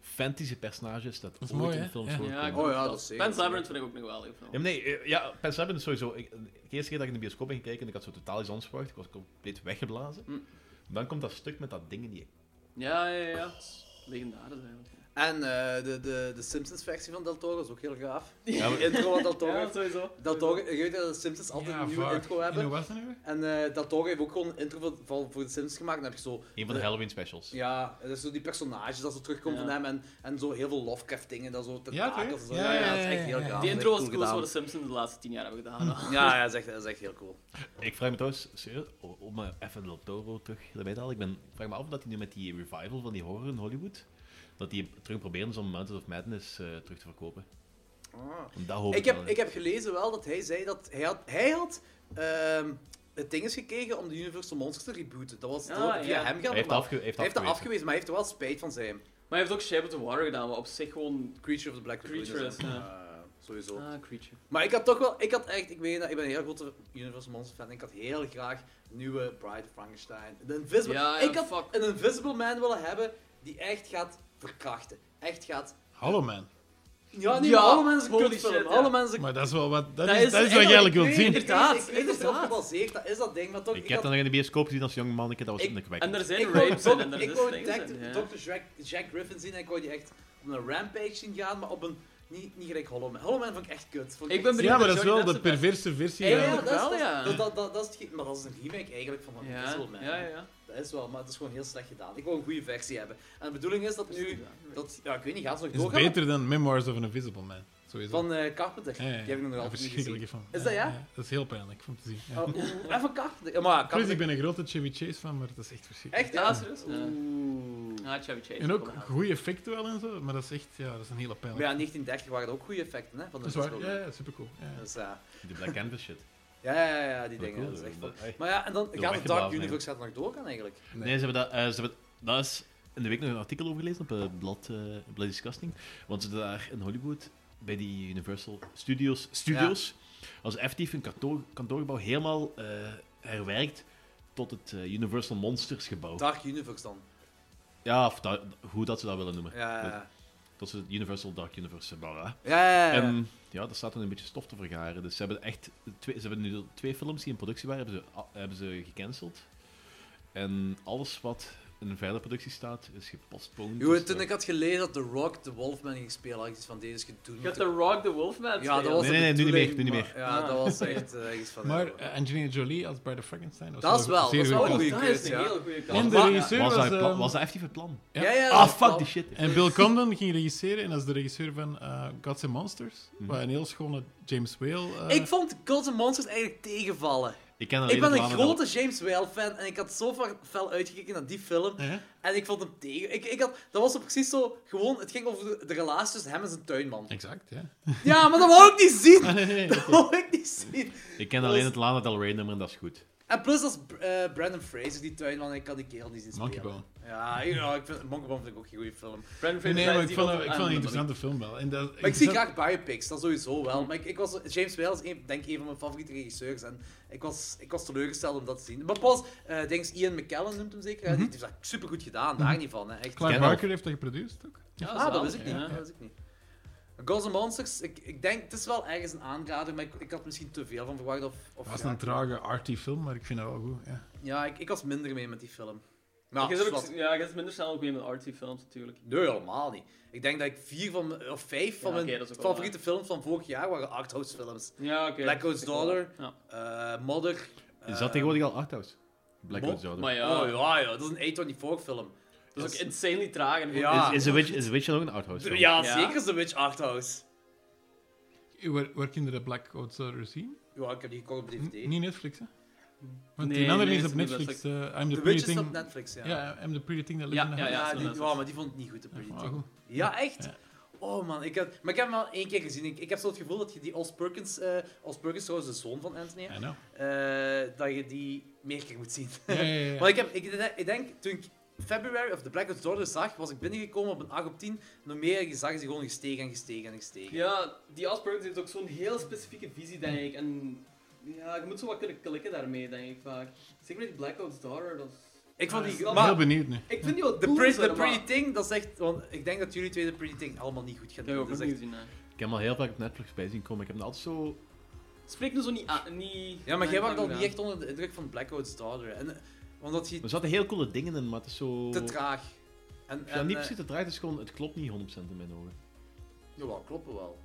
S6: fantasy personage is dat,
S4: is
S6: ooit
S4: mooi,
S6: in
S4: hè?
S6: films
S4: Ja.
S6: voorkomt.
S3: Ja, ik
S5: Oh
S3: vond
S5: ja,
S3: het
S5: dat is
S3: wel.
S5: zeker.
S3: Pan's Labyrinth vind ik ook nog wel heel
S6: Ja,
S3: veel.
S6: maar nee, eh, ja, Pens Labyrinth is sowieso. Ik, de eerste keer dat ik in de bioscoop ging kijken, ik had zo totaal iets anders verwacht. Ik was compleet weggeblazen.
S5: Mm.
S6: Dan komt dat stuk met dat ding in die...
S3: Ja, ja, ja. ja. Legendarisch eigenlijk.
S5: En eh, de, de, de Simpsons-versie van Del Toro is ook heel gaaf.
S6: Ja,
S5: De intro van Del Toro.
S3: Ja,
S5: heeft-
S3: sowieso.
S5: Del Toro, je weet dat de Simpsons altijd
S4: Ja,
S5: een nieuwe
S4: fuck.
S5: intro
S4: En
S5: hebben.
S4: hoe was dat nu?
S5: En eh Del Toro heeft ook gewoon een intro voor, voor, voor de Simpsons gemaakt. En dan heb je zo...
S6: Een van de Halloween specials.
S5: Ja, dat is zo die personages dat zo terugkomt
S3: Ja.
S5: van hem. En, en zo heel veel Lovecraft-dingen. Dat zo
S4: Ja,
S5: tentakels en
S4: toch?
S5: zo.
S4: Ja, ja,
S5: dat is
S4: ja,
S5: echt heel
S4: ja.
S5: gaaf.
S3: Die
S5: Dat is
S3: intro
S5: echt
S3: was
S5: cool
S3: cool
S5: gedaan.
S3: voor de Simpsons de laatste tien jaar hebben gedaan.
S5: Ja, ja dat, is echt, dat is echt heel cool.
S6: Ik vraag me trouwens, serieus, o- om eh, even Del Toro terug erbij te halen. Ik, ben, ik vraag me af of dat hij nu met die revival van die horror in Hollywood, dat die terug proberen om Mountains of Madness eh, terug te verkopen.
S5: Ah.
S6: Want dat hoop ik,
S5: Ik heb,
S6: wel, hè.
S5: ik heb gelezen wel dat hij zei dat hij had, hij had ehm, het ding is gekregen om de Universal Monsters te rebooten. Dat was
S3: Ah,
S5: door- via
S3: ja.
S5: hem
S6: Hij
S5: gaan.
S6: heeft,
S5: maar-
S6: afge, heeft
S5: hij heeft dat
S6: afgewezen.
S5: afgewezen, maar hij heeft er wel spijt van zijn.
S3: Maar hij heeft ook Shape of the Water gedaan, wat op zich gewoon...
S5: Creature of the Black Lagoon.
S3: Creature
S5: is
S3: is,
S5: hem, eh, sowieso.
S3: Ah, Creature.
S5: Maar ik had toch wel, ik had echt, ik weet dat, ik ben een heel grote Universal Monsters fan. en Ik had heel graag nieuwe Bride of Frankenstein. De Invisible,
S3: Ja, ja,
S5: ik had
S3: fuck.
S5: een Invisible Man willen hebben die echt gaat verkrachten. Echt gaat.
S4: Hallo, man.
S5: Ja, nee,
S3: Ja,
S5: maar alle mensen
S3: holy
S5: kutfilm.
S3: shit, ja.
S5: Alle mensen
S4: Maar dat is wel wat... Dat,
S3: Dat
S4: is,
S3: is
S4: dat is wat je
S3: eigenlijk-
S4: eigenlijk wilt zien.
S3: Inderdaad,
S5: Ik weet- ik weet het
S3: inderdaad.
S5: wel gebaseerd, dat is dat ding, maar toch...
S6: Ik heb dat
S5: had-
S6: nog in de bioscoop gezien als jong manneke, dat was
S5: Ik-
S6: in de kwijt.
S3: En er
S5: ik
S3: zijn
S5: wou
S3: rapes
S5: Doc-
S3: in en er
S5: Ik
S3: is
S5: wou
S3: dingen in, ja.
S5: Dr. Jack, Jack Griffin zien en ik wou die echt op een rampage zien gaan, maar op een... Niet, niet gelijk Hollow Man. Hollow Man vond ik echt kut. Vond
S3: Ik ben
S4: Ja,
S3: benieuwd
S4: maar
S3: naar
S4: dat is
S3: Johnny
S4: wel de
S3: Depp's effect.
S4: perverse versie.
S3: Ja,
S4: eigenlijk.
S5: dat is-
S3: wel,
S5: dat is-
S3: ja.
S5: Dat, dat, dat, dat is hetgeen- maar dat is een remake eigenlijk van een
S3: Ja,
S5: Invisible Man.
S3: ja, ja.
S5: Dat is wel, maar het is gewoon heel slecht gedaan. Ik wil een goede versie hebben. En de bedoeling is dat nu... Dat, ja, ik weet niet, gaan ze nog
S4: is
S5: doorgaan?
S4: beter dan Memoirs of an Invisible Man. Sowieso.
S5: Van eh Carpenter.
S4: Ja, ja, ja.
S5: Die heb ik nog
S4: Een
S5: altijd niet gezien.
S4: verschrikkelijke film.
S5: Is dat ja?
S4: Dat is heel pijnlijk om te zien. Ja.
S5: Oh, oeh, en van Carpenter. Ja, Maar
S4: Plus,
S5: Carpenter...
S4: ik ben een grote Chevy Chase fan, maar dat is echt verschrikkelijk.
S5: Echt,
S3: Ja,
S5: ja?
S3: serieus? Ja.
S5: Oeh.
S3: Ah, Chevy Chase.
S4: En ook
S3: kom maar.
S4: goede effecten wel en zo, maar dat is echt... Ja, dat is een hele
S5: Maar
S4: pijnlijke
S5: ja, in 1930 waren er ook goede effecten hè, van de
S4: Dat is waar,
S5: Invisible Man.
S4: ja, ja, supercool. Ja.
S5: Dus, eh,
S6: De Black Canvas shit.
S5: ja, ja, ja, ja, die
S6: Dat is
S5: dingen.
S6: cool,
S5: dat is echt
S6: dat-
S5: vet.
S6: hey.
S5: Maar ja, en dan gaat het Dark
S6: weggeblazen,
S5: Universe gaat er nog doorgaan eigenlijk.
S4: Nee.
S6: Nee, ze hebben dat, eh, ze hebben, dat is in de week nog een artikel over gelezen op het blad, eh blad Disgusting. Want ze daar in Hollywood, bij die Universal Studios, studios als effectief een kantoor, kantoorgebouw helemaal eh, herwerkt tot het eh, Universal Monsters gebouw.
S5: Dark Universe dan.
S6: ja, of dat- hoe dat ze dat willen noemen.
S5: Ja, ja,
S6: Tot ze het Universal Dark Universe bla bla.
S5: ja. ja, ja.
S7: Ehm,
S6: En ja, daar staat dan een beetje stof te vergaren. Dus ze hebben echt twee, ze hebben nu twee films die in productie waren, hebben ze, a- hebben ze gecanceld. En alles wat in verder productie staat, is gepostponed.
S5: Yo,
S6: Dus,
S5: toen
S6: eh,
S5: ik had gelezen dat The Rock de Wolfman ging spelen, had ik iets van deze gedoe.
S3: Je hebt de Rock the Wolfman
S5: Ja, dat
S3: spelen.
S5: was
S6: Nee, nee, nee,
S5: de
S6: nu niet meer,
S5: bedoeling,
S6: nu niet
S5: maar- Ja,
S3: Ah.
S5: dat was echt eh, iets van...
S4: Maar
S5: ja.
S4: eh, Angelina Jolie als Bride of Frankenstein... was
S5: Dat is wel-
S4: zeer
S5: dat is
S4: goed
S5: wel
S4: gedaan.
S5: een
S3: dat
S5: goeie
S3: is
S5: keuze,
S3: een
S5: ja.
S3: hele goede
S4: En
S3: kans.
S4: de
S5: Maar-
S4: regisseur
S6: was,
S4: was...
S6: dat, pla-
S4: ehm,
S6: was dat effectief het plan?
S4: ja.
S5: ja, ja,
S6: ah,
S5: dat is wel-
S6: fuck die shit.
S4: En Bill Condon ging regisseren en dat is de regisseur van eh, Gods and Monsters.
S6: Mhm.
S4: Wat een heel schone James Whale... eh,
S5: Ik vond Gods and Monsters eigenlijk tegenvallen.
S7: Ik ken alleen
S5: Ik ben
S7: het
S5: een
S7: Lana Del-
S5: grote James Whale fan en ik had zo ver- fel uitgekeken naar die film.
S4: Ja?
S5: En ik vond hem tegen. Ik, ik had, dat was zo precies zo. Gewoon, het ging over de, de relatie tussen hem en zijn tuinman.
S4: Exact, ja.
S5: Ja, maar dat wou ik niet
S4: Ah,
S5: zien!
S7: Nee,
S5: Dat wou ik niet zien.
S7: Ik ken
S5: Dat
S7: alleen
S5: is-
S7: het Lana Del Rey nummer en dat is goed.
S5: En plus, dat is eh, Brandon Fraser, die tuinman. en Ik kan die kerel niet zien spelen.
S4: Monkey Bone.
S5: Ja, ja, ik vind, Monkey Bone vind ik ook een goede film.
S3: Brandon
S4: Nee, maar
S3: Fraser lijkt
S4: ik
S3: die
S4: vond,
S3: wel
S4: het- ik
S3: aan
S4: vond het een
S3: de
S4: interessante film wel. En dat,
S5: Maar ik zie
S4: interessant-
S5: graag biopics, dat sowieso wel. Maar ik, ik was, James Whale is een, denk ik een van mijn favoriete regisseurs. En ik was, ik was teleurgesteld om dat te zien. Maar pas, eh denk eens Ian McKellen noemt hem zeker. hè,
S4: Mhm.
S5: Die heeft dat supergoed gedaan, daar niet van. Hè. Echt.
S4: Clive
S7: Ken al.
S4: Barker heeft dat geproduceerd ook.
S3: Ja,
S5: ah, dat
S3: zalig,
S5: wist ik niet.
S3: ja.
S5: Dat wist ik niet. Gods and Monsters, ik, ik denk, het is wel ergens een aanrader, maar ik, ik had misschien te veel van verwacht. Of, of
S4: Dat was
S5: ja,
S4: een trage, arty film, maar ik vind dat wel goed. Ja.
S5: ja, ik, ik was minder mee met die film. Maar
S3: Je
S5: ja,
S3: zit
S5: wat-
S3: ook, ja, je zit minder snel ook mee met artsy films natuurlijk.
S5: Nee, helemaal niet. Ik denk dat ik vier van, mijn- of vijf van
S3: Ja,
S5: mijn
S3: oké, dat is ook wel
S5: favoriete films van vorig jaar waren arthouse films.
S3: Ja, oké.
S5: Black Ops Daughter.
S3: Ja.
S5: Eh Modder.
S7: Is
S5: eh,
S7: dat tegenwoordig al Arthouse? Black
S5: Mo-
S7: Ops Daughter.
S3: Maar ja,
S5: Oh ja, ja, dat is een A24-film.
S3: dat is ook insanely traag. En
S5: Ja.
S7: Is, is, The Witch, is The Witch dan ook een Arthouse film?
S5: Ja,
S3: Ja.
S5: zeker is The Witch Arthouse.
S4: Waar, waar kinderen Black Oats zouden zien?
S5: Ja, ik heb die gekocht op DVD.
S4: N- Niet Netflix, hè? Want
S3: Nee,
S4: die andere
S3: nee,
S4: is
S3: is
S4: op
S3: niet
S4: Netflix. eh, I'm the,
S5: The
S4: pretty
S5: Witch is
S4: thing.
S5: op Netflix, ja.
S4: Ja, I'm the pretty thing that
S3: Ja,
S4: lives in the
S3: ja,
S5: Ja,
S4: house.
S5: die,
S3: is op Netflix.
S5: ja, maar die vond ik niet goed, de Pretty
S4: Maar
S5: Thing.
S4: Ah, goed.
S5: Ja, echt?
S4: Ja.
S5: Oh man, ik heb, maar ik heb hem al één keer gezien. Ik, ik heb zo het gevoel dat je die Os Perkins, eh Oz Perkins trouwens de zoon van Anthony,
S4: I know.
S5: eh, dat je die meer keer moet zien.
S4: Ja, ja, ja, ja.
S5: Maar ik, heb, ik, ik denk, toen ik February of The Black Ops Daughter zag, was ik binnengekomen op een 8 op 10. En hoe meer ik zag, is die gewoon gestegen en gestegen en
S4: eh.
S5: gestegen.
S3: Ja, die Asperger heeft ook zo'n heel specifieke visie, denk ik. En ja, je moet zo wat kunnen klikken daarmee, denk ik vaak. Zeker met die Black Ops Daughter, dat is-
S5: Ik vond die...
S3: Ja,
S4: ben
S5: Maar
S4: heel benieuwd nu.
S3: Ik vind die wel
S5: The,
S3: cool,
S5: Pretty-
S3: zo,
S5: The
S3: maar-
S5: Pretty Thing, dat is echt... Want ik denk dat jullie twee The Pretty Thing allemaal niet goed gaan
S3: Ik heb
S5: doen.
S3: ook nog
S5: Dat is
S3: niet
S5: echt-
S3: gezien, hè.
S7: Ik heb hem al heel vaak op Netflix bij zien komen. Ik heb hem altijd zo...
S3: Spreek nu zo niet aan. Niet,
S5: Ja, maar jij
S3: wordt
S5: was al niet echt onder de indruk van Black Ops Daughter. En, eh, omdat je
S7: Er zaten heel coole dingen in, maar het is zo...
S5: te traag... En,
S7: Ja,
S5: en,
S7: niet
S5: eh,
S7: precies te draait, het is gewoon... Het klopt niet 100% in mijn ogen.
S5: Jawel, kloppen wel.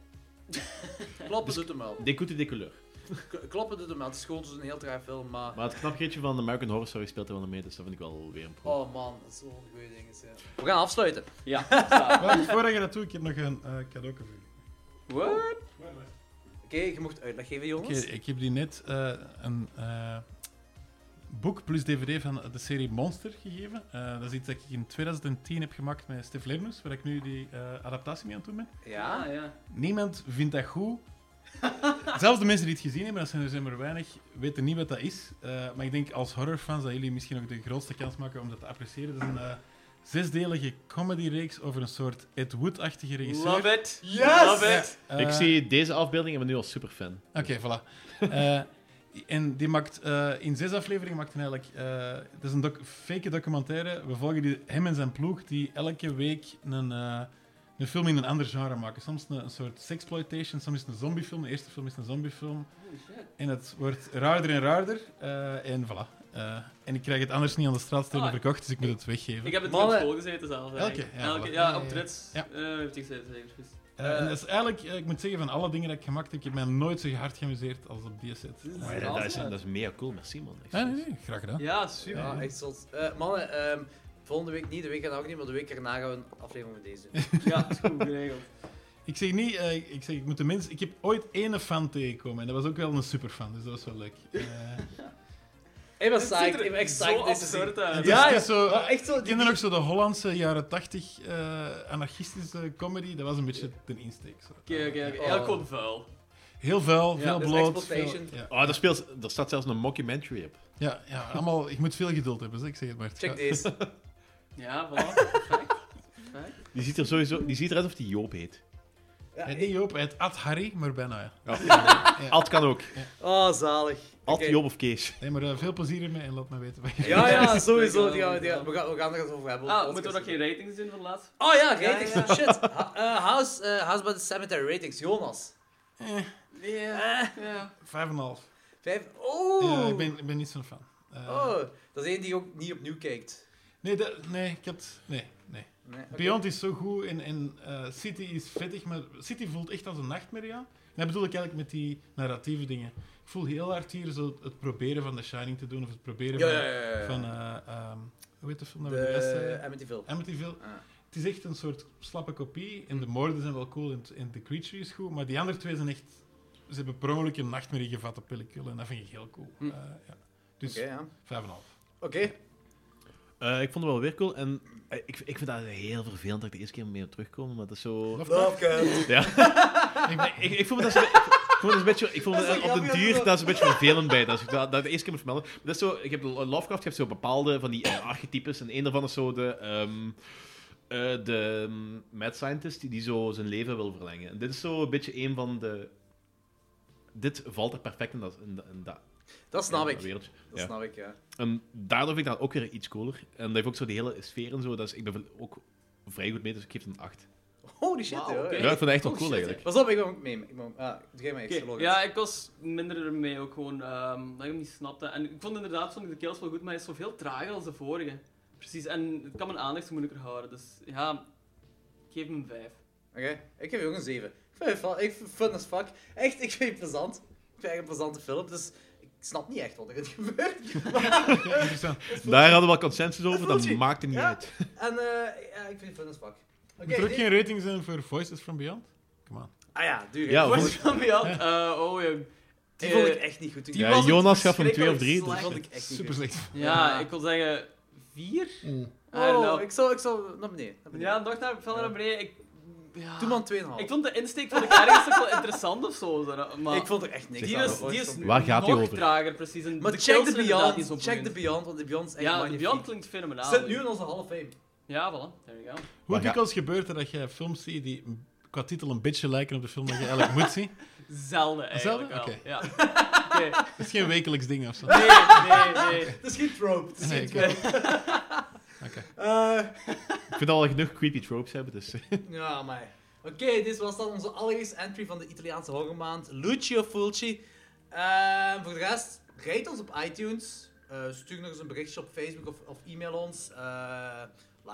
S5: kloppen doet hem wel.
S7: De Coute de Couleur.
S5: K- Kloppen doet hem wel. Het is gewoon zo'n heel traag film, maar...
S7: Maar het knapgeetje van American Horror Story speelt er wel mee, dus dat vind ik wel weer een pro.
S5: Oh man, dat is zo'n goede ding. is, ja. We gaan afsluiten.
S3: Ja, staat.
S4: Maar voordat je dat doet, ik heb nog een eh cadeau voor je.
S5: What? Oké, je mocht uitleg geven,
S4: Ik,
S5: jongens.
S4: ik heb die net eh, een eh, boek plus DVD van de serie Monster gegeven. Eh, dat is iets dat ik in 2010 heb gemaakt met Stef Lemnus, waar ik nu die eh, adaptatie mee aan het doen ben.
S5: Ja?
S3: Ah, ja.
S4: Niemand vindt dat goed. Zelfs de mensen die het gezien hebben, dat zijn er, zijn er weinig, weten niet wat dat is. Eh, maar ik denk als horrorfans dat jullie misschien ook de grootste kans maken om dat te appreciëren. Het is een eh, zesdelige comedy-reeks over een soort Ed Wood-achtige regisseur.
S3: Love it.
S5: Yes!
S3: Love it.
S4: Eh,
S7: ik zie deze afbeelding en ben nu al super fan.
S4: Oké, voilà. Eh, en die maakt eh, in zes afleveringen maakt hij eigenlijk. eh, het is een doc- fake documentaire. We volgen die, hem en zijn ploeg die elke week een, eh, een film in een ander genre maken. Soms een, een soort sexploitation, soms is het een zombiefilm. De eerste film is een zombiefilm. En het wordt raarder en raarder. eh, en voilà. Eh, en ik krijg het anders niet aan de straatstenen
S3: Ah,
S4: verkocht, dus ik moet het weggeven.
S3: Ik heb het hier op
S5: Mannen.
S3: school gezeten zelf. eigenlijk.
S4: Elke, ja,
S3: Elke,
S4: voilà.
S3: ja, Eh,
S4: Ja,
S3: op Trits.
S4: ja.
S3: Ja. heeft hij gezeten, zeker. precies.
S4: Eh, en dat is eigenlijk, eh, ik moet zeggen, van alle dingen dat ik gemaakt heb, ik heb mij nooit zo hard geamuseerd als op die set. Eh,
S7: Maar dat, Oh, dat is, dat is mega cool, merci man.
S4: nee, nee, nee, graag gedaan.
S3: Ja, super.
S5: Ja, echt zot. Eh, mannen, ehm, volgende week niet, de week erna ook niet, maar de week erna gaan we een aflevering met deze doen.
S3: Ja, is goed geregeld.
S4: Ik zeg niet, eh, ik zeg, ik moet de mensen. Ik heb ooit ene fan tegengekomen en dat was ook wel een superfan, dus dat was wel leuk. Eh,
S5: Ik ben
S3: Het ziet
S5: psyched, ik
S3: er
S5: ben echt
S3: zo
S5: psyched dit te zien.
S3: absurd uit.
S4: het
S5: Ja,
S4: is- het is zo,
S5: maar echt zo,
S4: ik kende
S5: die-
S4: nog zo de Hollandse jaren 80 eh, anarchistische comedy, dat was een beetje de insteek. Zo.
S3: Oké, oké, oké. Ja,
S5: Oh.
S3: komt vuil.
S4: Heel vuil, veel
S5: dus
S4: bloot.
S5: exploitation.
S4: veel- ja.
S7: Oh, daar, speelt, daar staat zelfs een mockumentary op.
S4: Ja, ja, allemaal, je moet veel geduld hebben, zeg ik zeg het maar.
S5: Check deze.
S3: Ja, voilà. Perfect.
S7: Die ziet er sowieso... Die ziet eruit of die Joop heet.
S4: Ja, niet Eh, Joop, het at Harry, maar bijna. Ja.
S7: Alt kan ook.
S5: Oh, zalig.
S7: Alt,
S5: Oké.
S7: Joop of Kees.
S4: Nee, maar eh, veel plezier ermee en laat me weten wat je
S5: Ja, ja, sowieso.
S3: Zeker,
S5: Die gaan, we- die
S3: ja.
S5: gaan- we, gaan, we gaan er eens over hebben.
S3: Ah, moeten we nog geen ratings doen van laatst?
S5: Oh ja, ratings.
S3: Ja, ja.
S5: Shit. Ha- eh, house, eh, house by the Cemetery ratings. Jonas.
S3: Ja.
S4: Vijf en een half.
S5: Vijf. Oeh.
S4: Ja, ik, ben, ik ben niet zo'n fan. Eh,
S5: Oh, dat is één die ook niet opnieuw kijkt.
S4: nee, dat, nee, ik heb... het- Nee, nee.
S5: Nee, oké.
S4: Beyond is zo goed en, en eh, City is vettig, maar City voelt echt als een nachtmerrie aan. En dat bedoel ik eigenlijk met die narratieve dingen. Ik voel heel hard hier zo het proberen van The Shining te doen, of het proberen
S5: Ja,
S4: van...
S5: ja, ja. ja.
S4: van eh, ehm, hoe heet de film dat eh, we de rest
S5: de
S4: zeiden?
S5: Amityville.
S4: Amityville.
S5: Ah.
S4: Het is echt een soort slappe kopie. En de moorden zijn wel cool en, t- en de creature is goed, maar die andere twee zijn echt... ze hebben per ongeluk een nachtmerrie gevat op pellicule en dat vind ik heel cool. Eh, ja. Dus
S5: Hm. Oké, ja.
S4: 5,5.
S5: Oké,
S6: Eh, ik vond het wel weer cool. En eh, ik, ik vind dat heel vervelend dat ik de eerste keer mee op terugkomen. Maar dat is zo...
S5: Lovecraft.
S6: Ik, ik voel me dat zo... Ik voel me dat een beetje, ik voel me
S5: Dat is
S6: dat
S5: zo
S6: op de
S5: grappig,
S6: duur,
S5: dat is
S6: dat is een beetje vervelend bij. Dat is, dat, dat de eerste keer moet vermelden. Maar dat is zo, ik heb Lovecraft heeft zo bepaalde van die eh, archetypes. En een daarvan is zo de, ehm, eh, de mm, mad scientist die, die zo zijn leven wil verlengen. En dit is zo een beetje een van de... Dit valt er perfect in dat, in, dat- in dat,
S5: Dat snap
S6: in
S5: ik.
S6: dat wereldje.
S5: Dat
S6: Ja.
S5: snap ik, ja.
S6: En daardoor vind ik dat ook weer iets cooler. En dat heeft ook zo die hele sfeer en zo. Dat is, ik ben ook vrij goed mee, dus ik geef het een 8.
S5: Holy shit,
S3: Wauw,
S5: joh.
S3: oké.
S6: Ja, ik vond het echt wel cool
S3: shit,
S6: eigenlijk.
S5: Pas op, ik ben ook mee. Ik ben, ah, doe jij maar eerst,
S3: Oké,
S5: Logan.
S3: Ja, ik was minder ermee ook gewoon, ehm, dat ik hem niet snapte. En ik vond inderdaad vond ik de kills wel goed, maar hij is zoveel trager als de vorige. Precies, en het kan mijn aandacht zo moeilijker houden. Dus ja, ik geef hem een 5.
S5: Oké, ik geef je ook een 7. Ik vind het wel- ik vind het fun as fuck. Echt, ik vind het plezant. Ik vind het een plezante film, dus ik snap niet echt wat er gebeurt.
S4: Ja, interessant.
S6: Daar hadden we wel consensus over,
S5: voelt
S6: dat
S5: je-
S6: maakt het niet
S5: Ja.
S6: uit.
S5: En eh, ja, ik vind het fun as fuck. Oké,
S4: Moet er ook
S5: nee-
S4: geen rating zijn voor Voices from Beyond? Come on.
S5: Ah ja, duur. hè.
S6: Ja,
S5: Die
S6: vond
S3: Wat
S6: ik-
S3: is van Jan? Eh, oh jong.
S5: die vond ik
S3: eh,
S5: echt niet goed.
S3: die
S6: Ja,
S3: was
S6: Jonas
S3: gaf
S6: gaf hem twee of drie, dus
S5: Die vond ik echt niet
S4: Super
S5: goed.
S4: slecht.
S3: Ja, ik wil zeggen 4.
S5: Oh, ik zou, ik zou naar beneden. Naar beneden.
S3: Ja, nog naar, veel naar beneden. Ik, ja.
S5: Doe maar een 2,5.
S3: Ik vond de insteek van de ergens ook wel interessant of zo. zo, Maar
S5: Ik vond er echt niks
S3: die
S5: aan.
S3: is,
S5: hoor.
S3: die is
S6: Waar gaat die
S3: nog
S6: over?
S3: trager, precies. En
S5: Maar
S3: de
S5: check
S3: kills
S5: de
S3: zijn inderdaad
S5: Beyond,
S3: niet zo
S5: check de
S3: boeiend.
S5: Beyond, want de Beyond is echt
S3: Ja, de
S5: magnifiek.
S3: Beyond klinkt fenomenaal.
S5: Zit nu in onze Hall of Fame.
S3: Ja, voilà. There you go.
S4: Hoe
S6: Maar ja.
S4: dikwijls gebeurt er dat je films ziet die qua titel een beetje lijken op de film dat je eigenlijk moet zien?
S3: Zelden eigenlijk
S4: Zelden?
S3: wel.
S4: Oké.
S3: Ja. Oké.
S4: Dat is geen wekelijks ding of zo.
S3: Nee, nee, nee.
S5: Dat is geen trope. dat is
S4: Nee,
S5: geen
S4: oké.
S5: trope. Eh,
S6: Ik vind al dat we genoeg creepy tropes hebben, dus...
S5: Ja, maar. Oké, dit was dan onze allereerste entry van de Italiaanse horrormaand, Lucio Fulci. Ehm, voor de rest, rate ons op iTunes. eh, stuur nog eens een berichtje op Facebook of, of e-mail ons. eh,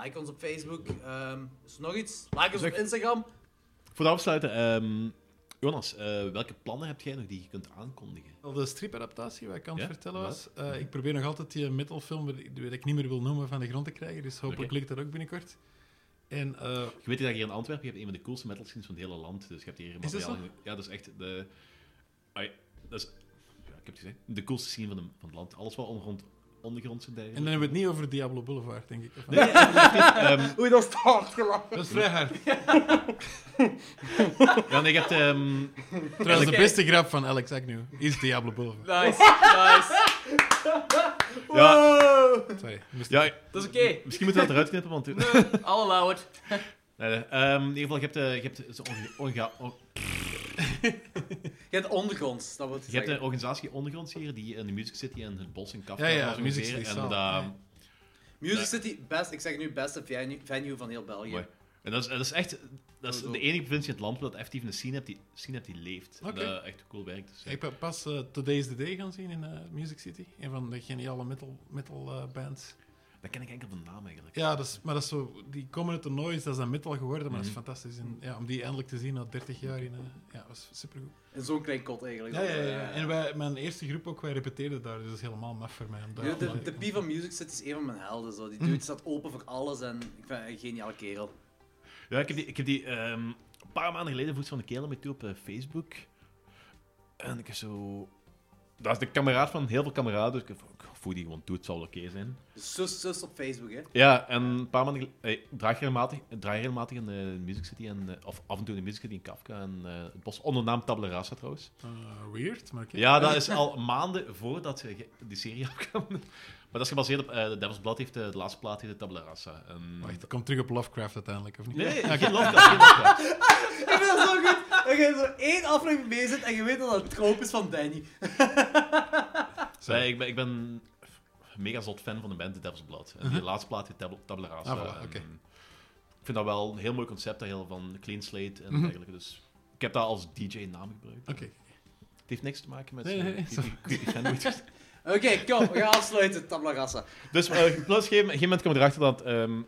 S5: like ons op Facebook. Ehm, is er nog iets? Like ons op
S6: Zeg-
S5: Instagram.
S6: Voor het afsluiten, ehm, Jonas, eh, welke plannen heb jij nog die je kunt aankondigen?
S4: Wel, De stripadaptatie, wat ik aan het
S6: Ja?
S4: vertellen was. eh, ik probeer nog altijd die metalfilm, waar ik- die ik niet meer wil noemen, van de grond te krijgen. Dus hopelijk
S6: Oké.
S4: lukt dat ook binnenkort. En eh,
S6: Je weet dat je hier in Antwerpen, je hebt een van de coolste metal scenes van het hele land, dus je hebt hier
S4: dat
S6: materiaal... Ja, dat is echt de... Ai, dat is... Ja, ik heb het gezegd. De coolste scene van, de- van het land. Alles wat ondergrond, ondergrondse dingen.
S4: En dan hebben we het niet over Diablo Boulevard, denk ik.
S6: ehm,
S5: Oei, dat is hard gelachen.
S4: Dat is vrij hard.
S6: Ja, nee, je hebt... ehm,
S4: Trouwens, de
S3: Oké.
S4: beste grap van Alex Agnew is Diablo Boulevard.
S3: Nice, nice.
S6: ja,
S4: Sorry. moest-
S6: ja,
S3: Dat is oké.
S6: misschien moeten we dat eruit knippen, want...
S3: I'll allow it.
S6: Nee, nee, ehm, in ieder geval, je hebt, eh, je hebt zo'n onge- onga- on-
S5: Je hebt ondergronds, dat wil ik
S6: Je hebt
S5: zeggen.
S6: een organisatie ondergronds hier die in de Music City en het bos en café
S4: Ja, ja,
S6: organiseren.
S4: Music City
S6: en,
S4: Sound,
S6: dat-
S4: ja.
S5: Music City, best, ik zeg nu, beste venue, venue van heel België.
S6: Mooi. en dat, is, dat is echt dat is
S5: Sowieso.
S6: de enige provincie in het land waar dat effectief een scene hebt die, scene hebt die leeft. En
S4: Oké.
S6: Dat echt cool werkt. Dus, ja.
S4: Ik ben pas eh, Today's the Day gaan zien in eh, Music City. Een van de geniale metal, metal eh, bands.
S6: Dat ken ik enkel van naam eigenlijk.
S4: Ja, dat is, maar dat is zo, die komen uit de noise, dat is dan metal geworden, maar dat
S6: Mhm.
S4: is fantastisch. En, ja, om die eindelijk te zien na 30 jaar, in, eh, ja, was supergoed.
S5: In zo'n klein kot eigenlijk.
S4: Ja, ja, ja,
S5: Eh,
S4: En wij, mijn eerste groep ook, wij repeteerden daar, dus dat is helemaal maf voor mij. om daar
S5: De, de,
S4: allemaal-
S5: de P van Music City is een van mijn helden. Zo. Die dude staat open voor alles en ik vind hem een geniale kerel.
S6: Ja, ik heb die, ik heb die ehm, een paar maanden geleden voegde van de kerel mee toe op eh, Facebook. En ik heb zo... Dat is de kameraad van heel veel kameraden, dus ik heb van, "Ik voeg die gewoon toe, het zal wel oké zijn.
S5: Dus zus, zus op Facebook, hè.
S6: Ja, en een paar maanden geleden... eh, Ik draai regelmatig, ik draai regelmatig in de Music City, en, eh, of af en toe in de Music City in Kafka en eh, het bos, onder naam Tabla Rasa trouwens.
S4: Eh, weird, maar oké.
S6: Ja, dat is al maanden voordat ze ge- die serie afkwam. Maar dat is gebaseerd op... eh, de Devil's Blood heeft eh, de laatste plaat, heet de Tabla Rasa. En...
S4: Wacht, dat komt terug op Lovecraft uiteindelijk, of niet?
S6: Nee, geen Lovecraft, geen Lovecraft.
S5: Ik vind dat zo goed dat je zo één aflevering mee zit en je weet dat dat het troop is van Danny.
S4: Sorry.
S6: Nee, ik ben, ik ben mega zot fan van de band The Devil's Blood. En die laatste plaat heet Tab- Tabla Rasa.
S4: Uh-huh. Ah, voilà,
S6: En
S4: oké.
S6: Ik vind dat wel een heel mooi concept, dat heel van Clean Slate en
S4: Mhm.
S6: dergelijke. Dus ik heb dat als DJ-naam gebruikt.
S4: Oké.
S6: Het heeft niks te maken met...
S4: Nee,
S6: eh,
S4: nee, nee,
S6: creepy- creepy fanboys.
S5: Oké, kom, we gaan afsluiten, Tabla Rasa.
S6: Dus eh, plus, geen, geen moment kwam erachter dat... ehm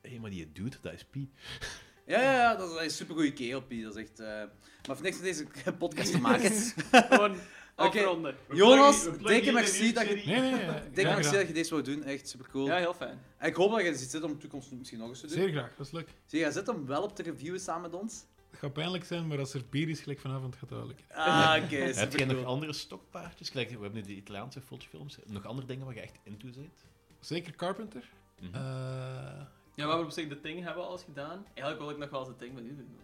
S6: Hé, maar die dude, dat is Piet.
S5: Ja, ja, ja, dat is een supergoeie kerel, Piet. Dat is echt... eh, Maar voor niks met deze podcast te maken.
S3: Gewoon afronden.
S5: Jonas, dikke merci dat je...
S4: Nee, nee, nee. Graag
S5: Dikke merci
S4: gedaan.
S5: dat je deze wou doen, echt supercool.
S3: Ja, heel fijn.
S5: En ik hoop dat je er zit om de toekomst misschien nog eens te doen.
S4: Zeer graag, dat is leuk.
S5: Zie, jij zit hem wel op te reviewen samen met ons.
S4: Het gaat pijnlijk zijn, maar als er bier is, gelijk vanavond gaat het wel lukken.
S5: Ah, oké.
S6: Heb
S5: super
S6: jij nog
S5: cool.
S6: andere stokpaardjes? Gelijk, we hebben nu die Italiaanse films. Nog andere dingen waar je echt into bent?
S4: Zeker Carpenter.
S6: Mhm.
S4: Eh,
S3: Ja, maar we op zich de ding hebben we al eens gedaan. Eigenlijk wil ik nog wel eens de ding met u doen.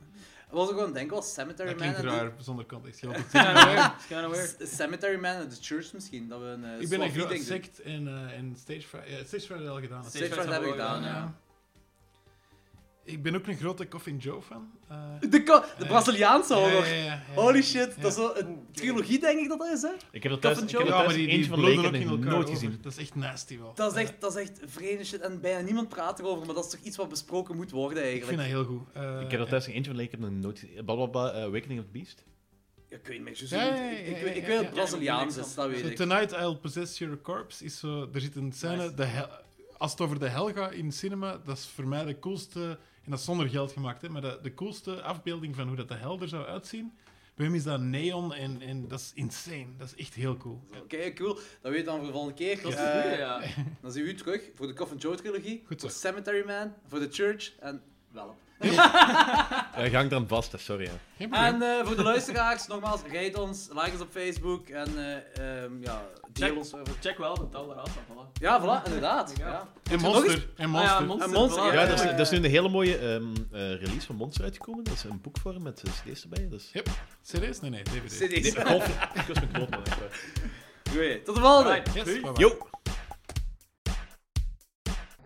S5: was ook wel een denken was Cemetery
S4: dat
S5: Man.
S4: klinkt
S5: en de-
S4: raar, zonder context. Je had het
S3: Scanaware, Scanaware.
S5: S- Cemetery Man en The Church misschien. Dat we een eh,
S4: Ik ben een
S5: SWAT-meeting
S4: groot
S5: doen.
S4: sect en, eh, en stage fright. Ja, stage fright al gedaan.
S5: Stage
S3: Stage
S5: Fright hebben we gedaan,
S3: ja.
S5: ja.
S4: Ik ben ook een grote Coffin Joe fan. Eh,
S5: De, ko- de
S4: Eh,
S5: Braziliaanse
S4: ja,
S5: horror.
S4: ja, ja, ja.
S5: Holy shit,
S4: Ja.
S5: dat is wel een trilogie denk ik dat dat is, hè?
S6: Ik heb dat thuis, ik
S5: Cup
S6: heb
S5: and
S6: dat
S4: Ja, maar
S6: thuis
S4: die, die
S6: eentje van
S4: bloeden
S6: Leken
S4: ook in
S6: en
S4: elkaar
S6: nooit
S4: over.
S6: gezien.
S4: Dat is echt nasty wel.
S5: Dat is
S4: Ja,
S5: echt, dat is echt vreemde shit en bijna niemand praat erover, maar dat is toch iets wat besproken moet worden
S4: Ik
S5: eigenlijk.
S4: vind dat heel goed. Eh,
S6: Ik heb dat thuis eentje van Leken en nooit gezien. Blablabla, eh, Awakening of the Beast.
S5: Ja, ik weet niet,
S4: Ja, ja, ja,
S5: ik, ik,
S4: ja, ja,
S5: ik weet dat
S4: ja.
S5: het Braziliaans
S3: Ja,
S5: is, dat weet
S4: Zo,
S5: ik.
S4: Tonight I'll Possess Your Corpse is zo... Er zit een scène...
S3: Nice.
S4: De hel- als het over de hel gaat in cinema, dat is voor mij de coolste... En dat is zonder geld gemaakt, hè, maar de, de coolste afbeelding van hoe dat de hel er zou uitzien. Bij hem is dat neon en, en dat is insane. Dat is echt heel cool.
S5: Oké, cool. Dat weet je dan voor de volgende keer.
S3: Dat is
S5: Eh,
S3: de goeie, ja.
S5: Dan zien we u terug voor de Coffin Joe trilogie,
S4: Goed zo.
S5: voor Cemetery Man, voor The Church en wel.
S6: Eh, je hangt aan vast, hè, sorry. hè.
S4: Geen probleem.
S5: En eh, voor de luisteraars, nogmaals, rate ons, like ons op Facebook en eh, ehm, ja, deel
S3: Check.
S5: ons. eh,
S3: Check wel de tel eraf, en voilà.
S5: Ja, voilà, inderdaad.
S3: Ja.
S5: Ja.
S4: En
S5: nog eens-
S4: Monster. En Monster.
S3: Ah ja, Monster.
S5: Een monster,
S3: voilà.
S6: Ja, dat is,
S5: eh,
S6: dat is nu een hele mooie ehm, eh, release van Monster uitgekomen. Dat is een boekvorm met eh, cd's erbij. Dat is...
S4: Yep. Serieus? Nee, nee, DVD.
S5: CD's.
S6: Nee, God, ik was mijn kloot, man. echt waar.
S5: Goed, Tot de volgende!
S4: Yes, bye-bye.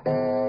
S6: Yo!